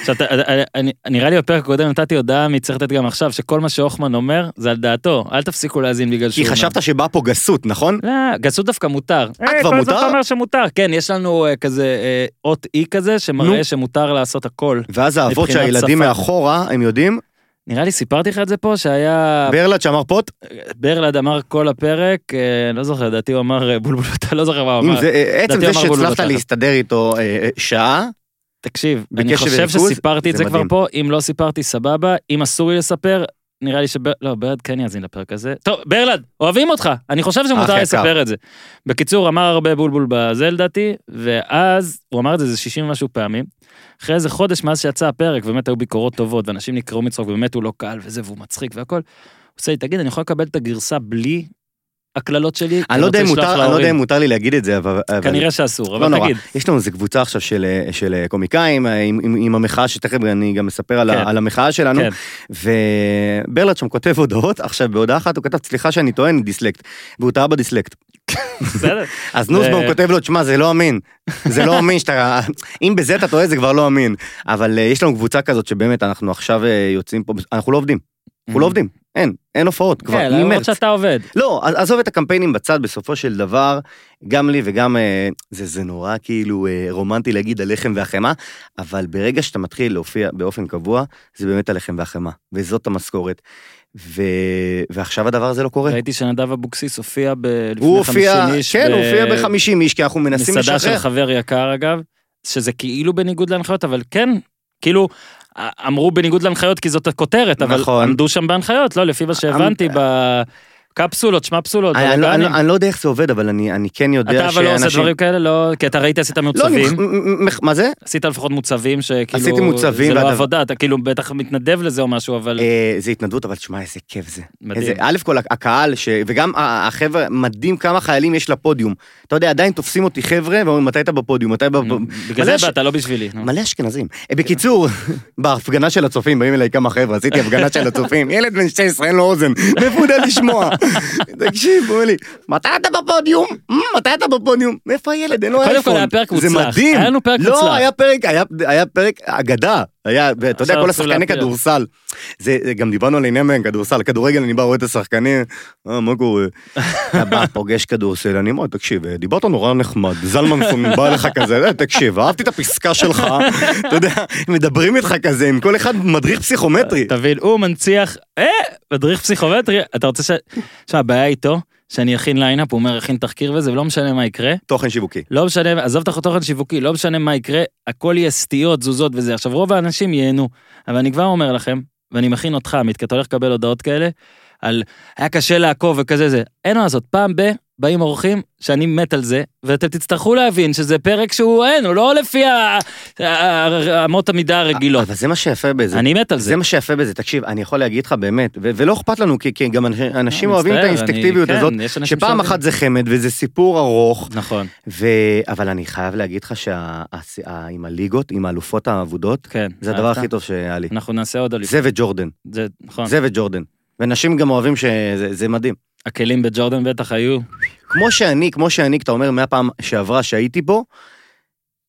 עכשיו, אתה- אני- אני- נראה לי בפרק הקודם נתתי הודעה מי צריך לתת גם עכשיו, שכל מה שהוכמן אומר זה על דעתו, אל תפסיקו להאזין בגלל שהוא
כי
אומר.
חשבת שבא פה גסות, נכון?
לא, גסות דווקא מותר. אה,
כבר
כל הזמן אתה
מותר?
אומר שמותר, כן, יש לנו אה, כזה אה, אות אי כזה, שמראה שמותר לעשות הכל.
ואז האבות
מבחינת
שהילדים
שפה.
מאחורה, הם יודעים,
נראה לי סיפרתי לך את זה פה, שהיה...
ברלד שאמר פוט,
ברלד אמר כל הפרק, אה, לא זוכר, לדעתי הוא אמר אה, בולבול, אתה לא זוכר מה הוא
אם
אמר.
זה- אה, עצם
לדעתי
זה
אמר בולבול
שהצלחת
בתחת.
להסתדר איתו אה, אה, שעה,
תקשיב, אני
בקשב
חושב
וריכוז,
שסיפרתי את
זה
זה כבר
מדהים.
פה, אם לא סיפרתי סבבה, אם אסור לי לספר, נראה לי שבר... לא, ברד כן יאזין לפרק הזה. טוב, ברלד, אוהבים אותך, אני חושב
אח
שמותר
יקר.
לספר את זה. בקיצור, אמר הרבה בולבול בזה לדעתי, ואז, הוא אמר את זה איזה 60 ומשהו פעמים. אחרי איזה חודש מאז שיצא הפרק, ובאמת היו ביקורות טובות, ואנשים נקראו מצחוק, ובאמת הוא לא קל וזה, והוא מצחיק והכל. הוא עושה לי, תגיד, אני יכול לקבל את הגרסה בלי הקללות שלי? כי
אני לא
רוצה
יודע אם
לשלוח
מותר- אני לא יודע
להורים."
אם מותר לי להגיד את זה, אבל... אבל-
כנראה שאסור,
לא
אבל
נורא.
תגיד.
יש לנו איזה קבוצה עכשיו של, אה, של אה, קומיקאים, אה, עם, עם, עם המחאה, שתכף אני גם אספר על,
כן.
ה, על המחאה שלנו,
כן.
וברלד שם כותב הודעות, עכשיו בהודעה אחת הוא כתב, סליחה שאני טוען, דיסלקט, והוא טעה בדיסלקט.
בסדר.
אז נוסבאום
זה-
כותב לו, תשמע, זה לא אמין. זה לא אמין שאתה... אם בזה אתה טועה, זה כבר לא אמין. אבל אה, יש לנו קבוצה כזאת שבאמת אנחנו עכשיו אה, יוצאים פה, אנחנו לא עובדים. אנחנו לא עובדים. אין, אין הופעות כבר,
Mm-hmm. כן, למרות
ממרץ.
שאתה עובד.
לא, אז- עזוב את הקמפיינים בצד, בסופו של דבר, גם לי וגם... אה, זה, זה נורא כאילו אה, רומנטי להגיד הלחם והחמאה, אבל ברגע שאתה מתחיל להופיע באופן קבוע, זה באמת הלחם והחמאה, וזאת המשכורת. ו... ועכשיו הדבר הזה לא קורה.
ראיתי שנדב אבוקסיס הופיע ב... לפני
הוא הופיע,
50 איש.
כן,
ב-
הוא הופיע ב-50 איש, כי אנחנו מנסים לשחרר.
מסעדה של חבר יקר אגב, שזה כאילו בניגוד להנחיות, אבל כן, כאילו, א- אמרו בניגוד להנחיות כי זאת הכותרת, אבל
נכון. אה.
עמדו שם בהנחיות, לא, לפי מה שהבנתי ב... קפסולות, שמפסולות,
אני- אני לא- אני
בלאגנים.
לא- אני לא יודע איך זה עובד, אבל אני אני כן
אתה
יודע
אבל לא עושה
שאנשים...
דברים כאלה, לא... כי אתה ראית, עשית
לא, אני...
מוצבים.
מח- מח- מה זה?
עשית לפחות מוצבים שכאילו...
עשיתי מוצבים,
זה לא
והדבר-
עבודה, אתה כאילו בטח מתנדב לזה או משהו, אבל...
אה, זה התנדבות, אבל תשמע, איזה כיף זה.
מדהים.
איזה, א' כל הקהל, ש... וגם ה- החבר'ה, מדהים כמה חיילים יש לפודיום. אתה יודע, עדיין תופסים אותי חבר'ה, ואומרים, מתי אתה בפודיום? מתי ב...
בגלל
מלא
זה
ש-
באת, לא בשבילי. נו.
מלא אשכנזים. אה, בקיצור, בהפגנה של הצופים, באים אליי כמה חבר'ה, עשיתי הפגנה של הצופים, ילד בן 16, אין לו אוזן, מאיפה הוא יודע לשמוע? תקשיב, הוא אומר לי, מתי אתה בפודיום? "מ, מתי אתה בפודיום? מאיפה הילד? אין לו
קודם
אייפון.
כל היה פרק
זה
מוצלח.
מדהים.
היה לנו פרק מוצלח.
לא, היה פרק, היה- היה פרק אגדה. היה, ואתה יודע,
עכשיו
כל
אסור
השחקני
להפריע.
כדורסל. זה, זה- גם דיברנו על עניין מהם כדורסל, כדורגל אני בא רואה את השחקנים, אה, מה קורה? אתה בא, פוגש כדורסל, אני אומר, תקשיב, אה, דיברת נורא נחמד, זלמנסון בא אליך כזה, "אה, תקשיב, אהבתי את הפסקה שלך, אתה יודע, מדברים איתך כזה, עם כל אחד מדריך פסיכומטרי.
תבין, הוא מנציח, אה, מדריך פסיכומטרי, אתה רוצה ש... תשמע, הבעיה איתו, שאני אכין ליינאפ, הוא אומר, אכין תחקיר וזה, ולא משנה מה יקרה,
תוכן שיווקי.
לא משנה, עזוב את התוכן שיווקי, לא משנה מה יקרה, הכל יהיה סטיות, תזוזות וזה. עכשיו, רוב האנשים ייהנו, אבל אני כבר אומר לכם, ואני מכין אותך, עמית, כי אתה הולך לקבל הודעות כאלה, על היה קשה לעקוב וכזה זה. אין מה לעשות, פעם ב... באים אורחים שאני מת על זה, ואתם תצטרכו להבין שזה פרק שהוא אין, הוא לא לפי ה- ה- ה- אמות המידה הרגילות.
לא, אבל זה מה שיפה בזה.
אני מת על אה, זה.
זה מה שיפה בזה, תקשיב, אני יכול להגיד לך באמת, ו- ולא אכפת לנו, כי- כי גם אנש- אנשים אוהבים את
מצטער, אני-
האינסטינקטיביות
כן,
הזאת,
יש אנשים
שפעם
שאוהבים.
אחת זה חמד וזה סיפור ארוך,
נכון,
ו... אבל אני חייב להגיד לך שה... הס- ה- עם הליגות, עם האלופות האבודות,
כן.
זה הדבר
אהבת?
הכי טוב שהיה לי.
אנחנו נעשה עוד אליפות.
זה וג'ורדן,
זה, נכון.
זה וג'ורדן. ונשים גם אוהבים שזה זה מדהים.
הכלים בג'ורדן בטח היו.
כמו שאני, כמו שאני, אתה אומר, מהפעם שעברה שהייתי פה,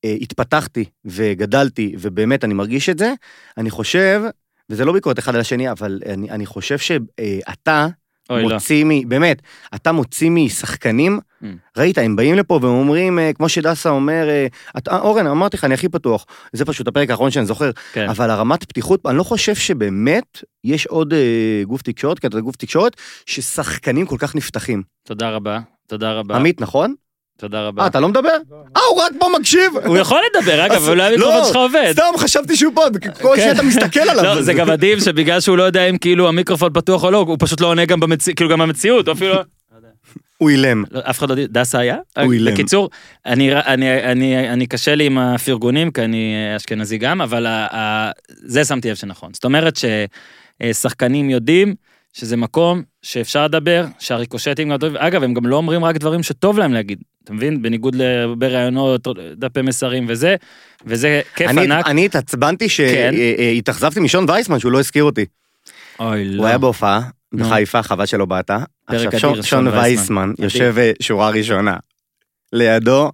אה, התפתחתי וגדלתי, ובאמת אני מרגיש את זה. אני חושב, וזה לא ביקורת אחד על השני, אבל אני, אני חושב אה, שאתה
אוי, לא.
מוציא מ... באמת, אתה מוציא משחקנים,
Mm.
ראית, הם באים לפה והם אומרים, אה, כמו שדסה אומר, אה, אתה- אה, אורן, אמרתי לך, אני הכי פתוח. זה פשוט הפרק האחרון שאני זוכר.
כן.
אבל הרמת פתיחות, אני לא חושב שבאמת יש עוד אה, גוף תקשורת, כי אתה גוף תקשורת, ששחקנים כל כך נפתחים.
תודה רבה. תודה רבה.
עמית, נכון?
תודה רבה.
אה, אתה לא מדבר? אה, הוא רק פה מקשיב.
הוא יכול לדבר, אגב,
אז-
אולי המיקרופון
לא,
שלך עובד.
סתם חשבתי שהוא פה, כל
כן.
שאתה מסתכל עליו.
לא, זה גם מדהים שבגלל שהוא לא יודע אם כאילו המיקרופון פתוח או לא, הוא פשוט לא עונה גם במציאות, כאילו גם במציאות, הוא אפילו לא...
הוא אילם.
לא, אף אחד לא יודע, דסה היה?
הוא אילם.
בקיצור, אני, ר- אני, אני, אני קשה לי עם הפרגונים, כי אני אה, אשכנזי גם, אבל ה, ה, זה שמתי לב שנכון. זאת אומרת ששחקנים יודעים שזה מקום שאפשר לדבר, שהריקושטים גם טובים, אגב, הם גם לא אומרים רק דברים שטוב להם להגיד, אתה מבין? בניגוד להרבה ראיונות, דפי מסרים וזה, וזה כיף
אני-
ענק.
אני התעצבנתי
כן.
שהתאכזבתי משון וייסמן שהוא לא הזכיר אותי.
אוי, לא.
הוא היה בהופעה
נו.
בחיפה, חבל שלא באת. עכשיו
אדיר,
שון-
שון
שון
וייסמן.
וייסמן
אדיר.
יושב אה, שורה ראשונה. לידו,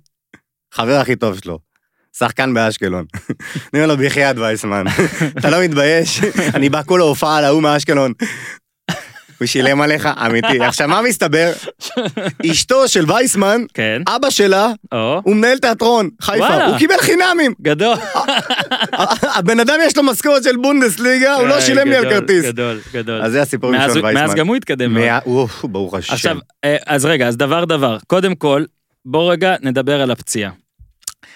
חבר הכי טוב שלו. שחקן באשקלון. אני אומר לו, בחייאת וייסמן, אתה לא מתבייש? אני בא כל ההופעה על ההוא מאשקלון. הוא שילם עליך, אמיתי. עכשיו, מה מסתבר? אשתו של וייסמן,
כן,
אבא שלה,
או,
הוא מנהל תיאטרון, חיפה.
וואלה.
הוא קיבל חינמים.
גדול.
אה, הבן אדם יש לו משכורת של בונדסליגה, הוא לא שילם לי על
אה, גדול,
כרטיס.
גדול, גדול.
אז זה הסיפור עם
מאז
שון
הוא-
וייסמן.
מאז גם הוא התקדם. מאוד.
מאה, אוף, ברוך השם.
עכשיו, אה, אז רגע, אז דבר דבר. קודם כל, בוא רגע נדבר על הפציעה.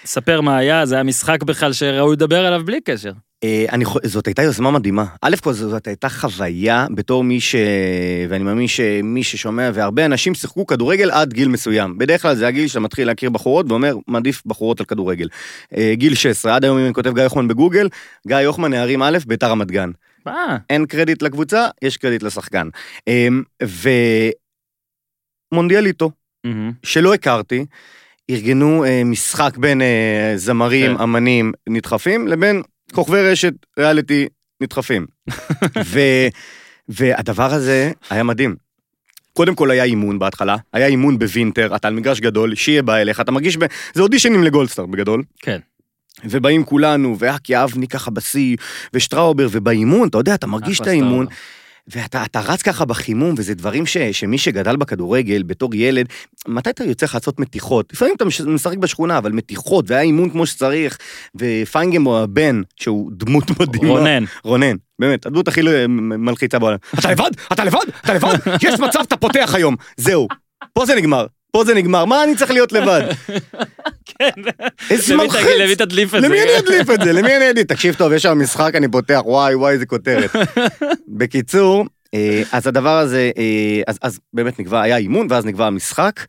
ספר מה היה, זה היה משחק בכלל שראוי לדבר עליו בלי קשר.
אה, אני, חו- זאת הייתה יוזמה מדהימה. א' כל זאת, זאת הייתה חוויה בתור מי ש... ואני מאמין שמי ששומע, והרבה אנשים שיחקו כדורגל עד גיל מסוים. בדרך כלל זה הגיל שאתה מתחיל להכיר בחורות ואומר, מעדיף בחורות על כדורגל. אה, גיל 16, עד היום אם אני כותב גיא יוחמן בגוגל, גיא יוחמן נערים א', ביתר רמת גן.
מה?
אין קרדיט לקבוצה, יש קרדיט לשחקן. אה, ו... מונדיאליטו.
מהמם.
שלא הכרתי, ארגנו אה, משחק בין אה, זמרים,
כן.
אמנים נדחפים, לבין כוכבי רשת ריאליטי נדחפים. ו, והדבר הזה היה מדהים. קודם כל היה אימון בהתחלה, היה אימון בווינטר, אתה על מגרש גדול, שיהיה בא אליך, אתה מרגיש, ב... זה אודישנים לגולדסטאר בגדול.
כן.
ובאים כולנו, ואקי אבני ככה בשיא, ושטראובר, ובאימון, אתה יודע, אתה מרגיש את
אחלה
האימון,
סטאר.
ואתה אתה רץ ככה בחימום, וזה דברים ש, שמי שגדל בכדורגל בתור ילד, מתי אתה יוצא לך לעשות מתיחות? לפעמים אתה מש- משחק בשכונה, אבל מתיחות, והיה אימון כמו שצריך, ופיינגמו הבן, שהוא דמות מדהימה.
רונן,
רונן, באמת, הדמות הכי לא- מ- מלחיצה בעולם. אתה לבד? אתה לבד? אתה לבד? יש מצב, אתה פותח היום. זהו. פה זה נגמר. פה זה נגמר. מה אני צריך להיות לבד?
כן.
איזה
למי תגיד- למי
מלחיץ.
תדליף את זה?
למי אני אדליף את זה? למי אני אדליף? תקשיב טוב, יש שם משחק, אני פותח, וואי, וואי, איזה כותרת. בקיצור, אה, אז הדבר הזה, אה, אז, אז באמת נקבע, היה אימון, ואז נקבע המשחק,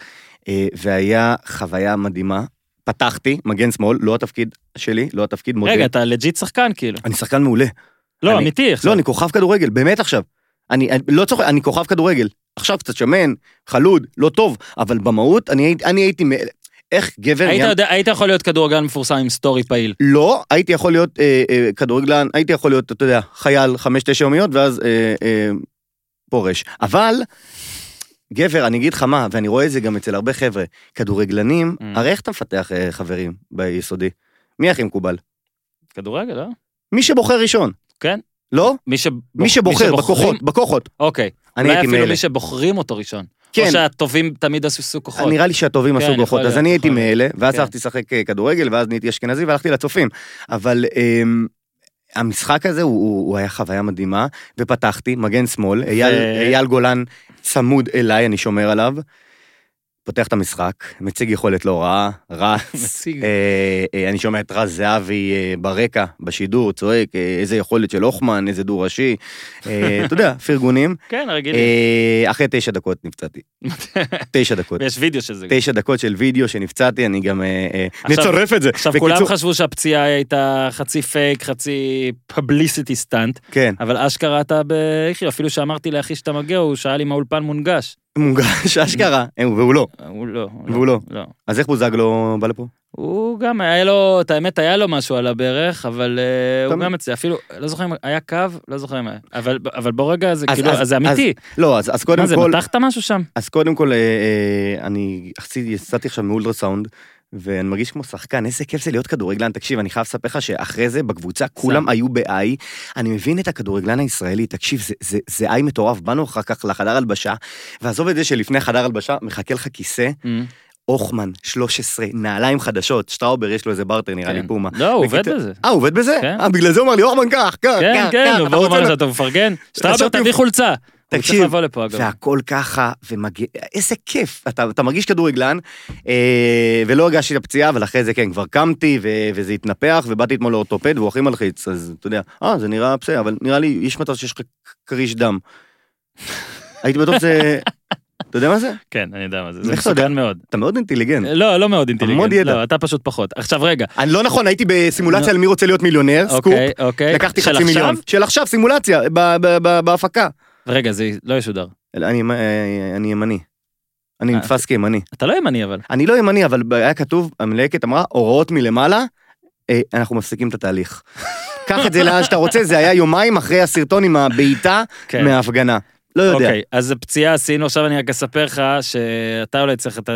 אה, והיה חוויה מדהימה. פתחתי, מגן שמאל, לא התפקיד שלי, לא התפקיד, מודה.
רגע, אתה לג'יט שחקן כאילו.
אני שחקן מעולה.
לא,
אני-
אמיתי. עכשיו.
לא, אני כוכב כדורגל, באמת עכשיו. אני, אני לא צוחק, אני כוכב כדורגל. עכשיו קצת שמן, חלוד, לא טוב, אבל במהות אני, הייתי- אני הייתי... מ- איך גבר...
היית
נהיה-
יודע- היית יכול להיות כדורגלן מפורסם עם סטורי פעיל.
לא, הייתי יכול להיות אה, אה, כדורגלן, הייתי יכול להיות, אתה יודע, חייל חמש-תשע יומיות, ואז אה, אה, פורש. אבל, גבר, אני אגיד לך מה, ואני רואה את זה גם אצל הרבה חבר'ה, כדורגלנים,
Mm.
הרי איך אתה מפתח אה, חברים ביסודי? מי הכי מקובל?
כדורגל, לא?
מי שבוחר ראשון.
כן.
לא?
מי שבוח-
מי שבוחר,
שבוחרים-
בכוחות, בכוחות.
אוקיי.
אני
אולי
הייתי
אפילו
מאלה.
מי שבוחרים אותו ראשון.
כן. אה,
או שהטובים תמיד עשו כוחות.
נראה לי שהטובים
כן,
עשו
יכול
גוחות,
להיות,
אז אני הייתי
יכול
מאלה, ואז
כן.
הלכתי לשחק אה, כדורגל, ואז נהייתי אשכנזי והלכתי לצופים. אבל אמ, המשחק הזה הוא- הוא הוא היה חוויה מדהימה, ופתחתי, מגן שמאל, אייל- אייל גולן צמוד אליי, אני שומר עליו. פותח את המשחק, מציג יכולת לא רעה, רץ,
מציג.
אה, אה, אני שומע את רז זהבי אה, ברקע, בשידור, צועק, אה, איזה יכולת של הוחמן, איזה דו-ראשי, אה, אתה יודע, פרגונים.
כן, הרגילים.
אה, אחרי תשע דקות נפצעתי, תשע דקות.
יש וידאו של זה. גם.
תשע דקות של וידאו שנפצעתי, אני גם... אה, אה,
עכשיו-
נצרף את זה.
עכשיו,
בקיצור-
כולם חשבו שהפציעה הייתה חצי פייק, חצי פבליסיטי סטאנט,
כן,
אבל אשכרה אתה באיכילוב, אפילו שאמרתי לאחי שאתה מגיע, הוא שאל אם האולפן מונגש.
מונגש אשכרה, אה, והוא לא.
הוא לא.
והוא לא.
לא.
אז איך בוזגלו בא לפה?
הוא גם היה לו, את האמת היה לו משהו על הברך, אבל אה, הוא
תמיד.
גם אצלי, אפילו, לא זוכר אם היה קו, לא זוכר אם היה, אבל אבל בוא רגע, זה
אז-
כאילו,
אז-
אז זה אמיתי.
לא, אז אז קודם
מה זה,
כל,
מתחת משהו שם?
אז קודם כל, אה, אה, אני עשיתי- יצאתי עכשיו מאולטרסאונד. ואני מרגיש כמו שחקן, איזה כיף זה להיות כדורגלן. תקשיב, אני חייב לספר לך שאחרי זה, בקבוצה, כולם היו ב-I. אני מבין את הכדורגלן הישראלי, תקשיב, זה- זה- זה I מטורף. באנו אחר כך לחדר הלבשה, ועזוב את זה שלפני חדר הלבשה, מחכה לך כיסא,
Mm,
הוחמן, 13, נעליים חדשות, שטראובר, יש לו איזה בארטר, נראה לי,
כן.
פומה.
לא, הוא עובד
בקיצור-
בזה.
אה, הוא עובד בזה?
כן.
אה, בגלל זה הוא אמר לי, הוחמן, קח, קח,
כן,
קח,
כן, הוא
קח, אתה
ברור
רוצה...
מה
לה-"
שאתה מפרגן. שטראובר,
חשבתי-
תביא חולצה. הוא צריך
תקשיב,
לבוא לפה, אגב.
והכל ככה, ומגיע, איזה כיף, אתה, אתה מרגיש כדורגלן, אה, ולא הרגשתי את הפציעה, אבל אחרי זה כן, כבר קמתי, ו, וזה התנפח, ובאתי אתמול לאורתופד, והוא הכי מלחיץ, אז אתה יודע, אה, זה נראה בסדר, אבל נראה לי, יש מצב שיש לך כריש דם. הייתי בטוח שזה... אתה יודע מה זה?
כן, אני יודע מה זה, זה
איך אתה יודע?
מסוכן מאוד.
אתה מאוד אינטליגנט.
לא, לא מאוד
המון
אינטליגנט.
ידע.
לא, אתה פשוט פחות. עכשיו רגע,
אני לא נכון, הייתי בסימולציה על מי רוצה להיות מיליונר, סקופ,
אוקיי, אוקיי.
לקחתי
של
חצי מיליון.
עכשיו?
של עכשיו, סימולציה, ב- ב- ב- בהפקה.
רגע, זה לא ישודר.
אני אה, אני ימני. אני
אה,
נתפס כימני.
אתה לא ימני אבל.
אני לא ימני, אבל היה כתוב, המלהקת אמרה, הוראות מלמעלה, אה, אנחנו מפסיקים את התהליך. קח את זה לאן שאתה רוצה, זה היה יומיים אחרי הסרטון עם הבעיטה
כן.
מההפגנה. לא יודע.
אוקיי, אז פציעה עשינו, עכשיו אני רק אספר לך שאתה אולי צריך, אתה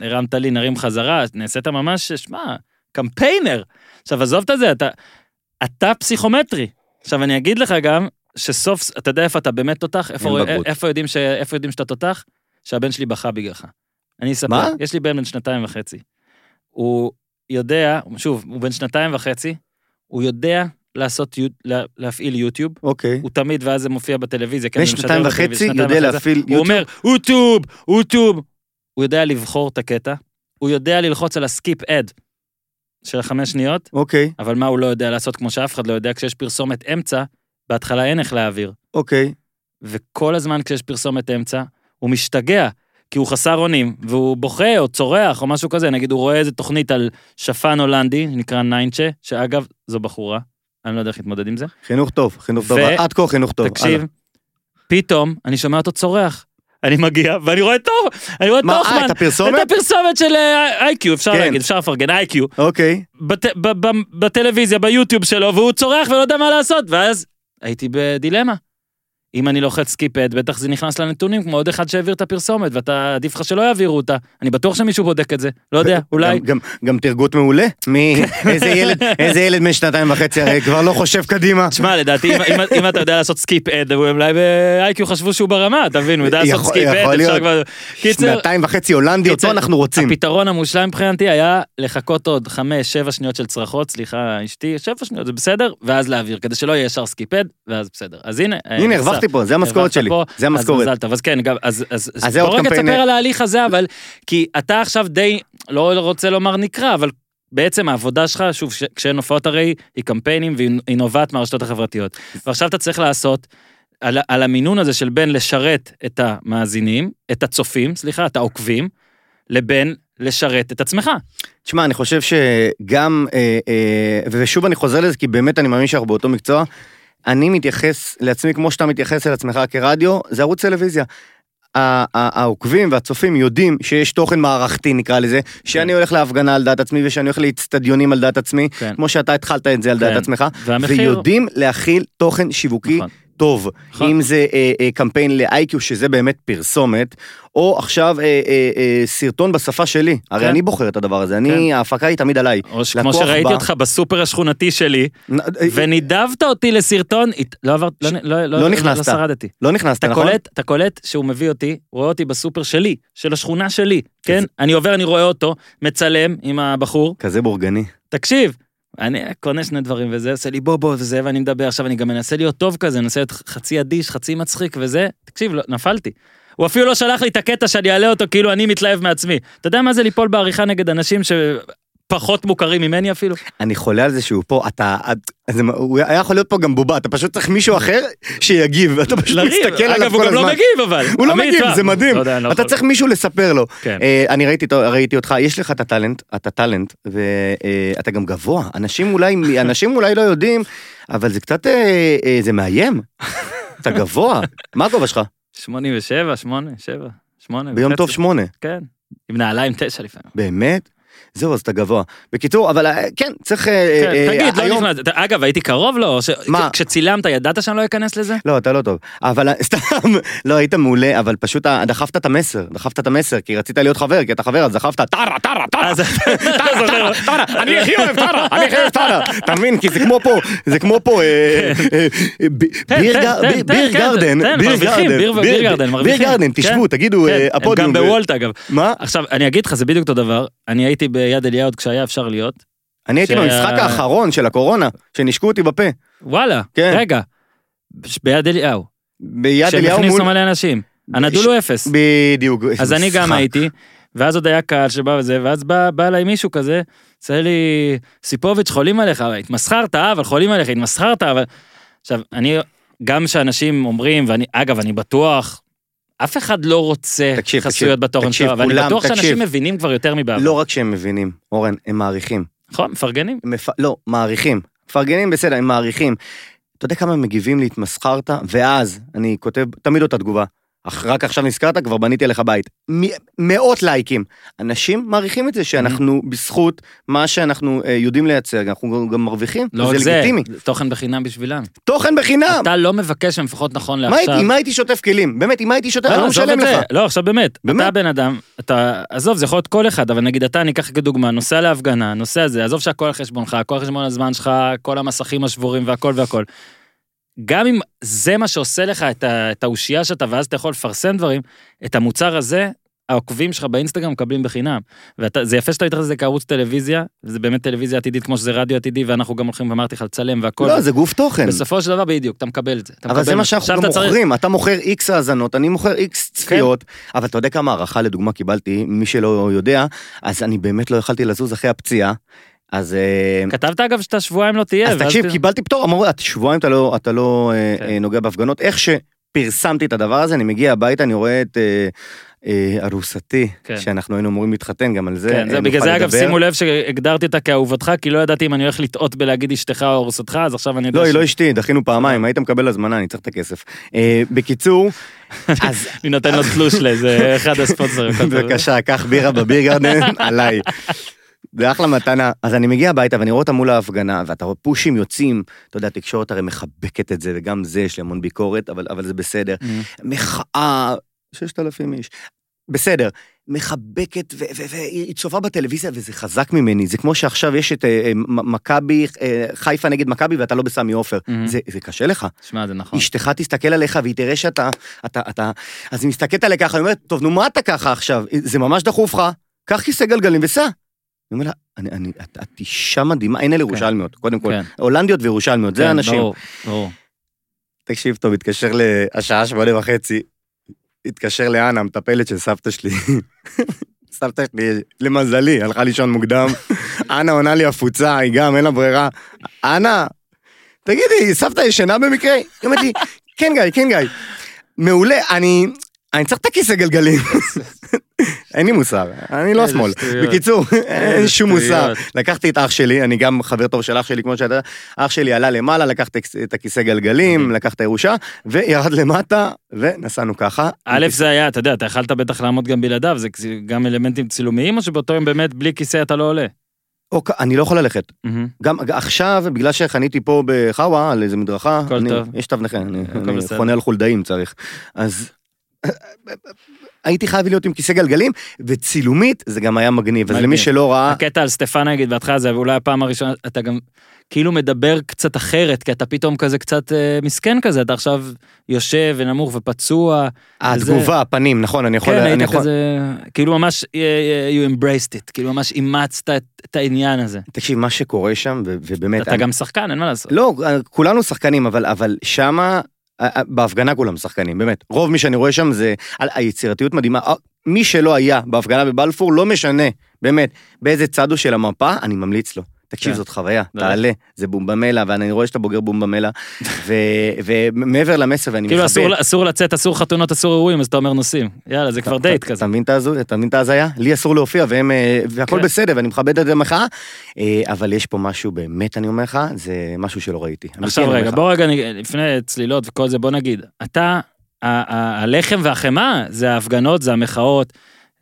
הרמת לי, נרים חזרה, נעשית ממש, שמע, קמפיינר. עכשיו, עזוב את זה, אתה, אתה פסיכומטרי. עכשיו, אני אגיד לך גם, שסוף, אתה יודע איפה אתה באמת תותח? איפה,
אין
רוא-
בגרות.
איפה, יודעים, ש, איפה יודעים שאתה תותח? שהבן שלי בכה בגללך. אני אספר,
מה?
יש לי בן בן שנתיים וחצי. הוא יודע, שוב, הוא בן שנתיים וחצי, הוא יודע לעשות, יו- לה- להפעיל יוטיוב,
אוקיי.
הוא תמיד, ואז זה מופיע בטלוויזיה. כן,
בן
זה משדר
שנתיים
בטלוויזיה,
וחצי
שנתיים
יודע
וחצי.
להפעיל
הוא
יוטיוב.
אומר, אוטוב, אוטוב. הוא יודע לבחור את הקטע, הוא יודע ללחוץ על הסקיפ אד של החמש שניות,
אוקיי,
אבל מה הוא לא יודע לעשות, כמו שאף אחד לא יודע, כשיש פרסומת אמצע, בהתחלה אין איך להעביר.
אוקיי.
וכל הזמן כשיש פרסומת אמצע, הוא משתגע, כי הוא חסר אונים, והוא בוכה או צורח או משהו כזה. נגיד, הוא רואה איזה תוכנית על שפן הולנדי, נקרא ניינצ'ה, שאגב, זו בחורה, אני לא יודע איך להתמודד עם זה.
חינוך טוב, חינוך טוב.
ו-
עד כה חינוך טוב.
תקשיב,
הלאה.
פתאום אני שומע אותו צורח. אני מגיע, ואני רואה טוב, אני רואה את
מה, אה,
הוחמן,
את הפרסומת?
את הפרסומת של איי-קיו, אפשר
כן.
להגיד, אפשר לפרגן, איי-קיו,
אוקיי.
בטלוויזיה, ביוטיוב שלו, והוא צורח ולא יודע מה לעשות, ואז הייתי בדילמה. אם אני לוחץ סקיפד, בטח זה נכנס לנתונים, כמו עוד אחד שהעביר את הפרסומת, ואתה, עדיף לך שלא יעבירו אותה. אני בטוח שמישהו בודק את זה, לא יודע, אולי.
גם- גם- גם תרגות מעולה. מי- איזה ילד- איזה ילד בן שנתיים וחצי הרי כבר לא חושב קדימה.
תשמע, לדעתי, אם- אם- אם אתה יודע לעשות סקיפ אד, אולי ב-IQ חשבו שהוא ברמה, אתה מבין, הוא יודע לעשות
יכול-
סקיפ
יכול
אד, אפשר
להיות.
כבר... קיצר,
שנתיים וחצי הולנדי, אותו
קיצר,
אנחנו רוצים.
הפתרון המושלם מבחינתי היה לחכות עוד חמש, שבע שניות של צרחות, סליחה, אשתי, שבע שניות, זה בסדר, ואז להעביר, כדי שלא יהיה ישר סקיפד, ואז בסדר. אז הנה, אה,
הנה,
נחשף.
הרווחתי פה, זה
הרווחת
המשכורת שלי.
פה,
זה
אז
המשכורת.
מזל טוב, אז כן, גם, אז, אז,
אז זה
בוא
עוד
רגע
קמפיין-
תספר על ההליך הזה, אבל, כי אתה עכשיו די, לא רוצה לומר נקרע, אבל בעצם העבודה שלך, שוב, ש- כשאין הופעות הרי, היא קמפיינים והיא היא נובעת מהרשתות החברתיות. ועכשיו אתה צריך לעשות על, ה- על המינון הזה של בין לשרת את המאזינים, את הצופים, סליחה, את העוקבים, לבין לשרת את עצמך.
תשמע, אני חושב שגם, אה, אה, ושוב אני חוזר לזה, כי באמת אני מאמין שאנחנו באותו מקצוע, אני מתייחס לעצמי כמו שאתה מתייחס אל עצמך כרדיו, זה ערוץ טלוויזיה. ה- ה- העוקבים והצופים יודעים שיש תוכן מערכתי, נקרא לזה, שאני הולך להפגנה על דעת עצמי ושאני הולך לאיצטדיונים על דעת עצמי,
כן.
כמו שאתה התחלת את זה על דעת
כן.
עצמך,
והמחיר-
ויודעים להכיל תוכן שיווקי
נכון.
טוב,
נכון.
אם זה אה, אה, קמפיין ל-IQ שזה באמת פרסומת, או עכשיו אה, אה, אה, סרטון בשפה שלי, הרי
כן.
אני בוחר את הדבר הזה, אני, ההפקה היא תמיד עליי.
או שכמו
לקוח
שראיתי
בא-
אותך בסופר השכונתי שלי,
נ- אה,
ונידבת אותי לסרטון, הת- לא עברת, לא- לא לא-
לא נכנסת.
לא שרדתי.
לא נכנסת,
אתה
נכון?
קולט, אתה קולט שהוא מביא אותי, רואה אותי בסופר שלי, של השכונה שלי, כן? אני עובר, אני רואה אותו, מצלם עם הבחור,
כזה בורגני.
תקשיב, אני קונה שני דברים וזה, עושה לי בובו וזה, ואני מדבר עכשיו, אני גם מנסה להיות טוב כזה, מנסה להיות חצי אדיש, חצי מצחיק וזה, תקשיב, לא, נפלתי. הוא אפילו לא שלח לי את הקטע שאני אעלה אותו כאילו אני מתלהב מעצמי. אתה יודע מה זה ליפול בעריכה נגד אנשים שפחות מוכרים ממני אפילו?
אני חולה על זה שהוא פה, אתה... את- זה מה- הוא היה יכול להיות פה גם בובה, אתה פשוט צריך מישהו אחר שיגיב, ואתה פשוט
לריב.
מסתכל עליו
אגב,
כל הזמן.
הוא גם לא מגיב אבל.
הוא לא
עמית,
מגיב,
מה?
זה מדהים.
לא יודע, אני לא
אתה
יכול.
צריך מישהו לספר לו.
כן.
אה, אני ראיתי אותו- ראיתי אותך, יש לך את הטאלנט, אתה טאלנט, ואתה גם גבוה. אנשים אולי, אנשים אולי לא יודעים, אבל זה קצת, אה, אה, זה מאיים. אתה גבוה. מה הגובה שלך?
87, 8, 7, 8.
ביום טוב שמונה.
כן. עם נעליים תשע לפעמים.
באמת? זהו, אז אתה גבוה. בקיצור, אבל אה, כן, צריך... אה,
כן,
אה,
תגיד, לא
היום-
נכנס, אתה- אגב, הייתי קרוב לו, ש-
מה?
כשצילמת ידעת שאני לא אכנס לזה?
לא, אתה לא טוב. אבל סתם, לא, היית מעולה, אבל פשוט אה, דחפת את המסר, דחפת את המסר, כי רצית להיות חבר, כי אתה חבר, אז דחפת, טרה, טרה, טרה,
אז- כן,
טרה, טרה, טרה, אני הכי אוהב טרה, אני הכי אוהב טרה. אתה מבין? כי זה כמו פה, זה כמו פה, אה, אה, אה, ב-
תן,
ביר
תן,
גר-
תן,
ביר-
תן,
ביר
כן,
גרדן,
תן,
ביר
מרוויחים,
גרדן,
ביר- ביר גרדן,
ביר
מרוויחים.
גרדן, תשבו,
כן.
תגידו, אה,
כן, הם
הפודיום.
גם
ו-
בוולט אגב.
מה?
עכשיו, אני אגיד לך, זה בדיוק אותו דבר. אני הייתי ביד אליהו עוד כשהיה אפשר להיות.
אני הייתי
שה-
במשחק האחרון של הקורונה, שנשקו אותי בפה,
וואלה,
כן.
רגע. ש- ביד אליהו.
ביד
שהם
אליהו
הכניסו
מול...
מלא אנשים. הנדול
ש-
הוא אפס.
בדיוק.
אז אני גם
משחק.
הייתי, ואז עוד היה קהל שבא וזה, ואז בא, בא אליי מישהו כזה, עושה לי, סיפוביץ', חולים עליך, אבל התמסחרת, אה, אבל חולים עליך, התמסחרת, אבל... עכשיו, אני, גם שאנשים אומרים, ואני, אגב, אני בטוח, אף אחד לא רוצה
תקשיב,
חסויות
תקשיב,
בתורן
תקשיב,
שלו, אבל אני
כולם,
בטוח שאנשים
תקשיב.
מבינים כבר יותר מבעבר.
לא רק שהם מבינים, אורן, הם מעריכים.
נכון, מפרגנים.
הם מפ... לא, מעריכים. מפרגנים בסדר, הם מעריכים. אתה יודע כמה הם מגיבים להתמסחרת? ואז, אני כותב תמיד אותה תגובה. אך רק עכשיו נזכרת, כבר בניתי עליך בית. מ- מאות לייקים. אנשים מעריכים את זה שאנחנו,
Mm-hmm.
בזכות מה שאנחנו אה, יודעים לייצר, אנחנו גם מרוויחים.
לא רק
זה
זה,
לגיטימי.
תוכן בחינם בשבילם.
תוכן בחינם!
אתה לא מבקש, הם לפחות נכון
מה
לעכשיו.
הייתי, אם הייתי שוטף כלים? באמת, אם הייתי שוטף,
לא,
אני לא
עזוב
משלם
את זה.
לך.
לא, עכשיו באמת,
באמת?
אתה בן אדם, אתה, עזוב, זה יכול להיות כל אחד, אבל נגיד אתה, אני אקח כדוגמה, נוסע להפגנה, נוסע זה, עזוב שהכל על חשבונך, הכל על חשבון הזמן שלך, כל המסכים השבורים והכל והכל. גם אם זה מה שעושה לך את ה- את האושייה שאתה, ואז אתה יכול לפרסם דברים, את המוצר הזה, העוקבים שלך באינסטגרם מקבלים בחינם. וזה יפה שאתה מתייחס לזה כערוץ טלוויזיה, זה באמת טלוויזיה עתידית כמו שזה רדיו עתידי, ואנחנו גם הולכים ואמרתי לך לצלם והכל.
לא, זה גוף תוכן.
בסופו של דבר בדיוק, אתה מקבל את זה. אתה
אבל זה
מקבל
מה
את
שאנחנו
עכשיו
גם
אתה צריך- כן.
מוכרים, אתה מוכר איקס האזנות, אני מוכר איקס צפיות, אבל אתה יודע כמה הערכה לדוגמה קיבלתי, מי שלא יודע, אז אני באמת לא יכלתי לזוז אחרי הפציעה, אז... אה,
כתבת אגב שאתה שבועיים לא תהיה.
אז
ואז
תקשיב,
פתאום-
קיבלתי פטור, אמרו, "את שבועיים אתה לא- אתה לא אה,
כן.
אה, נוגע בהפגנות, איך שפרסמתי את הדבר הזה, אני מגיע הביתה, אני רואה את... אה, אה, ארוסתי,
כן.
שאנחנו היינו אמורים להתחתן גם על זה,
כן, זה
אה,
בגלל
נוכל
זה אגב,
לדבר.
שימו לב שהגדרתי אותה כאהובתך, כי לא ידעתי אם אני הולך לטעות בלהגיד אשתך או ארוסתך, אז עכשיו אני יודע
לא, היא
ש-
לא אשתי, דחינו פעמיים, היית מקבל הזמנה, אני צריך את הכסף. אה, בקיצור, אז
אני נותן לו תלוש לאיזה אחד הספונסרים. הכל טוב.
בבקשה, קח בירה בביר גרדן עליי. זה אחלה מתנה. אז אני מגיע הביתה ואני רואה אותה מול ההפגנה, ואתה רואה פושים יוצאים, אתה יודע, התקשורת הרי מחבקת את זה, וגם זה יש לי המון ביקורת, אבל, אבל זה בסדר. מחאה, 6,000 איש, בסדר. מחבקת, ו- ו- והיא צופה בטלוויזיה, וזה חזק ממני. זה כמו שעכשיו יש את אה, אה, מ- מכבי, אה, חיפה נגד מכבי, ואתה לא בסמי עופר.
Mhm.
זה- זה קשה לך.
שמע, זה נכון.
אשתך תסתכל עליך והיא תראה שאתה, אתה, אתה, אז היא מסתכלת עליך ככה, היא אומרת, טוב, נו, מה אתה ככה עכשיו? זה ממש דחוף לך, קח כיסא גלגלים וסע. אני אומר לה, אני, אני, את, את אישה מדהימה, אין אלה ירושלמיות, קודם כל.
כן.
הולנדיות וירושלמיות,
כן,
זה האנשים.
ברור, ברור.
תקשיב טוב, התקשר לשעה שמונה וחצי, התקשר לאנה, המטפלת של סבתא שלי. סבתא שלי, למזלי, הלכה לישון מוקדם. אנה עונה לי הפוצה, היא גם, אין לה ברירה. אנה, תגידי, סבתא ישנה במקרה? היא אומרת לי, כן גיא, כן גיא. מעולה, אני... אני צריך את הכיסא גלגלים. אין לי מוסר, אני לא
איזה
שמאל.
שטויות.
בקיצור, אין שום מוסר.
שטויות.
לקחתי את אח שלי, אני גם חבר טוב של אח שלי, כמו שאתה יודע. אח שלי עלה למעלה, לקח את הכיס- את הכיסא גלגלים, לקח את הירושה, וירד למטה, ונסענו ככה.
א', זה היה, אתה יודע, אתה יכלת בטח לעמוד גם בלעדיו, זה כזה- גם אלמנטים צילומיים, או שבאותו יום באמת בלי כיסא אתה לא עולה?
אוקיי, אני לא יכול ללכת.
מהמם.
גם עכשיו, בגלל שחניתי פה בחאווה, על איזה מדרכה,
הכל
אני,
טוב.
יש תו נכה, אני,
הכל
אני
בסדר.
חונה על חולדאים צריך. אז הייתי חייב להיות עם כיסא גלגלים, וצילומית זה גם היה מגניב, אז
מגניב.
למי שלא ראה,
הקטע על סטפן נגיד בהתחלה זה אולי הפעם הראשונה אתה גם כאילו מדבר קצת אחרת כי אתה פתאום כזה קצת אה, מסכן כזה אתה עכשיו יושב ונמוך ופצוע. וזה-
התגובה, הפנים, נכון, אני יכול...
אה, כן
אני
היית
יכול-
כזה כאילו ממש אה, אה, you embraced it כאילו ממש אימצת את- את העניין הזה.
תקשיב, מה שקורה שם, ו- ובאמת...
אתה
אני-
גם שחקן אין מה לעשות.
לא, כולנו שחקנים, אבל, אבל שמה, אה, אה, בהפגנה כולם שחקנים, באמת. רוב מי שאני רואה שם זה, על- היצירתיות מדהימה. אה, מי שלא היה בהפגנה בבלפור, לא משנה, באמת, באיזה צד הוא של המפה, אני ממליץ לו. תקשיב,
כן.
זאת חוויה,
בטח.
תעלה, זה בומבמלה, ואני רואה שאתה בוגר בומבמלה, ו- ומעבר למסר, ואני
כאילו
מכבד.
אסור- אסור לצאת אסור חתונות אסור אירועים אז אתה אומר נוסעים יאללה זה כבר
לא, אתה-
דייט
אתה-
כזה.
אתה מבין את ההזוי- אתה מבין את ההזיה? לי אסור להופיע, והם, אה, והכל
כן.
בסדר, ואני מכבד את המחאה, אה, אבל יש פה משהו, באמת אני אומר לך, זה משהו שלא ראיתי. אמיתי, אני כן
עכשיו
אומר
רגע,
לך.
בוא רגע, נ- לפני צלילות וכל זה, בוא נגיד, אתה, ה- ה- הלחם והחמאה זה ההפגנות, זה המחאות,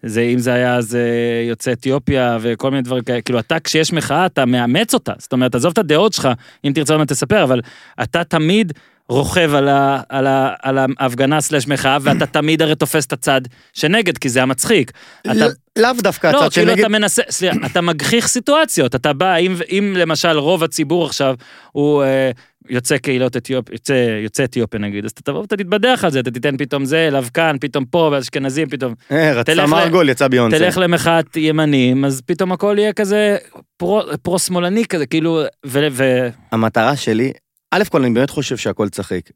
זה אם זה היה אז אה, יוצאי אתיופיה וכל מיני דברים כאלה, כאילו אתה כשיש מחאה אתה מאמץ אותה, זאת אומרת, עזוב את הדעות שלך, אם תרצה עוד מעט תספר, אבל אתה תמיד רוכב על, ה, על, ה, על ההפגנה סלש מחאה, ואתה תמיד הרי תופס את הצד שנגד, כי זה המצחיק. אתה
לא- לאו דווקא
לא,
הצד
כאילו
שנגד,
אתה מנסה, סליחה, אתה מגחיך סיטואציות, אתה בא, אם, אם למשל רוב הציבור עכשיו הוא אה, יוצא קהילות אתיופ, יוצא, יוצא אתיופיה נגיד, אז אתה תבוא ואתה תתבדח על זה, אתה תיתן פתאום זה, לבקן, פתאום פה, ואשכנזים, פתאום,
אה, רצה
תלך ל-
מרגול, יצא ביונסה.
תלך למחאת ימנים, אז פתאום הכל יהיה כזה פרו, פרו-שמאלני כזה, כאילו, ו... ו
המטרה שלי, א' כל אני באמת חושב שהכל צחיק,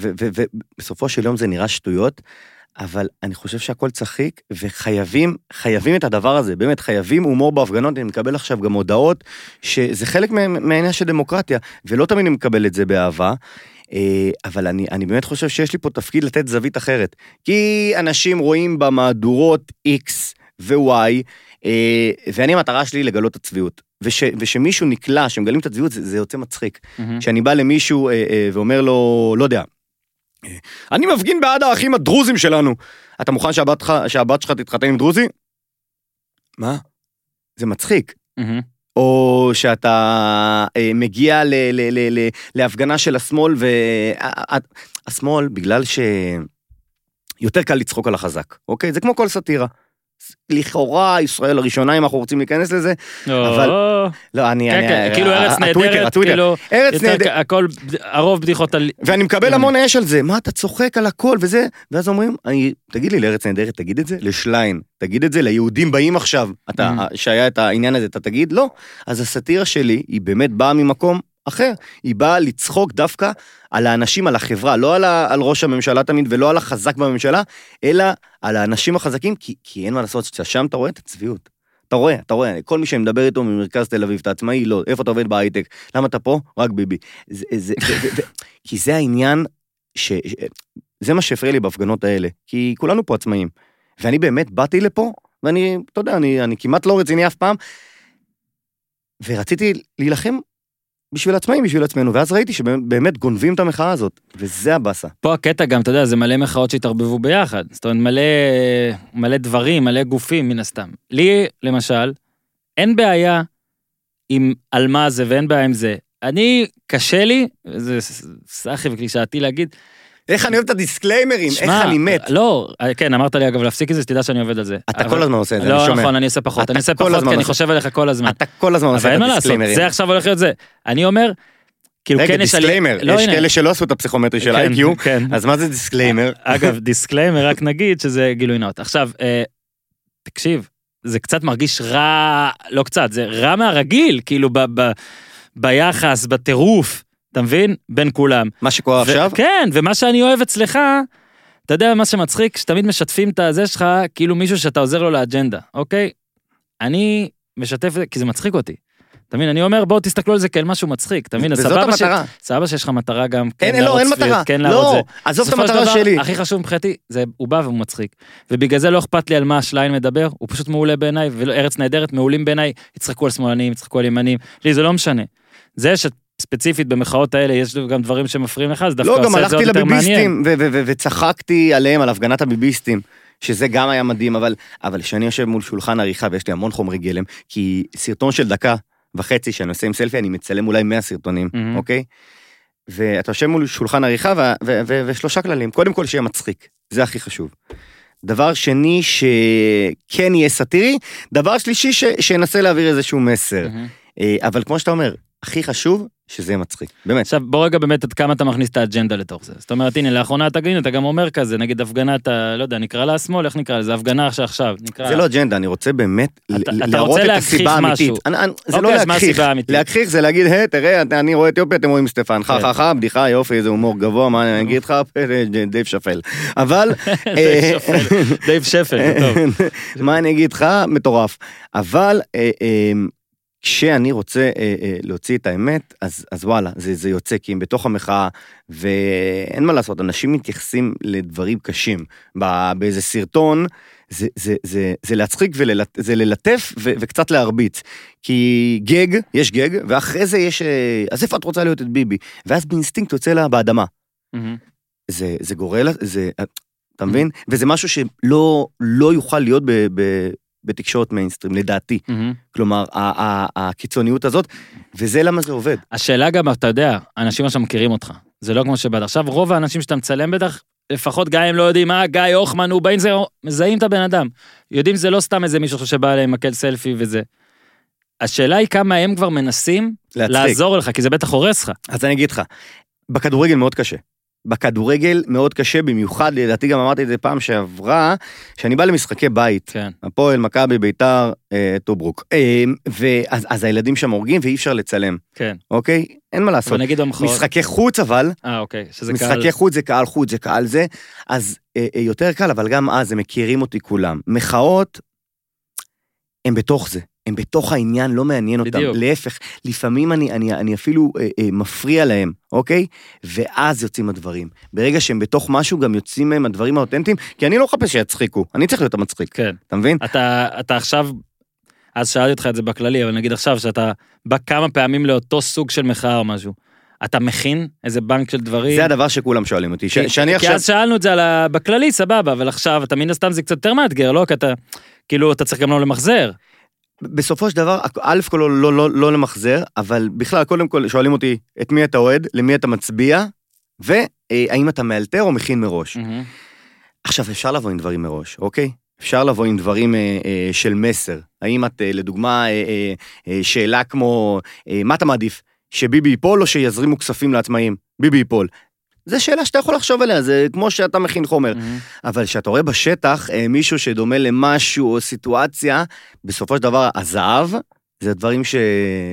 ובסופו של יום זה נראה שטויות, אבל אני חושב שהכל צחיק, וחייבים, חייבים את הדבר הזה, באמת, חייבים הומור בהפגנות, אני מקבל עכשיו גם הודעות, שזה חלק מה- מהעניין של דמוקרטיה, ולא תמיד אני מקבל את זה באהבה. אה, אבל אני, אני באמת חושב שיש לי פה תפקיד לתת זווית אחרת. כי אנשים רואים במהדורות X ו-Y, אה, ואני המטרה שלי לגלות את הצביעות. וש, ושמישהו נקלע, שמגלים את הצביעות, זה, זה יוצא מצחיק.
Mm.
כשאני בא למישהו אה, אה, ואומר לו, לא יודע, אה, אני מפגין בעד האחים הדרוזים שלנו. אתה מוכן שהבת, שלך- שהבת שלך תתחתן עם דרוזי? מה? זה מצחיק.
מהמם.
או שאתה אה, מגיע ל, ל, ל, ל, להפגנה של השמאל, והשמאל, בגלל ש... יותר קל לצחוק על החזק, אוקיי? זה כמו כל סאטירה. לכאורה, ישראל הראשונה, אם אנחנו רוצים להיכנס לזה, אבל-
או,
לא, אני...
כן,
אני-
כן, כאילו ארץ
הטוויטר,
נהדרת,
הטוויטר.
כאילו,
ארץ
יותר כן.
נהדרת.
כ- הכל, בד- הרוב בדיחות על...
ואני מקבל המון אש על זה, מה אתה צוחק על הכל וזה, ואז אומרים, אני, תגיד לי לארץ נהדרת, תגיד את זה לשליין, תגיד את זה ליהודים באים עכשיו, אתה,
Mhm.
שהיה את העניין הזה, אתה תגיד, לא. אז הסאטירה שלי, היא באמת באה ממקום אחר, היא באה לצחוק דווקא על האנשים, על החברה, לא על, ה, על ראש הממשלה תמיד ולא על החזק בממשלה, אלא על האנשים החזקים, כי, כי אין מה לעשות, כשאתה שם אתה רואה את הצביעות. אתה רואה, אתה רואה, כל מי שמדבר איתו ממרכז תל אביב, אתה עצמאי, לא, איפה אתה עובד בהייטק, למה אתה פה? רק ביבי. זה, זה, זה, זה, זה, כי זה העניין, ש, ש, זה מה שהפריע לי בהפגנות האלה, כי כולנו פה עצמאים. ואני באמת באתי לפה, ואני, אתה יודע, אני, אני כמעט לא רציני אף פעם, ורציתי להילחם בשביל עצמאים, בשביל עצמנו, ואז ראיתי שבאמת גונבים את המחאה הזאת, וזה הבאסה.
פה הקטע גם, אתה יודע, זה מלא מחאות שהתערבבו ביחד. זאת אומרת, מלא, מלא דברים, מלא גופים, מן הסתם. לי, למשל, אין בעיה עם על מה זה ואין בעיה עם זה. אני, קשה לי, זה ס- סאחי וקלישאתי להגיד,
איך אני אוהב את הדיסקליימרים,
שמע, לא, כן, אמרת לי אגב להפסיק את זה, שתדע שאני עובד על זה.
אתה
אבל-
כל הזמן עושה את זה, אני
לא,
שומע.
נכון, אני עושה פחות,
אתה
אני עושה
כל
פחות,
הזמן
כי אני
עושה-
חושב עליך כל הזמן.
אתה כל הזמן
אבל
עושה
אין
את
מה לעשות,
הדיסקליימרים.
זה עכשיו הולך להיות זה. אני אומר, כאילו,
רגע,
כן יש... עלי-
דיסקליימר,
לא,
יש
הנה.
כאלה שלא עשו את הפסיכומטרי של
כן,
ה-IQ,
כן.
אז מה זה דיסקליימר?
אגב, דיסקליימר, רק נגיד שזה גילוי נאות. עכשיו, אה, תקשיב, זה קצת מרגיש רע, לא קצת, זה רע מהרגיל, כאילו ב, ב, ביחס, בטירוף, אתה מבין? בין כולם.
מה שקורה
ו-
אה, עכשיו?
כן, ומה שאני אוהב אצלך, אתה יודע מה שמצחיק? שתמיד משתפים את הזה שלך, כאילו מישהו שאתה עוזר לו לאג'נדה, אוקיי? אני משתף, את זה, כי זה מצחיק אותי. אתה מבין, אני אומר, בואו תסתכלו על זה כאל משהו מצחיק, אתה מבין? אז
וזאת
סבבה ש-
המטרה.
סבבה שיש לך מטרה גם, כן
אין, אין, לא,
להראות
אין
צביעות,
מטרה.
כן להראות זה.
לא, עזוב את
בסופו של
המטרה
דבר,
שלי.
הכי חשוב מבחינתי, זה הוא בא והוא מצחיק. ובגלל זה לא אכפת לי על מה השליין מדבר, הוא פשוט מעולה בעיניי, וארץ נהדרת מעולים בעיניי, יצחקו על שמאלנים, יצחקו על ימנים, לי זה לא משנה. זה שספציפית במחאות האלה יש גם דברים שמפריעים לך, זה דווקא
לא, גם
עושה את זה
הלכתי
עוד יותר מעניין.
לביביסטים ו- ו- ו- וצחקתי עליהם, על הפגנת הביביסטים, שזה גם היה מדהים, אבל אבל כשאני יושב מול שולחן עריכה ויש לי המון חומרי גלם, כי סרטון של דקה וחצי שאני עושה עם סלפי, אני מצלם אולי 100 סרטונים,
מהמם.
אוקיי? ואתה יושב מול שולחן עריכה וה- ו- ו- ושלושה כללים, קודם כל שיהיה מצחיק, זה הכי חשוב. דבר שני, שכן יהיה סאטירי, דבר שלישי, ש- שינסה להעביר איזשהו מסר.
מהמם.
אה, אבל כמו שאתה אומר, הכי חשוב, שזה יהיה מצחיק, באמת.
עכשיו בוא רגע באמת עד כמה אתה מכניס את האג'נדה לתוך זה. זאת אומרת הנה לאחרונה אתה גם, אתה גם אומר כזה נגיד הפגנת ה- לא יודע נקרא לה השמאל איך נקרא לזה הפגנה שעכשיו נקרא.
זה לא אג'נדה, אני רוצה באמת ל-
אתה רוצה
להראות את
להכחיש
הסיבה האמיתית.
משהו.
אני- אני- זה
אוקיי,
לא
אז מה
להכחיש.
הסיבה האמיתית?
להכחיש זה להגיד, היי, תראה, אתה- אני רואה אתיופיה, אתם רואים סטפן, חה
כן.
חה חה, בדיחה, יופי, איזה הומור גבוה, מה אני אגיד לך, דייב שפל. אבל...
דייב שפל,
אה.
דייב שפל, טוב.
מה אני אגיד לך? מטורף. אבל אה, אה, כשאני רוצה אה, אה, להוציא את האמת, אז, אז וואלה, זה, זה יוצא, כי הם בתוך המחאה, ואין מה לעשות, אנשים מתייחסים לדברים קשים. ב- באיזה סרטון, זה, זה, זה, זה להצחיק וללטף ו, וקצת להרביץ. כי גג, יש גג, ואחרי זה יש, אה, אז איפה את רוצה להיות את ביבי? ואז באינסטינקט יוצא לה באדמה.
מהמם.
זה, זה גורל, זה, אה,
Mm-hmm.
אתה מבין? וזה משהו שלא לא יוכל להיות ב, ב, בתקשורת מיינסטרים, לדעתי.
מהמם.
כלומר, ה, ה, הקיצוניות הזאת, וזה למה זה עובד.
השאלה גם אתה יודע אנשים עכשיו מכירים אותך זה לא כמו שבאת עכשיו רוב האנשים שאתה מצלם בטח לפחות גם אם לא יודעים מה גיא הוחמן הוא באינסטגרם מזהים את הבן אדם יודעים זה לא סתם איזה מישהו שבא אליהם עם מקל סלפי וזה. השאלה היא כמה הם כבר מנסים
להצחיק.
לעזור לך כי זה בטח הורס לך.
אז אני אגיד לך, בכדורגל מאוד קשה. בכדורגל מאוד קשה, במיוחד, לדעתי גם אמרתי את זה פעם שעברה, שאני בא למשחקי בית,
כן.
הפועל, מכבי, ביתר, אה, טוברוק. אה, ואז אז הילדים שם הורגים ואי אפשר לצלם,
כן.
אוקיי? אין מה
אבל
לעשות.
נגיד במחאות.
משחקי חוץ אבל,
אה אוקיי. שזה קהל.
משחקי חוץ זה קהל חוץ זה קהל זה, אז אה, אה, יותר קל, אבל גם אז הם מכירים אותי כולם. מחאות, הם בתוך זה, הם בתוך העניין, לא מעניין אותם.
בדיוק.
להפך, לפעמים אני, אני, אני אפילו אה, אה, מפריע להם, אוקיי? ואז יוצאים הדברים. ברגע שהם בתוך משהו, גם יוצאים מהם הדברים האותנטיים, כי אני לא מחפש שיצחיקו, אני צריך להיות המצחיק,
כן.
אתה מבין?
אתה, אתה עכשיו, אז שאלתי אותך את זה בכללי, אבל נגיד עכשיו שאתה בא כמה פעמים לאותו סוג של מחאה או משהו, אתה מכין איזה בנק של דברים?
זה הדבר שכולם שואלים אותי, ש,
כי-
שאני
כן. כי
עכשיו...
אז שאלנו את זה על ה... בכללי, סבבה, אבל עכשיו אתה מן הסתם זה קצת יותר מאתגר, לא? כי אתה, כאילו, אתה צריך גם לא למחזר.
בסופו של דבר, א' כל לא, לא, לא, לא למחזר, אבל בכלל, קודם כל שואלים אותי, את מי אתה אוהד, למי אתה מצביע, והאם אתה מאלתר או מכין מראש.
Mm.
עכשיו, אפשר לבוא עם דברים מראש, אוקיי? אפשר לבוא עם דברים אה, אה, של מסר. האם את, אה, לדוגמה, אה, אה, אה, שאלה כמו, אה, מה אתה מעדיף, שביבי ייפול או שיזרימו כספים לעצמאים? ביבי ייפול. זו שאלה שאתה יכול לחשוב עליה, זה כמו שאתה מכין חומר. אבל כשאתה רואה בשטח אה, מישהו שדומה למשהו או סיטואציה, בסופו של דבר הזהב זה הדברים ש...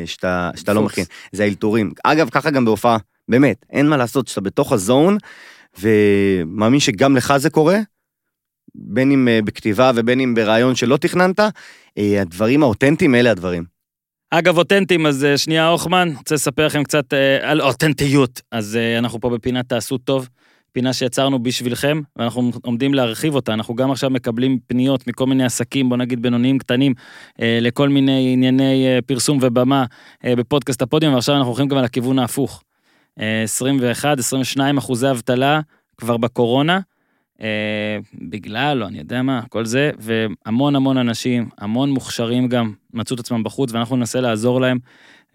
שאתה, שאתה לא
דפוס.
מכין, זה האלתורים. אגב, ככה גם בהופעה, באמת, אין מה לעשות, שאתה בתוך הזון, ומאמין שגם לך זה קורה, בין אם אה, בכתיבה ובין אם ברעיון שלא תכננת, אה, הדברים האותנטיים אלה הדברים.
אגב, אותנטיים, אז אה, שנייה, הוחמן, רוצה לספר לכם קצת אה, על אותנטיות. אז אה, אנחנו פה בפינת תעשו טוב, פינה שיצרנו בשבילכם, ואנחנו עומדים להרחיב אותה. אנחנו גם עכשיו מקבלים פניות מכל מיני עסקים, בוא נגיד בינוניים קטנים, אה, לכל מיני ענייני אה, פרסום ובמה אה, בפודקאסט הפודיום, ועכשיו אנחנו הולכים גם על הכיוון ההפוך. אה, 21, 22 אחוזי אבטלה כבר בקורונה. אה, בגלל, לא, אני יודע מה, כל זה, והמון המון אנשים, המון מוכשרים גם, מצאו את עצמם בחוץ, ואנחנו ננסה לעזור להם.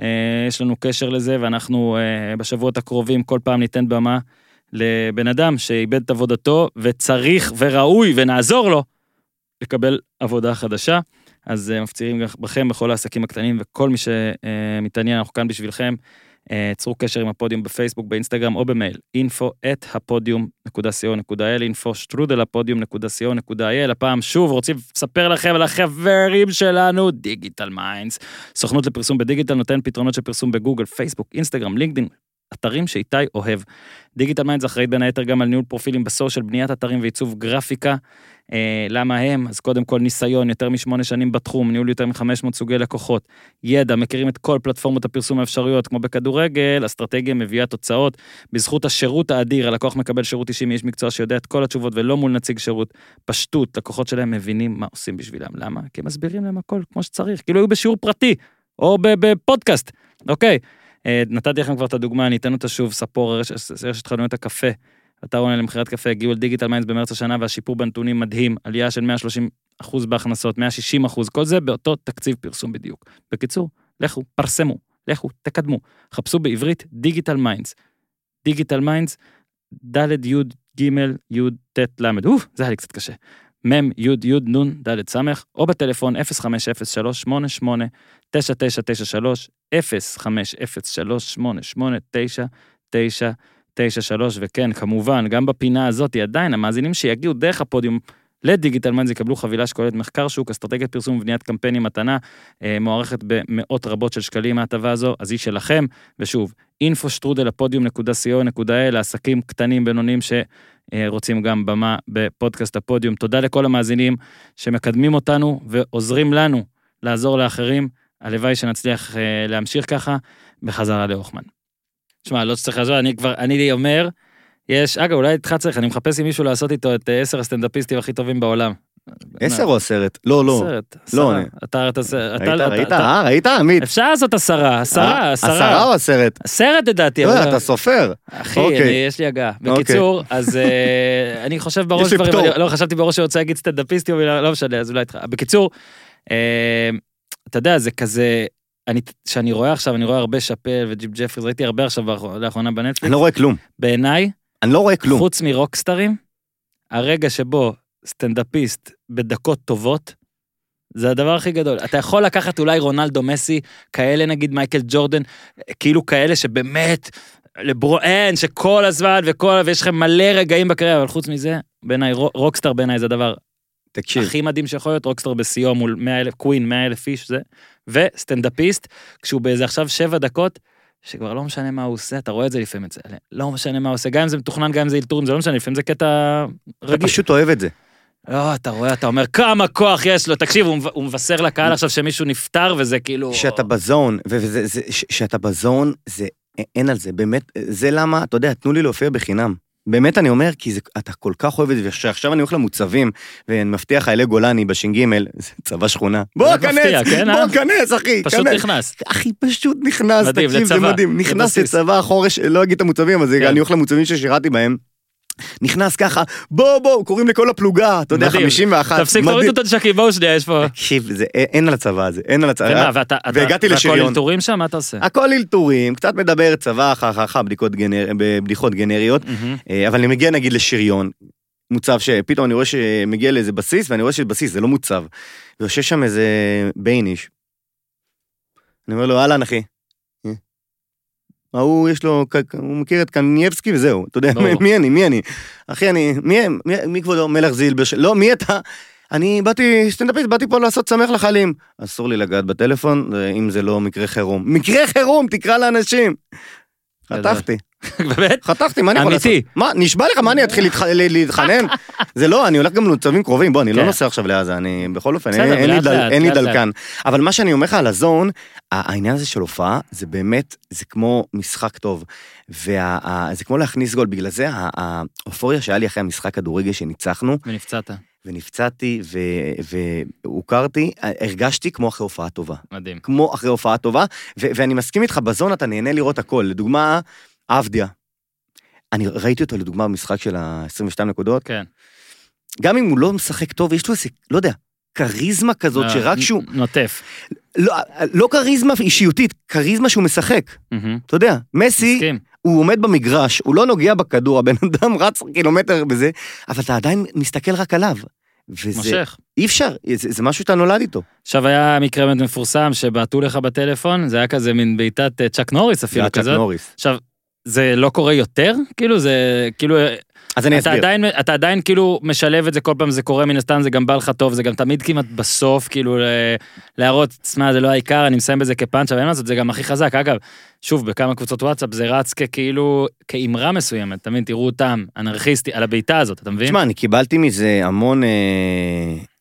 אה, יש לנו קשר לזה, ואנחנו אה, בשבועות הקרובים כל פעם ניתן במה לבן אדם שאיבד את עבודתו, וצריך וראוי, ונעזור לו, לקבל עבודה חדשה. אז אה, מפצירים גם בכם, בכל העסקים הקטנים, וכל מי שמתעניין, אנחנו כאן בשבילכם. אה, צרו קשר עם הפודיום בפייסבוק, באינסטגרם או במייל, info at הפודיום.co.il, info שטרודל הפודיום.co.il. הפעם שוב רוצים לספר לכם על החברים שלנו, דיגיטל מיינדס. סוכנות לפרסום בדיגיטל נותן פתרונות של פרסום בגוגל, פייסבוק, אינסטגרם, לינקדאין. אתרים שאיתי אוהב. דיגיטל מיינדס אחראית בין היתר גם על ניהול פרופילים בסושיאל, בניית אתרים ועיצוב גרפיקה. אה, למה הם? אז קודם כל ניסיון, יותר משמונה שנים בתחום, ניהול יותר מ-500 סוגי לקוחות, ידע, מכירים את כל פלטפורמות הפרסום האפשריות, כמו בכדורגל, אסטרטגיה מביאה תוצאות. בזכות השירות האדיר, הלקוח מקבל שירות אישי מאיש מקצוע שיודע את כל התשובות ולא מול נציג שירות. פשטות, לקוחות שלהם מבינים מה עושים בשבילם. למה? כי הם מסבירים להם הכל כמו שצריך, כאילו היו בשיעור פרטי, או ב- בפודקאסט, אוקיי. אה, נתתי לכם כבר את הדוגמה, אני אתן אותה שוב, ספור, רשת, רשת חנויות הקפה. אתר אונליין למכירת קפה הגיעו אל דיגיטל מיינדס במרץ השנה והשיפור בנתונים מדהים, עלייה של 130 אחוז בהכנסות, 160 אחוז, כל זה באותו תקציב פרסום בדיוק. בקיצור, לכו, פרסמו, לכו, תקדמו, חפשו בעברית דיגיטל מיינדס. דיגיטל מיינדס, ד' י' ג' י' ט' ל', אוף, זה היה לי קצת קשה. מ' י' י' נ' ד' ס', או בטלפון 0503-88-9993, 0503-88-9993, וכן, כמובן, גם בפינה הזאת, עדיין המאזינים שיגיעו דרך הפודיום לדיגיטל מיינדס יקבלו חבילה שכוללת מחקר שוק, אסטרטגיית פרסום ובניית קמפיינים מתנה, אה, מוערכת במאות רבות של שקלים ההטבה הזו, אז היא שלכם, ושוב, info שטרודל הפודיום.co.il לעסקים קטנים, בינוניים, שרוצים גם במה בפודקאסט הפודיום. תודה לכל המאזינים שמקדמים אותנו ועוזרים לנו לעזור לאחרים. הלוואי שנצליח אה, להמשיך ככה, בחזרה להוכמן. שמע, לא צריך לעזור, אני כבר, אני אומר, יש, אגב, אולי איתך צריך, אני מחפש עם מישהו לעשות איתו את אה, עשר הסטנדאפיסטים הכי טובים בעולם.
עשר או עשרת? לא, לא.
סרט,
לא,
עשרה.
אני-
אתה, אתה, אתה, לא-
ראית,
אתה,
ראית,
אתה,
אה, ראית, עמית? אה,
אפשר לעשות עשרה, עשרה,
עשרה
עשרה.
או עשרת?
סרט לדעתי,
לא,
אבל-
אתה סופר.
אחי,
אוקיי.
אני- יש לי הגעה. בקיצור, אז אה, אני חושב
יש
בראש
לי
דברים,
פטור.
אני- לא, חשבתי בראש שרוצה להגיד סטנדאפיסטי, אבל לא משנה, אז אולי איתך. בקיצור, אה, אתה יודע, זה כזה, אני- שאני רואה עכשיו, אני רואה הרבה שאפל וג'יפ ג'פריז, ראיתי הרבה עכשיו באחר- לאחרונה
אני
בנטפליקס.
לא רואה כלום.
בעיניי,
אני לא רואה כלום.
חוץ מרוקסטרים, הרגע שבו סטנדאפיסט בדקות טובות, זה הדבר הכי גדול. אתה יכול לקחת אולי רונלדו מסי, כאלה נגיד מייקל ג'ורדן, כאילו כאלה שבאמת, לברון, אין, שכל הזמן וכל, ויש לכם מלא רגעים בקריירה, אבל חוץ מזה, בעיניי, רו- רוקסטאר בעיניי זה הדבר
תקשיב.
הכי מדהים שיכול להיות, רוקסטאר בשיאו מול 100 אלף, קווין, 100 אלף איש, זה, וסטנדאפיסט, כשהוא באיזה עכשיו שבע דקות, שכבר לא משנה מה הוא עושה, אתה רואה את זה לפעמים אצל, לא משנה מה הוא עושה, גם אם זה מתוכנן, גם אם זה אלתורים, זה לא משנה, לפעמים זה קטע
אתה
רגיש.
פשוט אוהב את זה.
לא, אתה רואה, אתה אומר, כמה כוח יש לו, תקשיב, הוא מב- הוא מבשר לקהל עכשיו שמישהו נפטר, וזה כאילו...
כשאתה בזון, וכשאתה בזון, זה, א- אין על זה, באמת, זה למה, אתה יודע, תנו לי להופיע בחינם. באמת אני אומר, כי זה, אתה כל כך אוהב את זה, ועכשיו אני הולך למוצבים, ואני מבטיח חיילי גולני בש"ג, זה צבא שכונה. בוא,
באמת מפתיע,
כנס,
כן, אה?
בוא, כנס, אחי,
פשוט
כנס.
נכנס.
אחי, פשוט נכנס,
מדהים,
תקשיב, זה
לצבא,
מדהים. נכנס
לבסיס.
לצבא החורש, לא אגיד את המוצבים, אבל
כן.
זה- אני הולך למוצבים ששירתי בהם. נכנס ככה, בוא, בוא, קוראים לכל הפלוגה, אתה יודע,
מדהים.
51.
תפסיק,
מדהים.
תוריד את הנשקים, בואו שנייה, יש פה...
תקשיב, זה- א- אין על הצבא הזה, אין על
ומה,
הצבא.
ואתה... אתה-
אה, והגעתי
והכל
לשריון. אה,
אלתורים שם, מה אתה עושה?
הכל אלתורים, קצת מדבר צבא, חככה, בדיקות גנר... בדיחות גנריות,
מהמם.
אה, אבל אני מגיע נגיד לשריון, מוצב שפתאום אני רואה שמגיע לאיזה בסיס, ואני רואה שבסיס זה לא מוצב. ויושב שם איזה בייניש. אני אומר לו, אהלן אחי. אה? ההוא יש לו, ק- ק- הוא מכיר את קנייבסקי וזהו, אתה יודע,
ברור.
מי אני, מי אני? אחי, אני, מי, מי, מי כבודו? מלך זילבר, של- לא, מי אתה? אני באתי, סטנדאפיסט, באתי פה לעשות שמח לחיילים. אסור לי לגעת בטלפון, אה, אם זה לא מקרה חירום. מקרה חירום, תקרא לאנשים.
גדול.
חטפתי.
באמת?
חתכתי, מה אני יכול לעשות?
אמיתי.
מה, נשבע לך, מה אני אתחיל להתח- ל- להתחנן? זה לא, אני הולך גם למצבים קרובים, בוא, אני לא
כן.
נוסע עכשיו לעזה, אני בכל אופן, אין-
בסדר,
אין לי
לאט
דל-
לאט,
אין לי
לאט לאט.
דלקן. אבל מה שאני אומר לך על הזון, ה- העניין הזה של הופעה, זה באמת, זה כמו משחק טוב. וזה כמו להכניס גול, בגלל זה ה- האופוריה שהיה לי אחרי המשחק כדורגל שניצחנו,
ונפצעת.
ונפצעתי ו- והוכרתי, הרגשתי כמו אחרי הופעה טובה.
מדהים.
כמו אחרי הופעה טובה, ו- ואני מסכים איתך, בזון אתה נהנה לראות הכל. לדוגמה, עבדיה. אני ראיתי אותו לדוגמה במשחק של ה-22 נקודות.
כן.
גם אם הוא לא משחק טוב, יש לו איזה, לא יודע, כריזמה כזאת שרק
אה, נ-
שהוא...
נוטף.
לא, לא כריזמה אישיותית, כריזמה שהוא משחק.
מהמם.
אתה יודע, מסי,
מסכים.
הוא עומד במגרש, הוא לא נוגע בכדור, הבן אדם רץ קילומטר בזה, אבל אתה עדיין מסתכל רק עליו. וזה
מושך.
אי אפשר, זה, זה משהו שאתה נולד איתו.
עכשיו היה מקרה באמת מפורסם שבעטו לך בטלפון, זה היה כזה מין בעיטת אה, צ'אק נוריס
זה
אפילו
היה צ'אק
כזאת.
נוריס.
עכשיו, זה לא קורה יותר? כאילו זה, כאילו, אה,
אז אני
אתה
אסביר.
עדיין, אתה עדיין כאילו משלב את זה כל פעם זה קורה מן הסתם זה גם בא לך טוב זה גם תמיד כמעט בסוף כאילו ל- להראות תשמע זה לא העיקר אני מסיים בזה כפאנץ' אבל אין מה לעשות זה גם הכי חזק אגב שוב בכמה קבוצות וואטסאפ זה רץ ככאילו כאמרה מסוימת תמיד תראו אותם אנרכיסטי על הבעיטה הזאת אתה מבין?
תשמע, אני קיבלתי מזה המון, אה,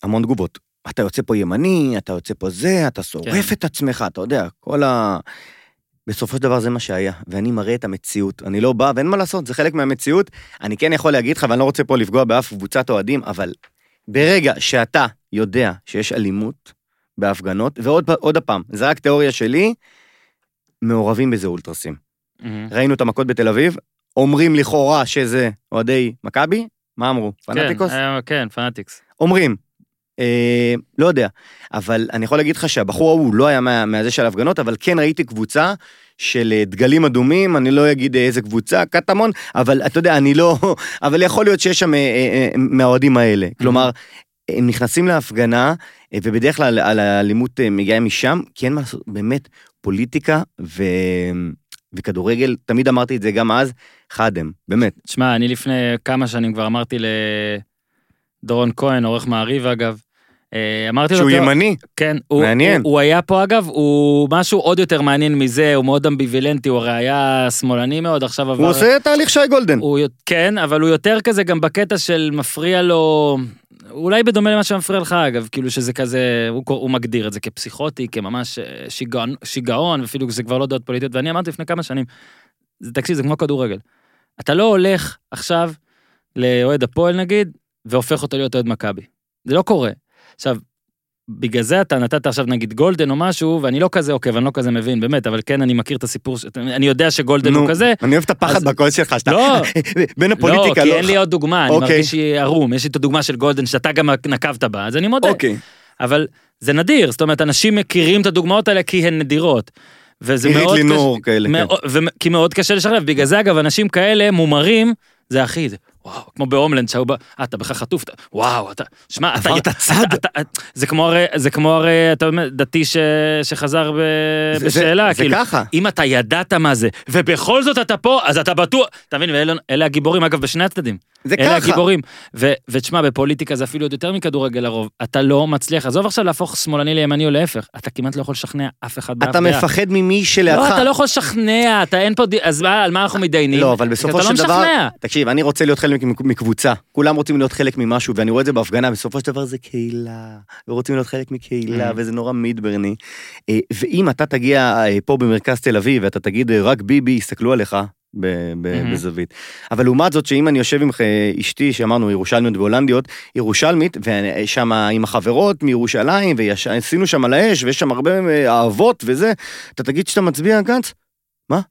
המון תגובות. אתה יוצא פה ימני, אתה יוצא פה זה, אתה שורף
כן.
את עצמך, אתה יודע, כל ה... בסופו של דבר זה מה שהיה, ואני מראה את המציאות. אני לא בא, ואין מה לעשות, זה חלק מהמציאות. אני כן יכול להגיד לך, ואני לא רוצה פה לפגוע באף קבוצת אוהדים, אבל ברגע שאתה יודע שיש אלימות בהפגנות, ועוד פ- עוד פעם, זה רק תיאוריה שלי, מעורבים בזה אולטרסים.
מהמם.
ראינו את המכות בתל אביב, אומרים לכאורה שזה אוהדי מכבי, מה אמרו? פנאטיקוס?
כן, אה, כן פנאטיקס.
אומרים. אה, לא יודע, אבל אני יכול להגיד לך שהבחור ההוא לא היה מה, מהזה של ההפגנות, אבל כן ראיתי קבוצה של אה, דגלים אדומים, אני לא אגיד אה, איזה קבוצה, קטמון, אבל אתה יודע, אני לא... אבל יכול להיות שיש שם אה, אה, אה, מהאוהדים האלה. כלומר, הם נכנסים להפגנה, אה, ובדרך כלל על האלימות אה, מגיעה משם, כי אין מה לעשות, באמת, פוליטיקה ו... וכדורגל, תמיד אמרתי את זה גם אז, חד הם, באמת.
תשמע, אני לפני כמה שנים כבר אמרתי לדורון כהן, עורך מעריב אגב, אה, אמרתי לו...
שהוא
"אתה-
ימני,
כן, הוא,
מעניין.
הוא, הוא היה פה אגב, הוא משהו עוד יותר מעניין מזה, הוא מאוד אמביווילנטי, הוא הרי היה שמאלני מאוד, עכשיו עבר...
הוא עושה תהליך שי גולדן.
הוא, יות- כן, אבל הוא יותר כזה גם בקטע של מפריע לו, אולי בדומה למה שמפריע לך אגב, כאילו שזה כזה, הוא, קור- הוא מגדיר את זה כפסיכוטי, כממש אה, שיגעון, שיגעון אפילו זה כבר לא דעות פוליטיות, ואני אמרתי לפני כמה שנים, זה, תקשיב, זה כמו כדורגל. אתה לא הולך עכשיו לאוהד הפועל נגיד, והופך אותו להיות אוהד מכבי. זה לא קורה. עכשיו, בגלל זה אתה נתת עכשיו נגיד גולדן או משהו, ואני לא כזה עוקב, אני לא כזה מבין, באמת, אבל כן, אני מכיר את הסיפור, ש- אני יודע שגולדן הוא כזה,
אני אוהב את הפחד
אז-
בקול שלך, שאתה...
לא.
בין הפוליטיקה,
לא, כי אין לי עוד דוגמה, אני
אוקיי.
מרגיש שהיא ערום, יש לי את הדוגמה של גולדן שאתה גם נקבת בה, אז אני מודה.
אוקיי.
אבל זה נדיר, זאת אומרת, אנשים מכירים את הדוגמאות האלה כי הן נדירות. וזה
עירית
מאוד
לינור כאלה, כן.
מאוד- ו- כי מאוד קשה לשלב, בגלל זה אגב, אנשים כאלה מומרים, זה הכי, זה, וואו, כמו בהומלנד, שהיו ב... אה, אתה בכלל חטוף, אתה, וואו, אתה, שמע, אתה...
עברת צד?
אתה- אתה- זה כמו הרי, זה כמו הרי, אתה אומר, דתי ש- שחזר ב...
זה- זה-
בשאלה,
זה
כאילו.
ככה.
אם אתה ידעת מה זה, ובכל זאת אתה פה, אז אתה בטוח, אתה מבין, ואלה אלה הגיבורים, אגב, בשני הצדדים.
זה
אלה
ככה.
הגיבורים. ו- ותשמע, בפוליטיקה זה אפילו עוד יותר מכדורגל לרוב. אתה לא מצליח, עזוב עכשיו להפוך שמאלני לימני או להפך, אתה כמעט לא יכול לשכנע אף אחד באף
אתה
דעה.
מפחד ממי שלעדך.
לא, אתה לא יכול לשכנע, אתה אין פה, ד- אז מה, על מה אנחנו מתדיינים?
לא, אבל
כי
בסופו של
אתה לא
דבר,
משכנע.
תקשיב, אני רוצה להיות חלק מק- מקבוצה. כולם רוצים להיות חלק ממשהו, ואני רואה את זה בהפגנה, בסופו של דבר זה קהילה, ורוצים להיות חלק מקהילה,
Mhm.
וזה נורא מידברני. אה, ואם אתה תגיע אה, פה במרכז תל אביב, ואתה תגיד אה, רק ביבי, יסתכלו עליך. ב- ב-
Mhm.
בזווית. אבל לעומת זאת שאם אני יושב עם אה, אשתי שאמרנו ירושלמיות והולנדיות, ירושלמית ושם עם החברות מירושלים ועשינו שם על האש ויש שם הרבה אה, אהבות וזה, אתה תגיד שאתה מצביע גנץ? מה?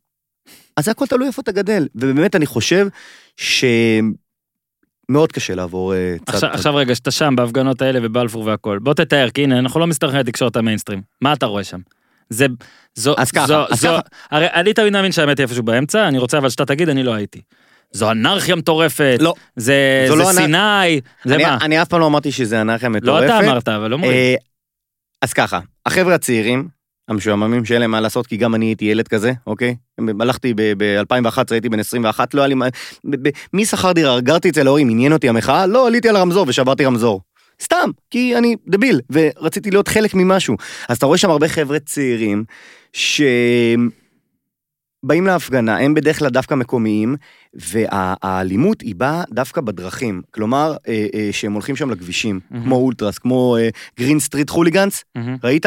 אז זה הכל תלוי איפה אתה גדל ובאמת אני חושב שמאוד קשה לעבור אה, צד.
עכשיו, עכשיו רגע, שאתה שם בהפגנות האלה ובלפור והכל, בוא תתאר, כי הנה, אנחנו לא מסתכלים על תקשורת המיינסטרים. מה אתה רואה שם? זה... זו,
אז ככה,
זו,
אז
זו,
ככה.
הרי אני תמיד מאמין שהאמת היא איפשהו באמצע, אני רוצה אבל שאתה תגיד, אני לא הייתי. זו אנרכיה מטורפת,
לא.
זה,
זו
זה
לא אנ-
סיני, זה
אני,
מה?
אני אף פעם לא אמרתי שזה אנרכיה
לא
מטורפת.
אתה אמרת, אבל אומרים.
אה, אז ככה, החבר'ה הצעירים, המשועממים שאין להם מה לעשות, כי גם אני הייתי ילד כזה, אוקיי? הלכתי ב-2011, הייתי בן 21, לא היה לי מה... ב- ב- מי שכר דירה? גרתי אצל ההורים, עניין אותי המחאה? לא, עליתי על הרמזור ושברתי רמזור. סתם, כי אני דביל, ורציתי להיות חלק ממשהו. אז אתה רואה שם הרבה חבר'ה צעירים, שהם באים להפגנה, הם בדרך כלל דווקא מקומיים, והאלימות היא באה דווקא בדרכים. כלומר, אה, אה, שהם הולכים שם לכבישים,
מהמם.
כמו אולטרס, כמו אה, גרין סטריט חוליגנס,
מהמם.
ראית?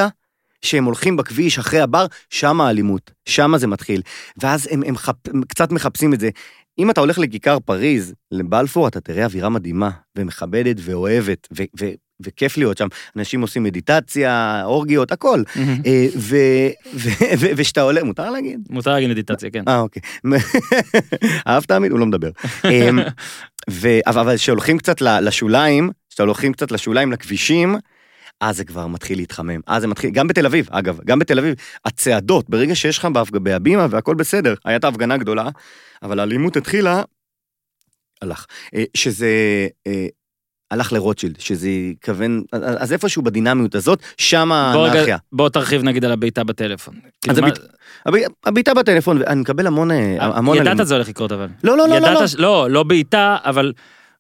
שהם הולכים בכביש אחרי הבר, שם האלימות, שם זה מתחיל. ואז הם, הם, חפ, הם קצת מחפשים את זה. אם אתה הולך לכיכר פריז, לבלפור, אתה תראה אווירה מדהימה, ומכבדת ואוהבת, ו, ו, וכיף להיות שם. אנשים עושים מדיטציה, אורגיות, הכל.
מהמם.
אה, ו- ו- ו- ושאתה עולה, מותר להגיד?
מותר להגיד מדיטציה, כן.
אה, אוקיי. אהבת עמית? הוא לא מדבר. אמ, ו- אבל אבל כשהולכים קצת ל- לשוליים, כשאתה הולכים קצת לשוליים, לכבישים, אז זה כבר מתחיל להתחמם. אז זה מתחיל, גם בתל אביב, אגב, גם בתל אביב, הצעדות, ברגע שיש לך בהפג- בהבימה והכל בסדר, הייתה הפגנה גדולה, אבל האלימות התחילה, הלך, אה, שזה אה, הלך לרוטשילד, שזה כוון, אז- אז איפשהו בדינמיות הזאת, שם
בוא רגע-
האנרכיה.
בוא תרחיב נגיד על הבעיטה בטלפון. כאילו, מה-
אה, הביט- הב- הבעיטה בטלפון, אני מקבל המון, אה, המון
ידעת זה הולך לקרות אבל.
לא, לא, לא, לא,
ידעת
לא.
ש- לא, לא בעיטה, אבל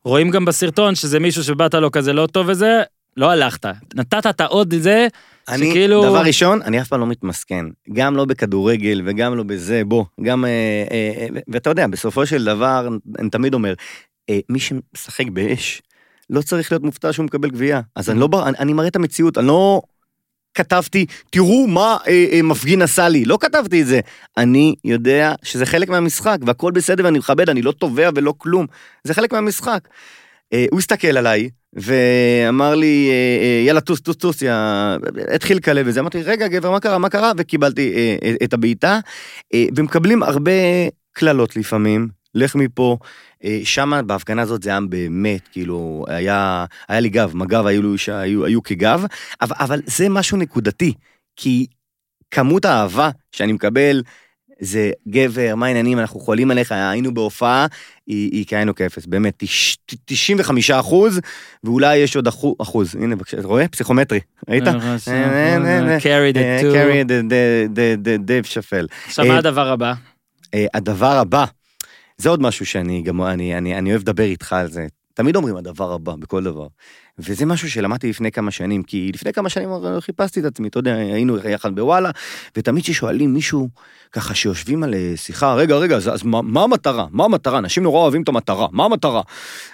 רואים גם בסרטון שזה מישהו שבאת לו כזה לא טוב וזה, לא הלכת. נתת את העוד זה, כאילו-
אני,
שכאילו-
דבר ראשון, אני אף פעם לא מתמסכן. גם לא בכדורגל וגם לא בזה, בוא. גם, אה, אה, אה, ו- ואתה יודע, בסופו של דבר, אני תמיד אומר, אה, מי שמשחק באש, לא צריך להיות מופתע שהוא מקבל גבייה. אז אני לא, בר- אני, אני מראה את המציאות, אני לא כתבתי, תראו מה אה, אה, מפגין עשה לי, לא כתבתי את זה. אני יודע שזה חלק מהמשחק, והכל בסדר ואני מכבד, אני לא תובע ולא כלום. זה חלק מהמשחק. אה, הוא הסתכל עליי, ואמר לי, אה, אה, יאללה, טוס, טוס, טוס, יא... התחיל כלה וזה. אמרתי, רגע, גבר, מה קרה, מה קרה? וקיבלתי אה, אה, את הבעיטה. אה, ומקבלים הרבה קללות לפעמים, לך מפה. אה, שמה, בהפגנה הזאת זה היה באמת, כאילו, היה, היה לי גב, מג"ב היו, היו, היו, היו כגב, אבל, אבל זה משהו נקודתי, כי כמות האהבה שאני מקבל, זה גבר, מה העניינים, אנחנו חולים עליך, היינו בהופעה, היא, היא כאין וכאפס, באמת, תש- 95 אחוז, ואולי יש עוד אחו- אחוז, הנה, בבקשה, אתה רואה? פסיכומטרי, ראית? אה, אה,
carry
אה,
the
קרי,
two.
ד- ד- ד- ד- דייב שפל.
עכשיו מה הדבר הבא?
אה, הדבר הבא, זה עוד משהו שאני גם, אני, אני, אני אוהב לדבר איתך על זה. תמיד אומרים הדבר הבא, בכל דבר. וזה משהו שלמדתי לפני כמה שנים, כי לפני כמה שנים לא חיפשתי את עצמי, אתה יודע, היינו יחד בוואלה, ותמיד כששואלים מישהו, ככה שיושבים על אה, שיחה, רגע, רגע, אז, אז מה, מה המטרה? מה המטרה? אנשים נורא אוהבים את המטרה, מה המטרה?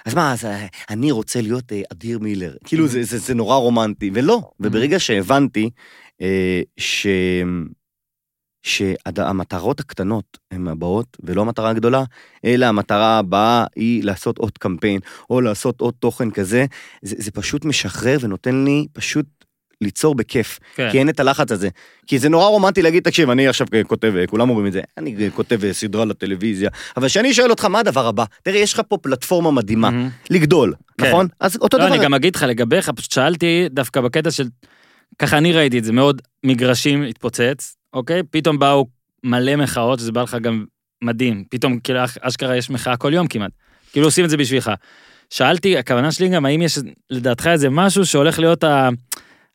אז מה, אז אה, אני רוצה להיות אה, אדיר מילר. כאילו, זה, זה, זה נורא רומנטי, ולא. וברגע שהבנתי אה, ש... שהמטרות הקטנות הן הבאות, ולא המטרה הגדולה, אלא המטרה הבאה היא לעשות עוד קמפיין, או לעשות עוד תוכן כזה, זה, זה פשוט משחרר ונותן לי פשוט ליצור בכיף,
כן.
כי אין את הלחץ הזה. כי זה נורא רומנטי להגיד, תקשיב, אני עכשיו כותב, כולם אומרים את זה, אני כותב סדרה לטלוויזיה, אבל כשאני שואל אותך, מה הדבר הבא? תראה, יש לך פה פלטפורמה מדהימה,
מהמם.
לגדול,
כן.
נכון? אז אותו
לא,
דבר.
אני גם אגיד לך לגביך, פשוט שאלתי דווקא בקטע של... ככה אני ראיתי את זה, מאוד מגרשים התפוצץ, אוקיי? פתאום באו מלא מחאות, שזה בא לך גם מדהים. פתאום, כאילו, אש- אשכרה יש מחאה כל יום כמעט. כאילו עושים את זה בשבילך. שאלתי, הכוונה שלי גם, האם יש לדעתך איזה משהו שהולך להיות ה...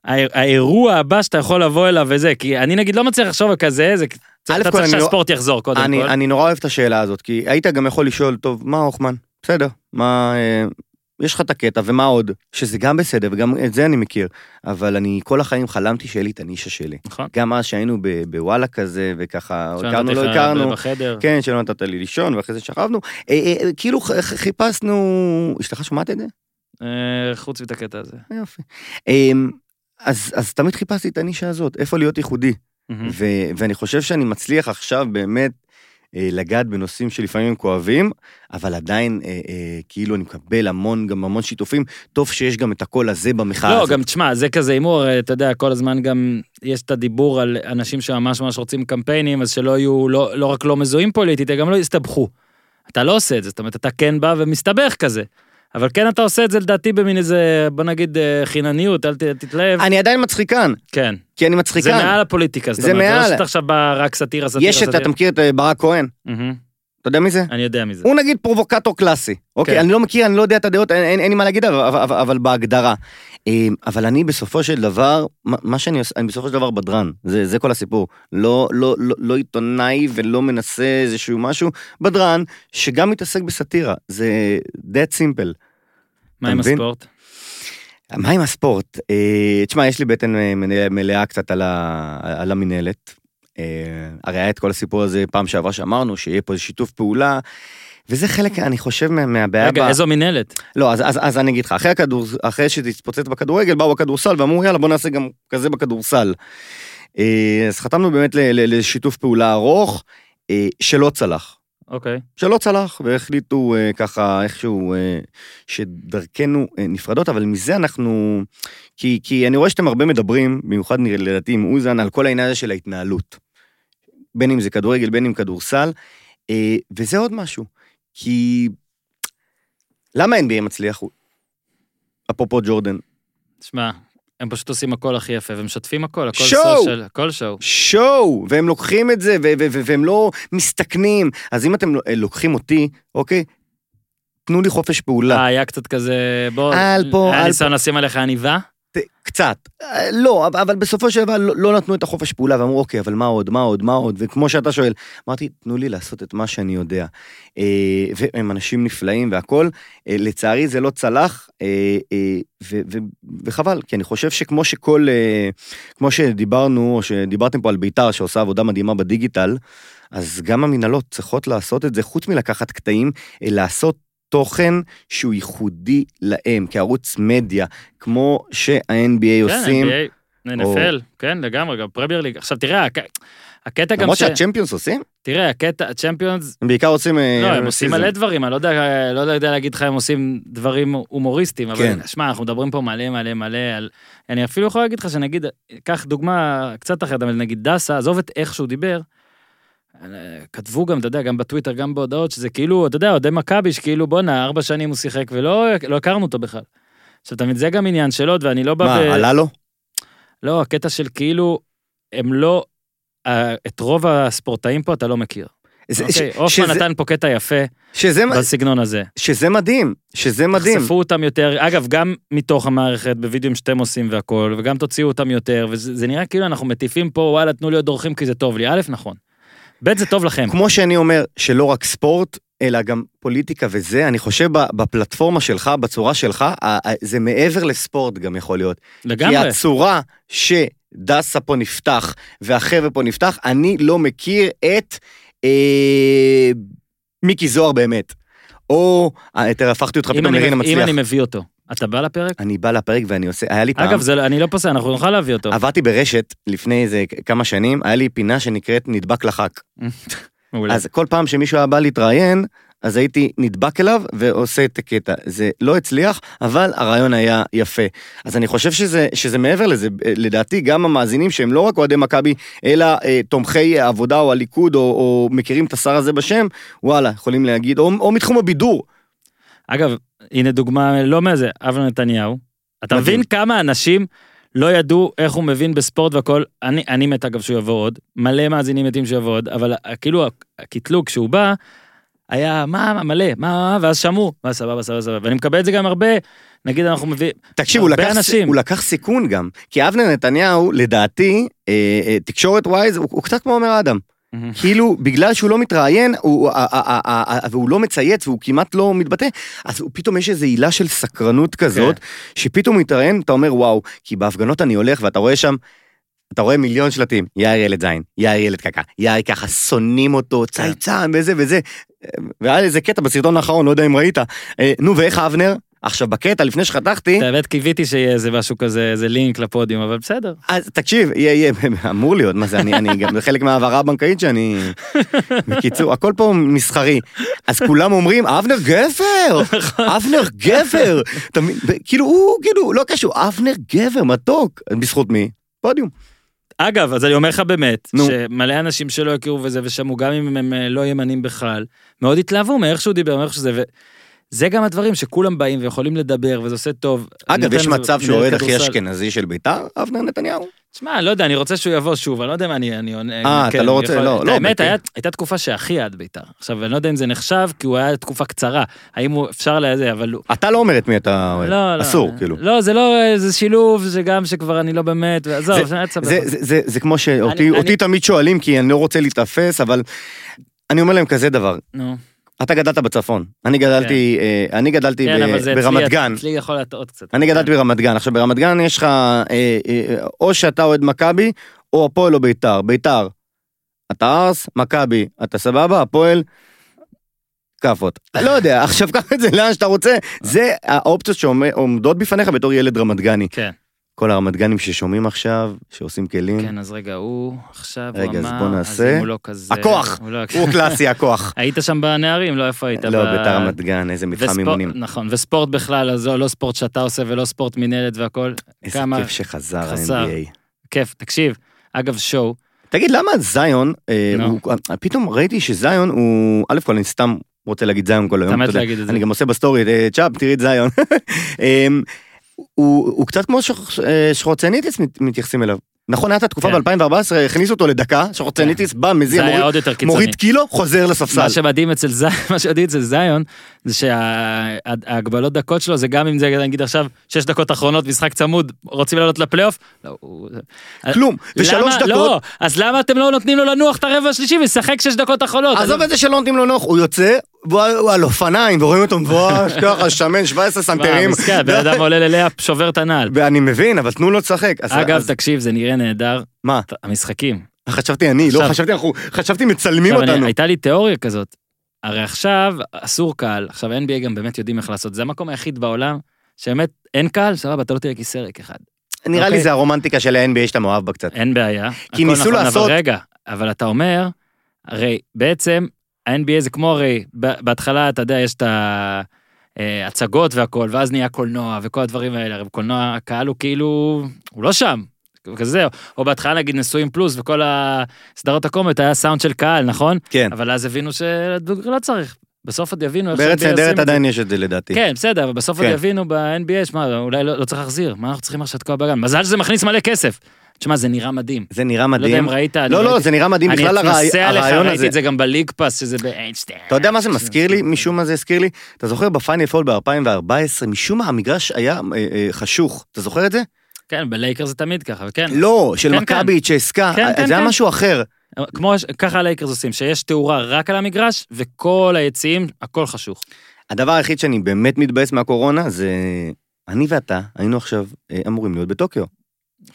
האיר- האירוע הבא שאתה יכול לבוא אליו וזה, כי אני נגיד לא מצליח לחשוב על כזה, זה...
א'
אתה
כל,
צריך
אני לא-
שהספורט יחזור קודם
אני,
כל.
אני נורא אוהב את השאלה הזאת, כי היית גם יכול לשאול, טוב, מה הוכמן? בסדר, מה... אה, יש לך את הקטע, ומה עוד? שזה גם בסדר, וגם את זה אני מכיר. אבל אני כל החיים חלמתי שיהיה לי את הנישה שלי.
נכון.
גם אז שהיינו ב- בוואלה כזה, וככה, הכרנו, לא
שאלתי לך
הכרנו.
בחדר.
כן, שלא נתת לי לישון, ואחרי זה שכבנו. אה, אה, כאילו ח- ח- חיפשנו... אשתך שומעת את זה? אה,
אה, חוץ מאת הקטע הזה.
יופי. אמ, אז, אז תמיד חיפשתי את הנישה הזאת, איפה להיות ייחודי.
מהמם.
ו- ואני חושב שאני מצליח עכשיו באמת אה, לגעת בנושאים שלפעמים הם כואבים, אבל עדיין אה, אה, כאילו אני מקבל המון, גם המון שיתופים. טוב שיש גם את הקול הזה במחאה
לא,
הזאת.
גם תשמע, זה כזה הימור, אה, אתה יודע, כל הזמן גם יש את הדיבור על אנשים שממש ממש רוצים קמפיינים, אז שלא יהיו, לא, לא רק לא מזוהים פוליטית, הם גם לא יסתבכו. אתה לא עושה את זה, זאת אומרת, אתה כן בא ומסתבך כזה. אבל כן אתה עושה את זה לדעתי במין איזה, בוא נגיד, אה, חינניות, אל ת- אל תתלהב.
אני עדיין מצחיקן,
כן.
כי אני
זה
מצחיקן.
מעל הפוליטיקה, זאת
זה
אומרת, זה לא
מעל.
שאתה עכשיו בא רק סאטירה, סאטירה,
יש את,
סאטירה.
אתה מכיר את אה, ברק כהן?
מהמם.
אתה יודע מי זה?
אני יודע מזה.
הוא נגיד פרובוקטור קלאסי, אוקיי? אני לא מכיר, אני לא יודע את הדעות, אין- אין אין לי מה להגיד, אבל- אבל- אבל אבל בהגדרה. אמ, אבל אני בסופו של דבר, מה- מה שאני עושה, אני בסופו של דבר בדרן, זה זה כל הסיפור. לא- לא לא- לא עיתונאי ולא מנסה איזשהו משהו, בדרן שגם מתעסק בסאטירה, זה that simple.
מה עם
מבין?
הספורט?
מה עם הספורט? אה, תשמע, יש לי בטן אה, מלאה- מלאה קצת על ה- על המינהלת. אה, הרי היה את כל הסיפור הזה פעם שעברה שאמרנו שיהיה פה איזה שיתוף פעולה. וזה חלק, אני חושב, מה- מהבעיה.
רגע,
ב-
איזו מינהלת?
לא, אז, אז, אז אני אגיד לך, אחרי, הכדור, אחרי שזה התפוצץ בכדורגל, באו הכדורסל ואמרו, יאללה, בוא נעשה גם כזה בכדורסל. אה, אז חתמנו באמת ל- ל- לשיתוף פעולה ארוך, אה, שלא צלח.
אוקיי.
שלא צלח, והחליטו אה, ככה איכשהו אה, שדרכנו אה, נפרדות, אבל מזה אנחנו... כי, כי אני רואה שאתם הרבה מדברים, במיוחד נראה- לדעתי עם אוזן, על כל העניין הזה של ההתנהלות. בין אם זה כדורגל, בין אם כדורסל, אה, וזה עוד משהו. כי... למה NBA מצליח? אפרופו ג'ורדן.
תשמע, הם פשוט עושים הכל הכי יפה, ומשתפים הכל, הכל
שואו!
סושיאל, הכל שואו.
שואו, והם לוקחים את אה, זה, ו- ו- ו- והם לא מסתכנים. אז אם אתם לוקחים אותי, אוקיי? תנו לי חופש פעולה.
אה, היה קצת כזה, בוא,
אל פה, אל
היה
פה.
ניסיון לשים עליך עניבה?
ת- קצת. אה, לא, אבל- אבל בסופו של דבר לא- לא נתנו את החופש פעולה, ואמרו, אוקיי, אבל מה עוד, מה עוד, מה עוד, וכמו שאתה שואל, אמרתי, תנו לי לעשות את מה שאני יודע. אה, והם אנשים נפלאים והכול, אה, לצערי זה לא צלח, אה, אה, ו- ו- וחבל, כי אני חושב שכמו שכל, אה, כמו שדיברנו, או שדיברתם פה על בית"ר, שעושה עבודה מדהימה בדיגיטל, אז גם המנהלות צריכות לעשות את זה, חוץ מלקחת קטעים, אה, לעשות תוכן שהוא ייחודי להם, כערוץ מדיה, כמו שה-NBA עושים,
כן, NBA, NFL, כן, לגמרי, גם פרמייר ליג. עכשיו, תראה, הק- הקטע גם
למרות
ש...
שהצ'מפיונס עושים,
תראה, הקטע, צ'מפיונס,
הם בעיקר עושים...
לא, הם עושים מלא דברים, אני לא יודע- לא יודע להגיד לך הם עושים דברים הומוריסטיים,
כן.
אבל שמע, אנחנו מדברים פה מלא מלא מלא על... אני אפילו יכול להגיד לך שנגיד, קח דוגמה קצת אחרת, אבל נגיד דסה, עזוב את איך שהוא דיבר, אה, כתבו גם, אתה יודע, גם בטוויטר, גם בהודעות, שזה כאילו, אתה יודע, אוהדי מכבי, שכאילו, בואנה, ארבע שנים הוא שיחק ולא לא הכרנו אותו בכלל. עכשיו, אתה מבין, זה גם עניין של עוד, ואני לא בא... ב-
מה, עלה לו?
לא, הקטע של כאילו, הם לא... אה, את רוב הספורטאים פה אתה לא מכיר.
זה-
אוקיי,
ש-
הופמן
שזה-
נתן פה קטע יפה
שזה מה-
בסגנון הזה.
שזה מדהים, שזה מדהים.
תחשפו אותם יותר, אגב, גם מתוך המערכת, בווידאוים שאתם עושים והכל, וגם תוציאו אותם יותר, וזה זה נראה כאילו אנחנו מטיפים פה, וואלה, תנו להיות דורכים כי זה טוב לי. א', נכון. ב', זה טוב לכם.
כמו שאני אומר, שלא רק ספורט, אלא גם פוליטיקה וזה, אני חושב ב- בפלטפורמה שלך, בצורה שלך, ה- ה- זה מעבר לספורט גם יכול להיות. כי
לגמרי.
הצורה שדסה פה נפתח והחבר'ה פה נפתח, אני לא מכיר את אה, מיקי זוהר באמת. או, אה, תראה, הפכתי אותך
אם
פתאום
אני
לרינה
מב- אם
מצליח.
אני מביא אותו, אתה בא לפרק?
אני בא לפרק ואני עושה, היה לי פעם...
אגב, זה לא- אני לא פוסל, אנחנו נוכל להביא אותו.
עבדתי ברשת לפני איזה כמה שנים, היה לי פינה שנקראת נדבק לח"כ.
מעולה.
אז כל פעם שמישהו היה בא להתראיין, אז הייתי נדבק אליו ועושה את הקטע. זה לא הצליח, אבל הרעיון היה יפה. אז אני חושב שזה, שזה מעבר לזה, אה, לדעתי גם המאזינים שהם לא רק אוהדי מכבי, אלא אה, תומכי עבודה או הליכוד או, או מכירים את השר הזה בשם, וואלה, יכולים להגיד, או, או מתחום הבידור.
אגב, הנה דוגמה לא מזה, אבנר נתניהו. אתה
מדהים.
מבין כמה אנשים לא ידעו איך הוא מבין בספורט והכל, אני, אני מת אגב שהוא יבוא עוד, מלא מאזינים מתים שיבוא עוד, אבל ה- כאילו הקטלוג כשהוא בא, היה מה, מה, מלא, מה, מה, ואז שמעו, מה, סבבה, סבבה, סבבה, ואני מקבל את זה גם הרבה, נגיד אנחנו מביאים,
תקשיב, הוא
הרבה
לקח,
אנשים.
הוא לקח סיכון גם, כי אבנר נתניהו, לדעתי, אה, אה, תקשורת ווייז, הוא, הוא קצת כמו עומר אדם. כאילו, בגלל שהוא לא מתראיין, הוא- ה- ה- ה- ה- ה- והוא לא מצייץ והוא כמעט לא מתבטא, אז הוא- פתאום יש איזו עילה של סקרנות כזאת,
כן.
שפתאום הוא מתראיין, אתה אומר, וואו, כי בהפגנות אני הולך ואתה רואה שם... אתה רואה מיליון שלטים, יאיר ילד זין, יאיר ילד קקה, יאיר ככה, שונאים
כן.
אותו, צייצן וזה וזה. אה, והיה איזה קטע בסרטון האחרון, לא יודע אם ראית. אה, נו, ואיך אבנר? עכשיו, בקטע, לפני שחתכתי,
את האמת קיוויתי שיהיה איזה משהו כזה, איזה לינק לפודיום, אבל בסדר.
אז תקשיב, יהיה, יהיה, אמור להיות, מה זה, אני, אני גם, זה חלק מההעברה הבנקאית שאני... בקיצור, הכל פה מסחרי. אז כולם אומרים, אבנר גבר! אבנר גבר! אתה מבין? ו- כאילו, הוא, כאילו, לא קשור, אבנר גבר, מתוק. בזכות מי? פודיום.
אגב, אז אני אומר לך באמת,
נו.
שמלא אנשים שלא הכירו וזה, ושמעו גם אם הם אה, לא ימנים בכלל, מאוד התלהבו מאיך שהוא דיבר, מאיך שזה, וזה גם הדברים שכולם באים ויכולים לדבר, וזה עושה טוב.
אגב,
נותן
יש
לזה-
מצב שהוא
מנהל
האוהד הכי
כדורסל.
אשכנזי של ביתר? אבנר נתניהו.
שמע, לא יודע, אני רוצה שהוא יבוא שוב, אני לא יודע אם אני... אני עונה-
אה, אתה
כן, אני
לא רוצה- לא,
את
לא,
האמת,
בטח.
היה- הייתה תקופה שהכי עד בית"ר. עכשיו, אני לא יודע אם זה נחשב, כי הוא היה תקופה קצרה. האם הוא אפשר לזה, אבל הוא...
אתה לא אומר את מי אתה אוהד.
לא, לא.
אסור, כאילו.
לא, זה לא, זה שילוב, זה גם שכבר אני לא באמת, עזוב, זה היה סבבה.
זה, זה, זה, זה כמו
לא,
שאותי
אני-
אותי תמיד שואלים, כי אני לא רוצה להיתפס, אבל אני אומר להם כזה דבר,
נו.
אתה גדלת בצפון, אני גדלתי, אה, אני גדלתי
כן,
ב-
אבל זה אצלי-
ברמת גן,
אצלי יכול להטעות קצת.
אני גדלתי ברמת גן, עכשיו ברמת גן יש לך, אה, אה, או שאתה אוהד מכבי, או הפועל או ביתר, ביתר, אתה ארס, מכבי, אתה סבבה, הפועל, כאפות. לא יודע, עכשיו קח את זה לאן שאתה רוצה, זה האופציות שעומדות בפניך בתור ילד רמת גני.
כן.
כל הרמת גנים ששומעים עכשיו, שעושים כלים,
כן, אז רגע, הוא עכשיו, הוא אמר,
רגע, אז בוא
אז
נעשה.
אם הוא לא כזה...
הכוח!
הוא לא-
הוא קלאסי הכוח.
היית שם בנערים, לא איפה היית?
לא,
ב-
ביתר רמת גן, איזה מתחם
וספורט-
אימונים.
נכון, וספורט בכלל, אז לא ספורט שאתה עושה ולא ספורט מינהלת והכל.
איזה
כמה-
כיף שחזר
חזר.
ה-NBA.
כיף, תקשיב, אגב, שואו,
תגיד, למה זיון, אה,
נו.
הוא- אה, פתאום ראיתי שזיון הוא, א' כל אני סתם רוצה להגיד זיון כל היום,
אתה מת
אתה יודע.
להגיד את זה.
אני גם עושה בסטורי, אה, צ'אפ, תראי את זיון. אמ, הוא- הוא קצת כמו שח- אה, שחורצניטיס מת- מתייחסים אליו. נכון, הייתה תקופה
כן.
ב-2014, הכניסו אותו לדקה, שחוצניטיס בא, מזיע,
זה היה
מוריד-
עוד יותר קיצוני.
מוריד קילו, חוזר לספסל.
מה שמדהים אצל זיון, מה שמדהים אצל זיון, זה שההגבלות דקות שלו, זה גם אם זה נגיד עכשיו, שש דקות אחרונות, משחק צמוד, רוצים לעלות לפלייאוף? לא, הוא-
כלום.
למה-
ושלוש
לא,
דקות,
אז למה אתם לא נותנים לו לנוח את הרבע השלישי ולשחק שש דקות אחרונות?
עזוב את זה שלא נותנים לו נוח, הוא יוצא, והוא הוא על אופניים, ורואים אותו מבואש, ככה, שמן, 17 סנטרים.
מסכן, בן אדם עולה ללאה, שובר את הנעל.
ואני מבין, אבל תנו לו לשחק. אז-
אגב,
אז-
תקשיב, זה נראה נהדר,
מה?
המשחקים.
חשבתי אני, לא
עכשיו-
חשבתי אנחנו, חשבתי מצלמים
עכשיו, אני-
אותנו.
הייתה לי תיאוריה כזאת. הרי עכשיו אסור קהל, עכשיו NBA גם באמת יודעים איך לעשות, זה המקום היחיד בעולם שבאמת אין קהל, סבבה, אתה לא תראה כיסא ריק אחד.
נראה לי
אוקיי.
זה הרומנטיקה של ה-NBA שאתה מאוהב בה קצת.
אין בעיה.
כי
הכל
ניסו
נכון,
לעשות-
אבל רגע, אבל אתה אומר, הרי בעצם ה-NBA זה כמו הרי, ב- בהתחלה אתה יודע, יש את ההצגות והכל, ואז נהיה קולנוע וכל הדברים האלה, הרי בקולנוע הקהל הוא כאילו, הוא לא שם. כזה, או בהתחלה נגיד נשואים פלוס וכל הסדרות הקומיות היה סאונד של קהל, נכון?
כן.
אבל אז הבינו שהדוגרי לא צריך. בסוף עוד יבינו איך
בארץ
שה-NBA עושים
נהדרת
את זה.
עדיין יש את זה לדעתי.
כן, בסדר, אבל בסוף עוד
כן.
יבינו ב-NBA, שמע, אולי לא לא צריך להחזיר, מה אנחנו צריכים עכשיו לתקוע בגן? מזל שזה מכניס מלא כסף. תשמע, זה נראה מדהים.
זה נראה
לא יודע
מדהים.
אם ראית, אני
לא, לא,
ראיתי-
זה נראה מדהים בכלל
אני
הרעי-
אתנסה עליך,
הרעיון
ראיתי
הזה.
את זה כן. גם בליג פאס, שזה באיינשטיין.
אתה יודע מה זה מזכיר לי? משום מה זה הזכיר לי? אתה זוכר בפיינל פול ב-2014, משום מה המגרש היה אה, אה, חשוך. אתה זוכר את זה?
כן, בלייקר זה תמיד ככה, וכן.
לא, של
כן,
מכבי, צ'סקה, אה,
כן, כן,
זה היה
כן.
משהו אחר.
כמו, ש- ככה הלייקרס עושים, שיש תאורה רק על המגרש, וכל היציעים, הכל חשוך.
הדבר היחיד שאני באמת מתבאס מהקורונה זה... אני ואתה היינו עכשיו אה, אמורים להיות בטוקיו.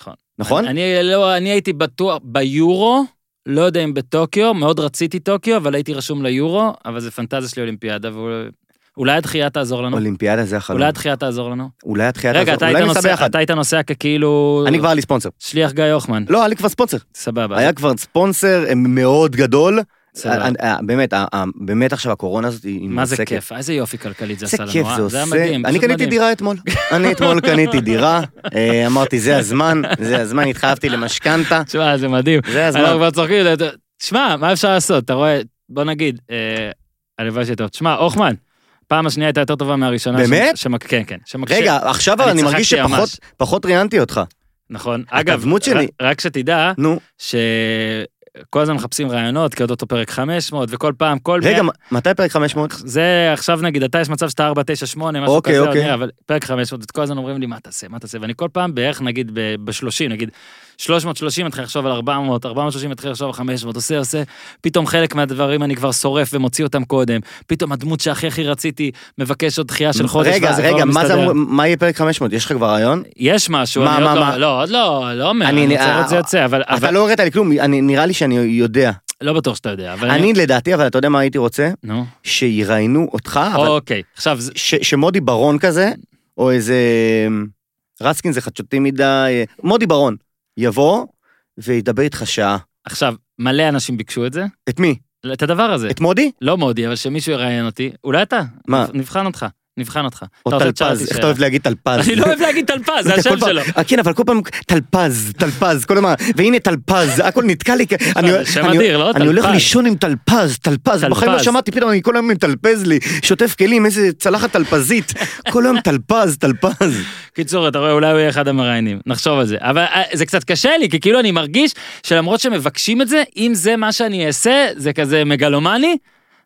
נכון.
נכון?
אני, לא, אני הייתי בטוח, ביורו, לא יודע אם בטוקיו, מאוד רציתי טוקיו, אבל הייתי רשום ליורו, אבל זה פנטזיה שלי אולימפיאדה, ואולי הדחייה תעזור לנו.
אולימפיאדה זה החלום.
אולי הדחייה תעזור לנו.
אולי התחייה
רגע,
תעזור.
אתה
אולי
היית
ניסע
נוסע-
ביחד.
אתה היית נוסע ככאילו...
אני כבר היה לי ספונסר.
שליח גיא הוחמן,
לא, היה לי כבר ספונסר.
סבבה.
היה כבר ספונסר אה, מאוד גדול.
סבבה.
אה, אה, באמת, אה, אה, באמת עכשיו הקורונה הזאת היא
מה זה
מרסקת.
כיף, איזה יופי כלכלית זה
איזה
עשה לנו,
כיף
אה?
זה
היה
עושה.
מדהים,
אני
פשוט
קניתי
מדהים.
דירה אתמול. אני אתמול קניתי דירה, אה, אמרתי זה הזמן, זה הזמן, התחייבתי למשכנתה,
תשמע, זה מדהים.
זה
אנחנו
הזמן.
כבר צוחקים, אתה- תשמע, מה אפשר לעשות, אתה רואה, בוא נגיד, אה, הלוואי שהייתה, תשמע, הוחמן, פעם השנייה הייתה יותר טובה מהראשונה.
באמת?
ש- שמק- כן, כן. שמקשה-
רגע, עכשיו
אני
אבל אני מרגיש
צחקתי ממש.
שפחות פחות ראיינתי אותך.
נכון. אגב,
הדמות שלי.
ר- רק שתדע,
נו,
שכל הזמן מחפשים רעיונות, כי עוד אותו פרק 500, וכל פעם, כל...
רגע,
מאה-
מ- מתי פרק 500?
זה עכשיו נגיד, אתה יש מצב שאתה 498, משהו
אוקיי,
כזה, עוד
אוקיי.
נראה, אבל פרק 500, אז כל הזמן אומרים לי, מה תעשה, מה תעשה, ואני כל פעם בערך, נגיד, ב-30, נגיד, 330 מתחיל לחשוב על 400, 430 מתחיל לחשוב על 500, עושה, עושה, פתאום חלק מהדברים אני כבר שורף ומוציא אותם קודם, פתאום הדמות שהכי הכי רציתי מבקש עוד דחייה של חודש,
רגע,
ואז זה כבר
רגע,
לא
מה זה
מסתדר.
אמור- מה יהיה פרק 500? יש לך כבר רעיון?
יש משהו,
מה,
אני עוד
מה,
לא-
מה?
לא, עוד לא, לא אומר,
אני-
אני רוצה לראות
אה,
זה יוצא, אבל אבל-
אתה לא הראית לי כלום, אני- נראה לי שאני יודע.
לא בטוח שאתה יודע, אבל אני,
אני לדעתי, אבל אתה יודע מה הייתי רוצה?
נו,
שיראיינו אותך, אבל
אוקיי, עכשיו, זה-
ש- שמודי ברון כזה, או איזה... רסקין זה חדשותי מדי, מודי ברון, יבוא וידבר איתך שעה.
עכשיו, מלא אנשים ביקשו את זה,
את מי?
את הדבר הזה.
את מודי?
לא מודי, אבל שמישהו יראיין אותי, אולי אתה.
מה?
נבחן אותך, נבחן אותך.
או
אתה רוצה לשאול אותי
טלפז, איך אתה
לא, שאלה?
אוהב להגיד טלפז?
אני לא אוהב להגיד טלפז, זה
אתה
השם
כל פעם-
שלו.
אה, כן, אבל כל פעם טלפז, טלפז, כל הזמן, והנה טלפז, הכל נתקע לי, כ- אני-
זה שם
אני-
אדיר, לא?
אני הולך
טלפז.
לישון עם טלפז, טלפז, בחיים לא
טלפז.
שמעתי, פתאום אני כל היום מטלפז לי, שוטף כלים, איזה צלחת טלפזית, כל היום טלפז, טלפז.
קיצור, אתה רואה, אולי הוא יהיה אחד המראיינים, נחשוב על זה. אבל אה, זה קצת קשה לי, כי כאילו אני מרגיש שלמרות שמבקשים את זה, אם זה מה שאני אעשה, זה כזה מגלומני,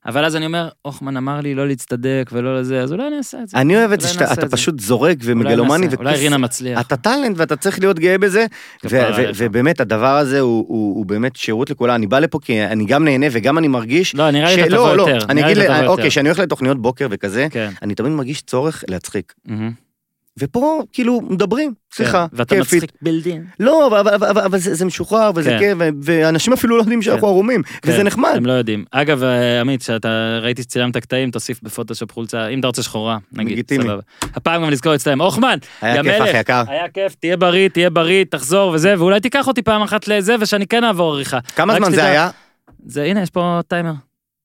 אבל אז אני אומר, הוחמן אמר לי לא להצטדק ולא לזה, אז אולי אני אעשה את זה.
אני אוהב את זה
אולי
שאתה
נעשה
אתה
את זה.
פשוט זורק
אולי
ומגלומני.
נעשה, אולי
וכוס-
רינה מצליח.
אתה טאלנט ואתה צריך להיות גאה בזה, ו-
כפרה
ו-
עליך.
ובאמת הדבר הזה הוא- הוא הוא באמת שירות לכולם. אני בא לפה כי אני גם נהנה וגם אני מרגיש,
לא, נראה לי אתה
שלא,
תבוא
לא,
יותר.
אני
נראה
אגיד,
לי אתה
לה-
תבוא
אוקיי,
יותר.
כשאני הולך לתוכניות בוקר וכזה,
כן.
אני תמיד מרגיש צורך להצחיק.
מהמם.
ופה כאילו מדברים, שיחה,
כן. ואתה
כיפית.
מצחיק בילדין.
לא, אבל- אבל- אבל- אבל אבל זה זה משוחרר וזה
כן.
כיף, ו- ואנשים אפילו לא יודעים שאנחנו ערומים, וזה
כן,
נחמד.
הם לא יודעים. אגב, אה, עמית, שאתה ראיתי שצילמת קטעים, תוסיף בפוטושופ חולצה, אם אתה רוצה שחורה, נגיד,
לגיטימי.
סבבה. הפעם גם לזכור אצלם, הוחמן,
היה
יא
כיף,
מלך.
אחי יקר.
היה כיף, תהיה בריא, תהיה בריא, תחזור וזה, ואולי תיקח אותי פעם אחת לזה, ושאני כן אעבור עריכה.
כמה
רק
זמן זה
שתדע-
היה?
זה, הנה, יש פה טיימר.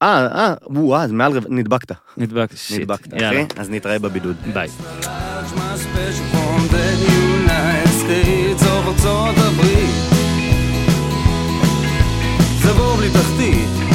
אה, אה, וואו, אז מעל רבע, נדבקת.
נדבק, שיט.
נדבקת,
יאללה,
אחי. אז נתראה בבידוד.
ביי.
Lodge my special from the United States of ארצות הברית. זה בור בלי תחתית.